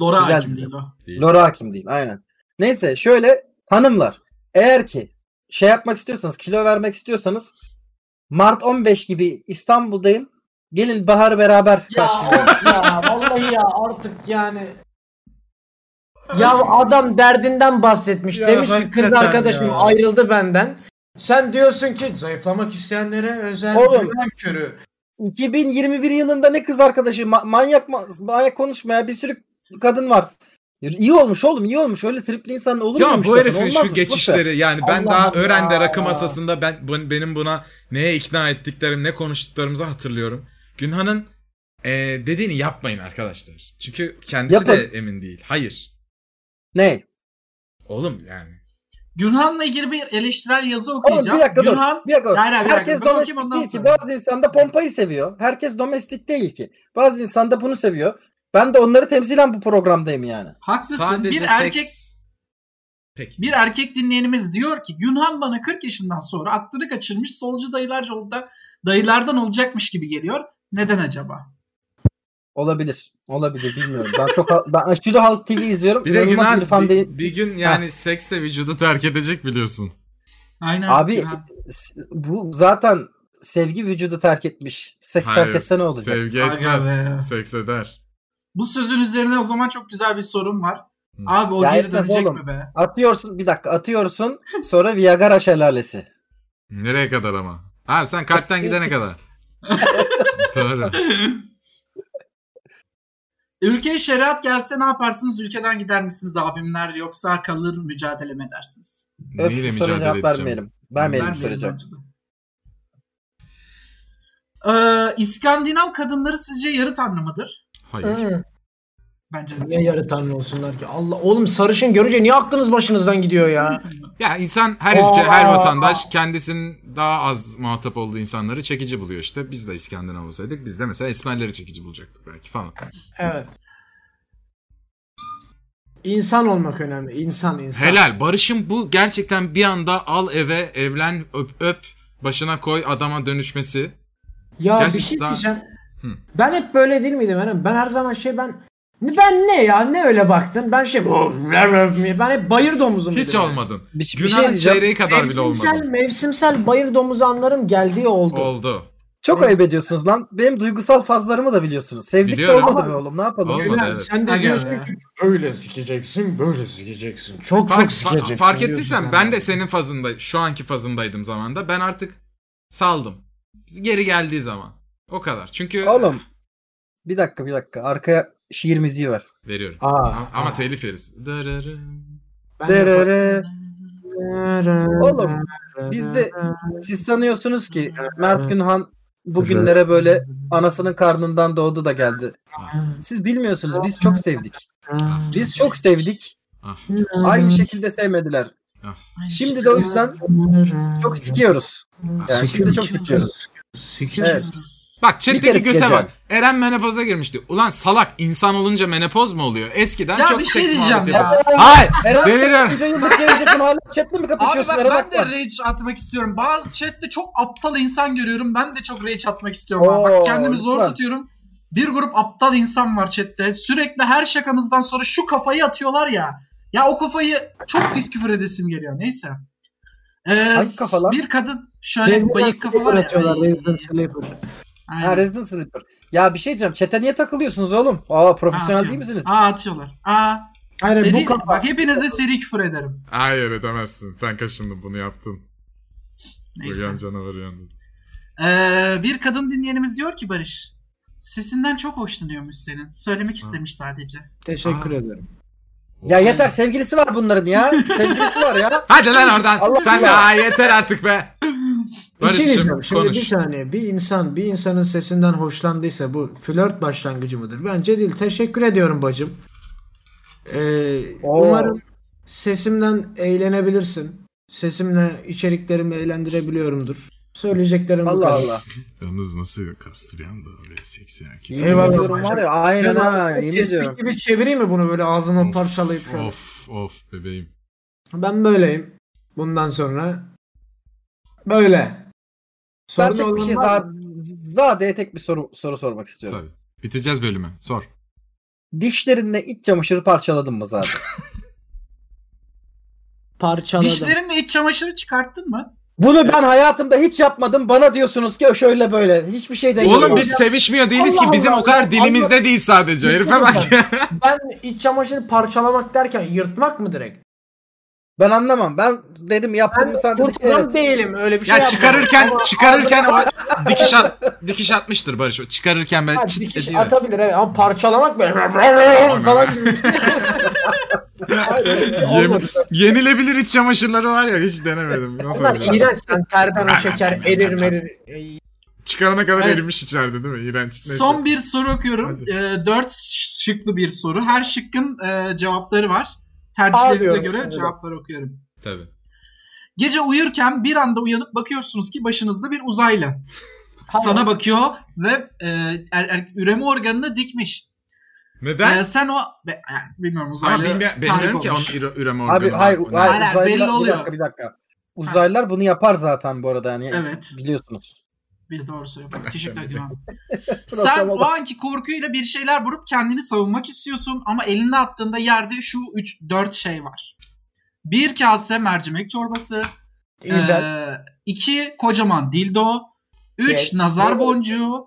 Speaker 5: Lora
Speaker 2: Güzel
Speaker 5: hakim
Speaker 2: dizi.
Speaker 5: değil o.
Speaker 3: Değil.
Speaker 2: Lora hakim değil aynen. Neyse şöyle hanımlar eğer ki şey yapmak istiyorsanız kilo vermek istiyorsanız Mart 15 gibi İstanbul'dayım. Gelin bahar beraber
Speaker 4: Ya
Speaker 2: karşılayalım.
Speaker 4: of ya vallahi ya artık yani. Ya adam derdinden bahsetmiş.
Speaker 3: Ya
Speaker 4: Demiş ki
Speaker 3: hakikaten
Speaker 4: kız arkadaşım
Speaker 3: ya."
Speaker 4: ayrıldı benden. Sen diyorsun ki zayıflamak isteyenlere özel
Speaker 2: Oğlum.
Speaker 4: güven körü.
Speaker 2: 2021 yılında ne kız arkadaşı ma- manyak ma- manyak konuşmaya bir sürü kadın var. İyi olmuş oğlum iyi olmuş. Öyle tripli insan olur
Speaker 3: Ya
Speaker 2: muymuş
Speaker 3: bu
Speaker 2: zaten?
Speaker 3: herifin
Speaker 2: Olmazmış,
Speaker 3: şu
Speaker 2: boş ver.
Speaker 3: geçişleri yani ben
Speaker 4: Allah
Speaker 3: daha
Speaker 4: Allah.
Speaker 3: öğrende rakı masasında ben bun- benim buna neye ikna ettiklerim, ne konuştuklarımızı hatırlıyorum. Günhan'ın eee, dediğini yapmayın arkadaşlar. Çünkü kendisi
Speaker 2: Yapın.
Speaker 3: de emin değil. Hayır.
Speaker 2: Ne?
Speaker 3: Oğlum yani.
Speaker 5: Gürhan'la ilgili bir eleştirel yazı
Speaker 2: Oğlum
Speaker 5: okuyacağım.
Speaker 2: bir dakika dur.
Speaker 5: Gürhan
Speaker 2: Bir dakika. dur.
Speaker 5: Hayır, hayır, bir
Speaker 2: Herkes
Speaker 5: dakika. Ben okuyayım,
Speaker 2: domestik
Speaker 5: ondan
Speaker 2: değil ki.
Speaker 5: sonra.
Speaker 2: Bazı insan da pompayı seviyor. Herkes domestik değil ki. Bazı insan da bunu seviyor. Ben de onları temsilen bu programdayım yani.
Speaker 5: haklısın.
Speaker 3: Sadece
Speaker 5: bir
Speaker 3: seks...
Speaker 5: erkek
Speaker 3: Peki.
Speaker 5: bir erkek dinleyenimiz diyor ki Günhan bana 40 yaşından sonra aklını kaçırmış solcu dayılar yolda dayılardan olacakmış gibi geliyor. Neden acaba?
Speaker 2: Olabilir. Olabilir bilmiyorum. Ben çok hal- ben aşırı halk TV izliyorum.
Speaker 3: Bir de
Speaker 2: İnanılmaz
Speaker 3: Günhan
Speaker 2: İrfan
Speaker 3: bir,
Speaker 2: değil.
Speaker 3: bir gün yani seksle vücudu terk edecek biliyorsun.
Speaker 5: Aynen.
Speaker 2: Abi
Speaker 5: Gürhan.
Speaker 2: s- bu zaten sevgi vücudu terk etmiş. Seks terk etse ne olacak?
Speaker 3: Sevgi
Speaker 5: Aga be.
Speaker 3: etmez. Seks eder.
Speaker 5: Bu sözün üzerine o zaman çok güzel bir sorum var.
Speaker 3: Hı.
Speaker 5: Abi o
Speaker 2: Ya
Speaker 5: geri
Speaker 2: etmez
Speaker 5: dönecek
Speaker 2: oğlum.
Speaker 5: mi be?
Speaker 2: Atıyorsun bir dakika atıyorsun sonra Viagra şelalesi.
Speaker 3: Nereye kadar ama? Abi sen kalpten gidene kadar. Doğru.
Speaker 5: Ülkeye şeriat gelse ne yaparsınız? Ülkeden gider misiniz abimler yoksa kalır mücadele mi edersiniz?
Speaker 2: Öf,
Speaker 3: Neyle
Speaker 2: bu soruya
Speaker 3: mücadele
Speaker 2: cevap
Speaker 3: edeceğim?
Speaker 2: vermeyelim. Vermeyelim bu
Speaker 5: Vermeyelim
Speaker 2: soruya cevap.
Speaker 5: bence de. Ee, İskandinav kadınları sizce yarı tanrı mıdır?
Speaker 3: Hayır.
Speaker 4: Hı.
Speaker 5: Bence de.
Speaker 4: Niye yarı tanrı olsunlar ki? Allah oğlum sarışın görünce niye aklınız başınızdan gidiyor ya?
Speaker 3: Ya insan her ülke, her
Speaker 4: Aa.
Speaker 3: vatandaş kendisinin daha az muhatap olduğu insanları çekici buluyor işte. Biz de İskandinav olsaydık biz de mesela esmerleri çekici bulacaktık belki falan.
Speaker 4: Evet. İnsan olmak önemli. İnsan insan.
Speaker 3: Helal. Barış'ın bu gerçekten bir anda al eve, evlen, öp, öp, başına koy adama dönüşmesi.
Speaker 4: Ya bir
Speaker 3: Gerçi
Speaker 4: şey
Speaker 3: daha-
Speaker 4: diyeceğim.
Speaker 3: Hı.
Speaker 4: Ben hep böyle değil miydim? Yani ben her zaman şey ben ben ne ya ne öyle baktın? Ben şey ben hep bayır domuzu muydum
Speaker 3: Hiç
Speaker 4: yani?
Speaker 3: olmadın.
Speaker 4: Bir- bir şey
Speaker 3: Günahın
Speaker 4: diyeceğim.
Speaker 3: çeyreği kadar bile
Speaker 4: Mevsimsel,
Speaker 3: olmadın.
Speaker 4: mevsimsel bayır domuzu anlarım geldiği oldu.
Speaker 3: Oldu.
Speaker 2: Çok ayıp ediyorsunuz lan. Benim duygusal fazlarımı da biliyorsunuz. Sevdik
Speaker 3: Biliyorum.
Speaker 2: de olmadı be oğlum. Ne yapalım?
Speaker 3: Olmadı.
Speaker 4: Gülen,
Speaker 3: evet.
Speaker 4: Sen
Speaker 5: Aga
Speaker 4: de diyorsun
Speaker 5: be.
Speaker 4: ki öyle sikeceksin, böyle sikeceksin. Çok
Speaker 3: Fark,
Speaker 4: çok sikeceksin.
Speaker 3: fark
Speaker 4: diyorsun
Speaker 3: ettiysen
Speaker 4: sen
Speaker 3: ben
Speaker 4: bana.
Speaker 3: de senin fazında, şu anki fazındaydım zamanda. Ben artık saldım. Geri geldiği zaman. O kadar. Çünkü
Speaker 2: Oğlum. Bir dakika bir dakika. Arkaya şiir müziği var.
Speaker 3: veriyorum.
Speaker 4: Aa, Hmm.
Speaker 3: Ama, ama telif yeriz. Dırırı.
Speaker 4: ben de-
Speaker 2: Derere. Oğlum, biz de- Siz sanıyorsunuz ki Mert Günhan bugünlere böyle anasının karnından doğdu da geldi. Siz bilmiyorsunuz. Biz çok sevdik. Biz çok sevdik.
Speaker 3: Ah.
Speaker 2: Aynı şekilde sevmediler. Şimdi de o yüzden çok sikiyoruz. Yani
Speaker 4: Sikiyoruz.
Speaker 2: biz de çok sikiyoruz. Evet.
Speaker 3: Bak
Speaker 2: Bir kere
Speaker 3: chat'teki göte
Speaker 2: sikeceğim.
Speaker 3: bak. Eren menopoza girmişti. Ulan salak insan olunca menopoz mu oluyor? Eskiden
Speaker 5: Ya
Speaker 3: çok
Speaker 5: bir şey
Speaker 3: seks
Speaker 5: diyeceğim
Speaker 3: muhabbeti
Speaker 5: ya.
Speaker 3: yapıyordu. Hayır.
Speaker 2: Herhalde
Speaker 3: Deliriyorum.
Speaker 2: bir yıllık yayıncısın hala chatle mi
Speaker 5: Abi
Speaker 2: kapışıyorsun?
Speaker 5: bak
Speaker 2: Ara
Speaker 5: ben
Speaker 2: bak
Speaker 5: de
Speaker 2: bak.
Speaker 5: rage atmak istiyorum. Bazı chatte çok aptal insan görüyorum. Ben de çok rage atmak istiyorum. abi. bak
Speaker 2: Oo,
Speaker 5: kendimi zor
Speaker 2: lütfen.
Speaker 5: tutuyorum. Bir grup aptal insan var chatte. Sürekli her şakamızdan sonra şu kafayı atıyorlar ya. Ya o kafayı çok pis küfür edesim geliyor. Neyse. Ee,
Speaker 2: Hangi kafa lan?
Speaker 5: Bir kadın şöyle
Speaker 4: Resident
Speaker 5: bayık kafa var
Speaker 4: Sleeper atıyorlar.
Speaker 5: ya.
Speaker 4: Resident Sleeper.
Speaker 5: Aynen.
Speaker 2: Ha Resident Sleeper. Ya bir şey diyeceğim. Çete niye takılıyorsunuz oğlum? Aa profesyonel
Speaker 5: atıyorlar.
Speaker 2: değil misiniz?
Speaker 5: Aa atıyorlar. Aa.
Speaker 4: Hayır
Speaker 5: seri,
Speaker 4: bu kafa.
Speaker 5: Bak hepinize seri küfür ederim.
Speaker 3: Hayır edemezsin. Sen kaşındın bunu yaptın.
Speaker 5: Neyse.
Speaker 3: canavar uyan.
Speaker 5: Ee, bir kadın dinleyenimiz diyor ki Barış. Sesinden çok hoşlanıyormuş senin. Söylemek istemiş sadece.
Speaker 4: Teşekkür
Speaker 3: Aa.
Speaker 4: ederim.
Speaker 2: Ya yeter sevgilisi var bunların ya. Sevgilisi var ya.
Speaker 3: Hadi lan oradan.
Speaker 2: Allah
Speaker 3: Sen
Speaker 2: Allah.
Speaker 3: Aa, yeter artık be.
Speaker 4: Bir şey diyeceğim.
Speaker 3: Barış'cığım
Speaker 4: Şimdi bir
Speaker 3: konuş.
Speaker 4: saniye. Bir insan bir insanın sesinden hoşlandıysa bu flört başlangıcı mıdır? Bence değil. Teşekkür ediyorum bacım. Ee,
Speaker 2: Oo.
Speaker 4: umarım sesimden eğlenebilirsin. Sesimle içeriklerimi eğlendirebiliyorumdur. Söyleyeceklerim bu
Speaker 2: Allah
Speaker 4: kadar.
Speaker 2: Allah.
Speaker 3: Yalnız nasıl kastıryan da öyle seksi erkek.
Speaker 2: Yemin
Speaker 4: Eyvallah.
Speaker 2: ediyorum var ya. Aynen ha.
Speaker 4: Ben
Speaker 2: Yemin
Speaker 4: tespih
Speaker 2: ediyorum.
Speaker 4: gibi çevireyim mi bunu böyle ağzıma
Speaker 3: Of,
Speaker 4: parçalayıp şöyle?
Speaker 3: Of of bebeğim.
Speaker 4: Ben böyleyim. Bundan sonra böyle.
Speaker 2: Ben
Speaker 4: Sorun
Speaker 2: tek bir
Speaker 4: olan
Speaker 2: şey
Speaker 4: var mı?
Speaker 2: za- zade'ye tek bir soru soru sormak istiyorum.
Speaker 3: Tabii. Biteceğiz bölümü. Sor.
Speaker 2: Dişlerinle iç çamaşırı parçaladın mı zaten?
Speaker 4: parçaladım.
Speaker 5: Dişlerinle iç çamaşırı çıkarttın mı?
Speaker 2: Bunu ben hayatımda hiç yapmadım. Bana diyorsunuz ki şöyle böyle. Hiçbir şey de
Speaker 3: Oğlum biz sevişmiyor değiliz
Speaker 4: Allah
Speaker 3: ki. Bizim
Speaker 4: Allah.
Speaker 3: o kadar dilimizde değil sadece.
Speaker 4: Bir şey
Speaker 3: Herife bak ya.
Speaker 4: Ben iç çamaşırı parçalamak derken yırtmak mı direkt?
Speaker 2: Ben anlamam. Ben dedim yaptım
Speaker 4: Ben
Speaker 2: mı sen dedik
Speaker 4: kurtulan
Speaker 2: evet.
Speaker 4: değilim öyle bir şey
Speaker 3: Ya
Speaker 4: yapmadım.
Speaker 3: çıkarırken
Speaker 4: Ama-
Speaker 3: çıkarırken o dikiş at, dikiş atmıştır Barış. O çıkarırken böyle
Speaker 4: Ha,
Speaker 3: çıt
Speaker 4: dikiş
Speaker 3: ediyor.
Speaker 4: atabilir evet ama parçalamak böyle falan gibi bir şey. Hayır, öyle bir şey
Speaker 3: Yemin-
Speaker 4: olmadı.
Speaker 3: Yenilebilir iç çamaşırları var ya hiç denemedim. Nasıl
Speaker 4: Bunlar
Speaker 3: acaba?
Speaker 4: iğrenç. Yani terden o şeker erir merir. e, Ey,
Speaker 3: Çıkarana kadar
Speaker 5: Evet.
Speaker 3: erimiş içeride değil mi? İğrenç. Neyse.
Speaker 5: Son bir soru okuyorum.
Speaker 3: Hadi.
Speaker 5: Ee, dört şıklı bir soru. Her şıkkın e, cevapları var. Tercihlerinize
Speaker 4: Ağlıyorum
Speaker 5: göre
Speaker 4: şimdi.
Speaker 5: cevapları okuyorum.
Speaker 3: Tabii.
Speaker 5: Gece uyurken bir anda uyanıp bakıyorsunuz ki başınızda bir uzaylı. Sana bakıyor ve e, er- er- üreme organını dikmiş.
Speaker 3: Neden?
Speaker 5: Ee, sen o be- e, bilmiyorum
Speaker 3: Ama
Speaker 5: uzaylı.
Speaker 3: bilmi-
Speaker 5: tarih
Speaker 3: bilmiyorum ki onun
Speaker 5: olmuş.
Speaker 3: üre- üreme organı.
Speaker 2: Abi
Speaker 3: var.
Speaker 2: hayır,
Speaker 3: O ne?
Speaker 2: hayır,
Speaker 5: Hayır,
Speaker 2: uzaylılar,
Speaker 5: belli oluyor.
Speaker 2: Bir dakika bir dakika. Uzaylılar bunu yapar zaten bu arada yani.
Speaker 5: Evet.
Speaker 2: Biliyorsunuz.
Speaker 5: Bir doğru söylüyorum. Teşekkür
Speaker 3: Tabii.
Speaker 5: ediyorum. Sen o anki korkuyla bir şeyler vurup kendini savunmak istiyorsun ama eline attığında yerde şu 3 4 şey var. Bir kase mercimek çorbası,
Speaker 4: Güzel.
Speaker 5: ee, iki kocaman dildo, 3
Speaker 4: Evet.
Speaker 5: nazar boncuğu,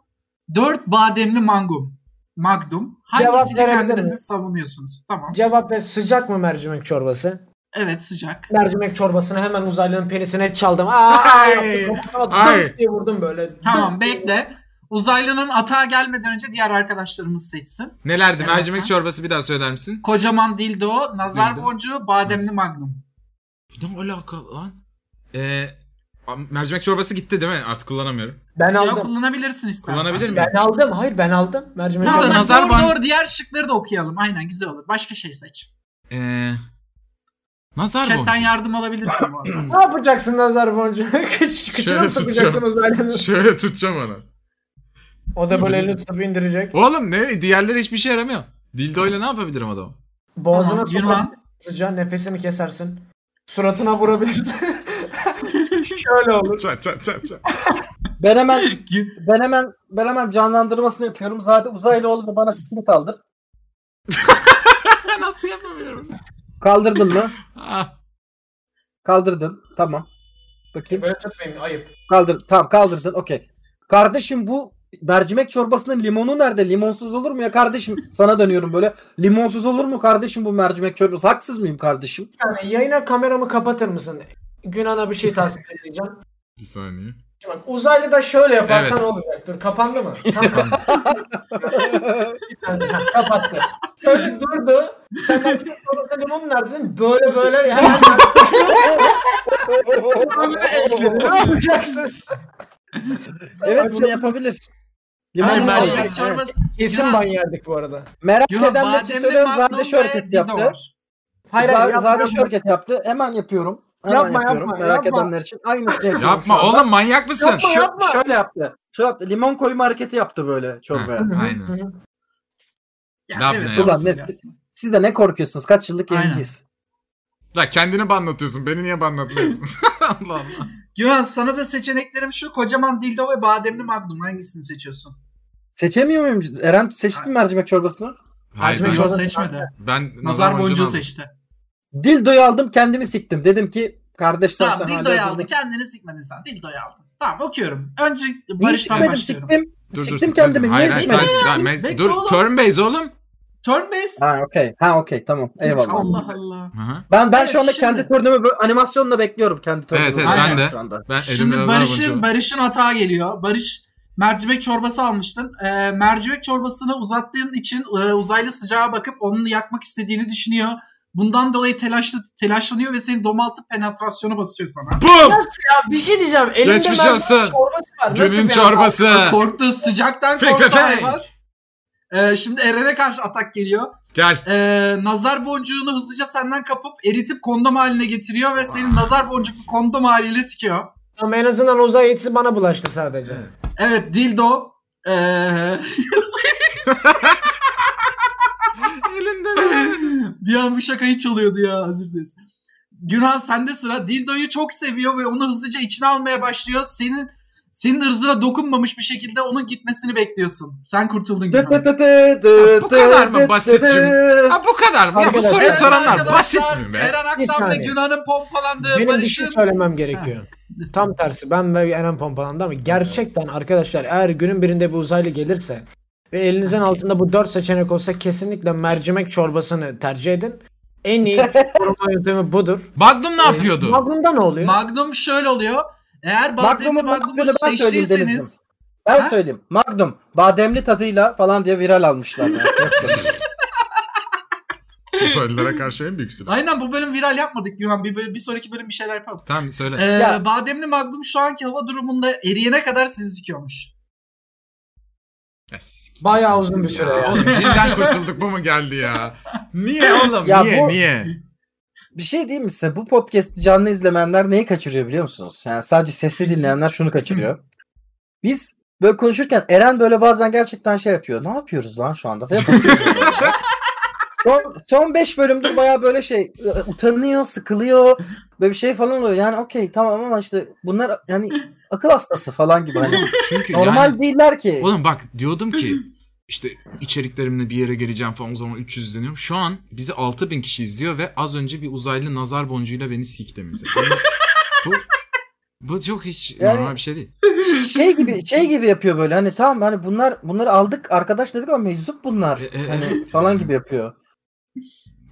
Speaker 5: 4 bademli mangum. Magnum.
Speaker 4: Cevap
Speaker 5: Hangisini
Speaker 4: verebilir
Speaker 5: kendinizi
Speaker 4: miyim?
Speaker 5: savunuyorsunuz? Tamam.
Speaker 4: Cevap ver sıcak mı mercimek çorbası?
Speaker 5: Evet sıcak.
Speaker 4: mercimek çorbasını hemen uzaylının penisine çaldım. Aa,
Speaker 3: Ay, ay.
Speaker 4: Dört diye vurdum böyle.
Speaker 5: Tamam
Speaker 4: Dık diye.
Speaker 5: bekle. Uzaylının atağa gelmeden önce diğer arkadaşlarımız seçsin.
Speaker 3: Nelerdi?
Speaker 5: Evet.
Speaker 3: Mercimek çorbası bir daha söyler misin?
Speaker 5: Kocaman dildo, nazar
Speaker 3: Dildo.
Speaker 5: boncuğu, bademli magnum.
Speaker 3: Bu ne alaka lan? Ee, a- mercimek çorbası gitti değil mi? Artık kullanamıyorum.
Speaker 4: Ben
Speaker 5: Ya
Speaker 4: aldım.
Speaker 5: kullanabilirsin istersen.
Speaker 3: Kullanabilir miyim?
Speaker 4: Ben aldım. Hayır ben aldım. Mercimek
Speaker 5: Tamam
Speaker 3: Burada
Speaker 5: bak,
Speaker 4: çorbası.
Speaker 3: nazar
Speaker 5: doğru,
Speaker 3: ban-
Speaker 5: doğru diğer şıkları da okuyalım. Aynen güzel olur. Başka şey seç.
Speaker 3: Ee, nazar
Speaker 5: Chatten
Speaker 3: boncuğu.
Speaker 5: yardım alabilirsin bu arada.
Speaker 4: Ne yapacaksın nazar boncuğu? Kıç,
Speaker 3: Şöyle
Speaker 4: kıçına sokacaksın uzaylının.
Speaker 3: Şöyle tutacağım onu.
Speaker 4: O da böyle elini tutup indirecek.
Speaker 3: Oğlum ne? Diğerleri hiçbir şey yaramıyor. Dildoyla ne yapabilirim adamı?
Speaker 4: Boğazına
Speaker 5: Tamam, Yunan.
Speaker 4: sokar. Sıcağı nefesini kesersin. Suratına vurabilirsin. Şöyle olur.
Speaker 3: Çat çat çat çat.
Speaker 2: Ben hemen ben hemen ben hemen canlandırmasını yapıyorum. Zaten uzaylı oldu bana sesini kaldır.
Speaker 3: Nasıl yapabilirim?
Speaker 2: Kaldırdın mı?
Speaker 3: Ah.
Speaker 2: Kaldırdın. Tamam. Bakayım.
Speaker 4: Böyle tutmayayım ayıp.
Speaker 2: Kaldır. Tamam kaldırdın. Okey. Kardeşim bu mercimek çorbasının limonu nerede? Limonsuz olur mu ya kardeşim? Sana dönüyorum böyle. Limonsuz olur mu kardeşim bu mercimek çorbası? Haksız mıyım kardeşim?
Speaker 4: Bir saniye yayına kameramı kapatır mısın? Günan'a bir şey tasvip edeceğim.
Speaker 3: Bir saniye.
Speaker 4: Bak uzaylı da şöyle yaparsan
Speaker 3: Evet.
Speaker 4: olacaktır. Kapandı mı? Tamam. Bir saniye, ha, Kapattı. Böyle durdu. Sen ben sonrasında limon nerede dedin? Böyle böyle hemen ne yapacaksın?
Speaker 2: evet bunu yapabilir.
Speaker 5: Hayır,
Speaker 2: Limonu
Speaker 5: mercimek
Speaker 2: aldı. Evet.
Speaker 5: çorbası.
Speaker 4: Kesin
Speaker 5: Ya.
Speaker 4: ban yerdik bu arada.
Speaker 2: Merak
Speaker 5: Yok,
Speaker 2: edenler için
Speaker 5: bademli
Speaker 2: söylüyorum.
Speaker 5: magnum
Speaker 2: Zade
Speaker 5: ve
Speaker 2: şirket
Speaker 5: dido
Speaker 2: yaptı.
Speaker 5: var.
Speaker 4: Hayır şey
Speaker 2: Za-
Speaker 4: hayır yapma,
Speaker 2: Zade
Speaker 4: yapma.
Speaker 2: şirket yaptı. Hemen yapıyorum. Hemen
Speaker 4: Yapma,
Speaker 2: yapıyorum.
Speaker 4: yapma,
Speaker 2: Merak
Speaker 4: yapma.
Speaker 2: edenler için aynısını yapıyorum. şu
Speaker 3: Yapma
Speaker 2: anda.
Speaker 3: oğlum manyak mısın?
Speaker 4: Yapma,
Speaker 2: Şö-
Speaker 4: yapma.
Speaker 2: Şöyle yaptı. Şöyle yaptı. Limon koyma hareketi yaptı böyle çorbaya.
Speaker 3: Ha, Aynen. Ne
Speaker 5: Ya,
Speaker 3: yapma
Speaker 5: evet,
Speaker 3: ya?
Speaker 5: olsun
Speaker 2: Ulan ne-
Speaker 5: aslında.
Speaker 2: Siz de ne korkuyorsunuz? Kaç yıllık
Speaker 5: Aynen.
Speaker 2: yayıncıyız?
Speaker 3: La kendini banlatıyorsun. Beni niye banlatmıyorsun? Allah Allah.
Speaker 5: Yunan sana da seçeneklerim şu. Kocaman dildo ve bademli magnum. Hangisini seçiyorsun?
Speaker 2: Seçemiyor muyum? Eren seçtin mi mercimek çorbasını?
Speaker 3: Hayır ben,
Speaker 5: Yok seçmedi.
Speaker 3: ben
Speaker 5: Nazar boncuğu
Speaker 3: seçtim.
Speaker 5: seçti.
Speaker 2: Dildoyu aldım kendimi siktim. Dedim ki kardeş
Speaker 5: Tamam
Speaker 2: zaten
Speaker 5: dildoyu
Speaker 2: hazırda-
Speaker 5: aldın. Kendini sikmedin sen. Dildoyu aldın. Tamam okuyorum. Önce
Speaker 2: Niye
Speaker 5: Barış'tan
Speaker 2: sikmedim
Speaker 5: başlıyorum.
Speaker 2: siktim.
Speaker 3: Dur dur
Speaker 2: Siktim kendimi, niye
Speaker 3: Hayır, hayır,
Speaker 5: sikmedin?
Speaker 3: hayır, hayır,
Speaker 5: Bekle
Speaker 3: mez- dur
Speaker 5: oğlum.
Speaker 3: turn base oğlum.
Speaker 5: Turn based.
Speaker 2: Ha okey. Ha okey tamam. Eyvallah.
Speaker 5: Allah Allah.
Speaker 3: Hı hı.
Speaker 2: Ben ben
Speaker 5: Evet,
Speaker 2: şu anda
Speaker 5: şimdi-
Speaker 2: kendi turnumu böyle animasyonla bekliyorum kendi turnumu.
Speaker 3: Evet, evet,
Speaker 5: ben
Speaker 3: de.
Speaker 2: Şu anda.
Speaker 3: Ben
Speaker 5: Şimdi
Speaker 3: elimde nazar boncuğu.
Speaker 5: Barış'ın Barış'ın hata geliyor. Barış mercimek çorbası almıştın. Ee, mercimek çorbasını uzattığın için e, uzaylı sıcağa bakıp onun yakmak istediğini düşünüyor. Bundan dolayı telaşlı telaşlanıyor ve senin domaltı penetrasyonu basıyor sana.
Speaker 3: Bum!
Speaker 4: Nasıl ya? Bir şey diyeceğim. Elimde
Speaker 3: Geçmiş
Speaker 4: mercimek
Speaker 3: olsun.
Speaker 4: çorbası var. Nasıl
Speaker 3: Günün
Speaker 4: bir-
Speaker 3: çorbası.
Speaker 5: Korktu sıcaktan
Speaker 3: Fake
Speaker 5: korktu
Speaker 3: fake.
Speaker 5: hayvan. Ee, şimdi Eren'e karşı atak geliyor.
Speaker 3: Gel.
Speaker 5: Ee, nazar boncuğunu hızlıca senden kapıp eritip kondom haline getiriyor ve senin nazar boncuklu kondom haliyle sikiyor.
Speaker 4: Ama en azından uzay yetisi bana bulaştı sadece.
Speaker 5: Evet dildo. Ee, bir an bu şakayı çalıyordu ya özür dileriz. Günhan sende sıra. Dildo'yu çok seviyor ve onu hızlıca içine almaya başlıyor. Senin senin ırzına dokunmamış bir şekilde onun gitmesini bekliyorsun. Sen
Speaker 2: Dı
Speaker 5: kurtuldun
Speaker 2: dı
Speaker 5: Günhan.
Speaker 2: dı dı dı
Speaker 3: Bu kadar mı
Speaker 2: dı dı
Speaker 3: basitçim?
Speaker 2: dı.
Speaker 3: Ha bu kadar mı? Ya bu
Speaker 2: Arkadaşlar-
Speaker 3: soruyu
Speaker 5: Evet
Speaker 3: soranlar
Speaker 5: arkadaşlar,
Speaker 3: basit mi be?
Speaker 5: Eren
Speaker 4: Bir
Speaker 5: Aktan ve
Speaker 4: saniye.
Speaker 5: Günhan'ın pompalandığı
Speaker 4: Benim bir
Speaker 5: Barış'ın...
Speaker 4: şey söylemem gerekiyor. Tam tersi ben ve Eren pompalandı ama gerçekten arkadaşlar eğer günün birinde bir uzaylı gelirse ve elinizin altında bu dört seçenek olsa kesinlikle mercimek çorbasını tercih edin. En iyi koruma yöntemi budur.
Speaker 3: Magnum ne
Speaker 4: Ee,
Speaker 3: yapıyordu?
Speaker 4: Magnum'da ne oluyor?
Speaker 5: Magnum şöyle oluyor. Eğer bademli
Speaker 2: Magnum'un
Speaker 5: Magnum'u
Speaker 2: baktığını ben söyleyeyim
Speaker 5: seçtiyseniz...
Speaker 2: Deniz'im. Ben
Speaker 5: Ha?
Speaker 2: söyleyeyim. Magnum bademli tadıyla falan diye viral almışlar. ya.
Speaker 3: Bu sorulara karşı en büyük silah.
Speaker 5: Aynen bu bölüm viral yapmadık Günhan. Bir, bölüm- bir sonraki bölüm bir şeyler yapalım.
Speaker 3: Tamam söyle.
Speaker 5: Ee,
Speaker 2: Ya.
Speaker 5: bademli Magnum şu anki hava durumunda eriyene kadar sizi sikiyormuş.
Speaker 3: Ya siktir
Speaker 4: Bayağı
Speaker 3: sen
Speaker 4: uzun bir
Speaker 3: ya.
Speaker 4: süre ya.
Speaker 3: Oğlum cilden kurtulduk bu mu geldi ya? Niye oğlum?
Speaker 2: Ya
Speaker 3: niye?
Speaker 2: bu-
Speaker 3: Niye?
Speaker 2: bir şey diyeyim mi size? Bu podcast'i canlı izlemeyenler neyi kaçırıyor biliyor musunuz? Yani sadece sesi dinleyenler şunu kaçırıyor. Biz böyle konuşurken Eren böyle bazen gerçekten şey yapıyor. Ne yapıyoruz lan şu anda? Falan bakıyor. son, son 5 bölümdür baya böyle şey e, utanıyor, sıkılıyor. Böyle bir şey falan oluyor. Yani okey tamam ama işte bunlar yani akıl hastası falan gibi. Hani
Speaker 3: Çünkü
Speaker 2: normal
Speaker 3: yani...
Speaker 2: değiller ki.
Speaker 3: Oğlum bak diyordum ki işte içeriklerimle bir yere geleceğim falan o zaman 300 izleniyor. Şu an bizi 6000 kişi izliyor ve az önce bir uzaylı nazar boncuğuyla beni sikti mesela. Yani bu, bu çok hiç
Speaker 2: Yani-
Speaker 3: normal bir şey değil.
Speaker 2: şey gibi şey gibi yapıyor böyle hani tamam hani bunlar bunları aldık arkadaş dedik ama meczup bunlar
Speaker 3: E, e,
Speaker 2: hani
Speaker 3: evet.
Speaker 2: falan gibi yapıyor.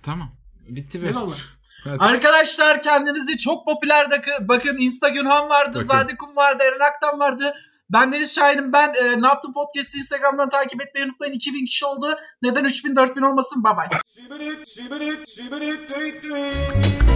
Speaker 3: Tamam. Bitti be.
Speaker 5: Eyvallah.
Speaker 3: Hadi.
Speaker 5: Arkadaşlar kendinizi çok popüler dakı- bakın. Insta Günhan vardı,
Speaker 3: Bakın.
Speaker 5: Zade Kum vardı, Eren Aktan vardı. Ben Deniz Şahin'im. Ben e, Ne Yaptın Podcast'ı Instagram'dan takip etmeyi unutmayın. 2000 kişi oldu. Neden 3000-4000 olmasın? Bye bye.
Speaker 1: Shibbity, shibbity, shibbity, dee dee.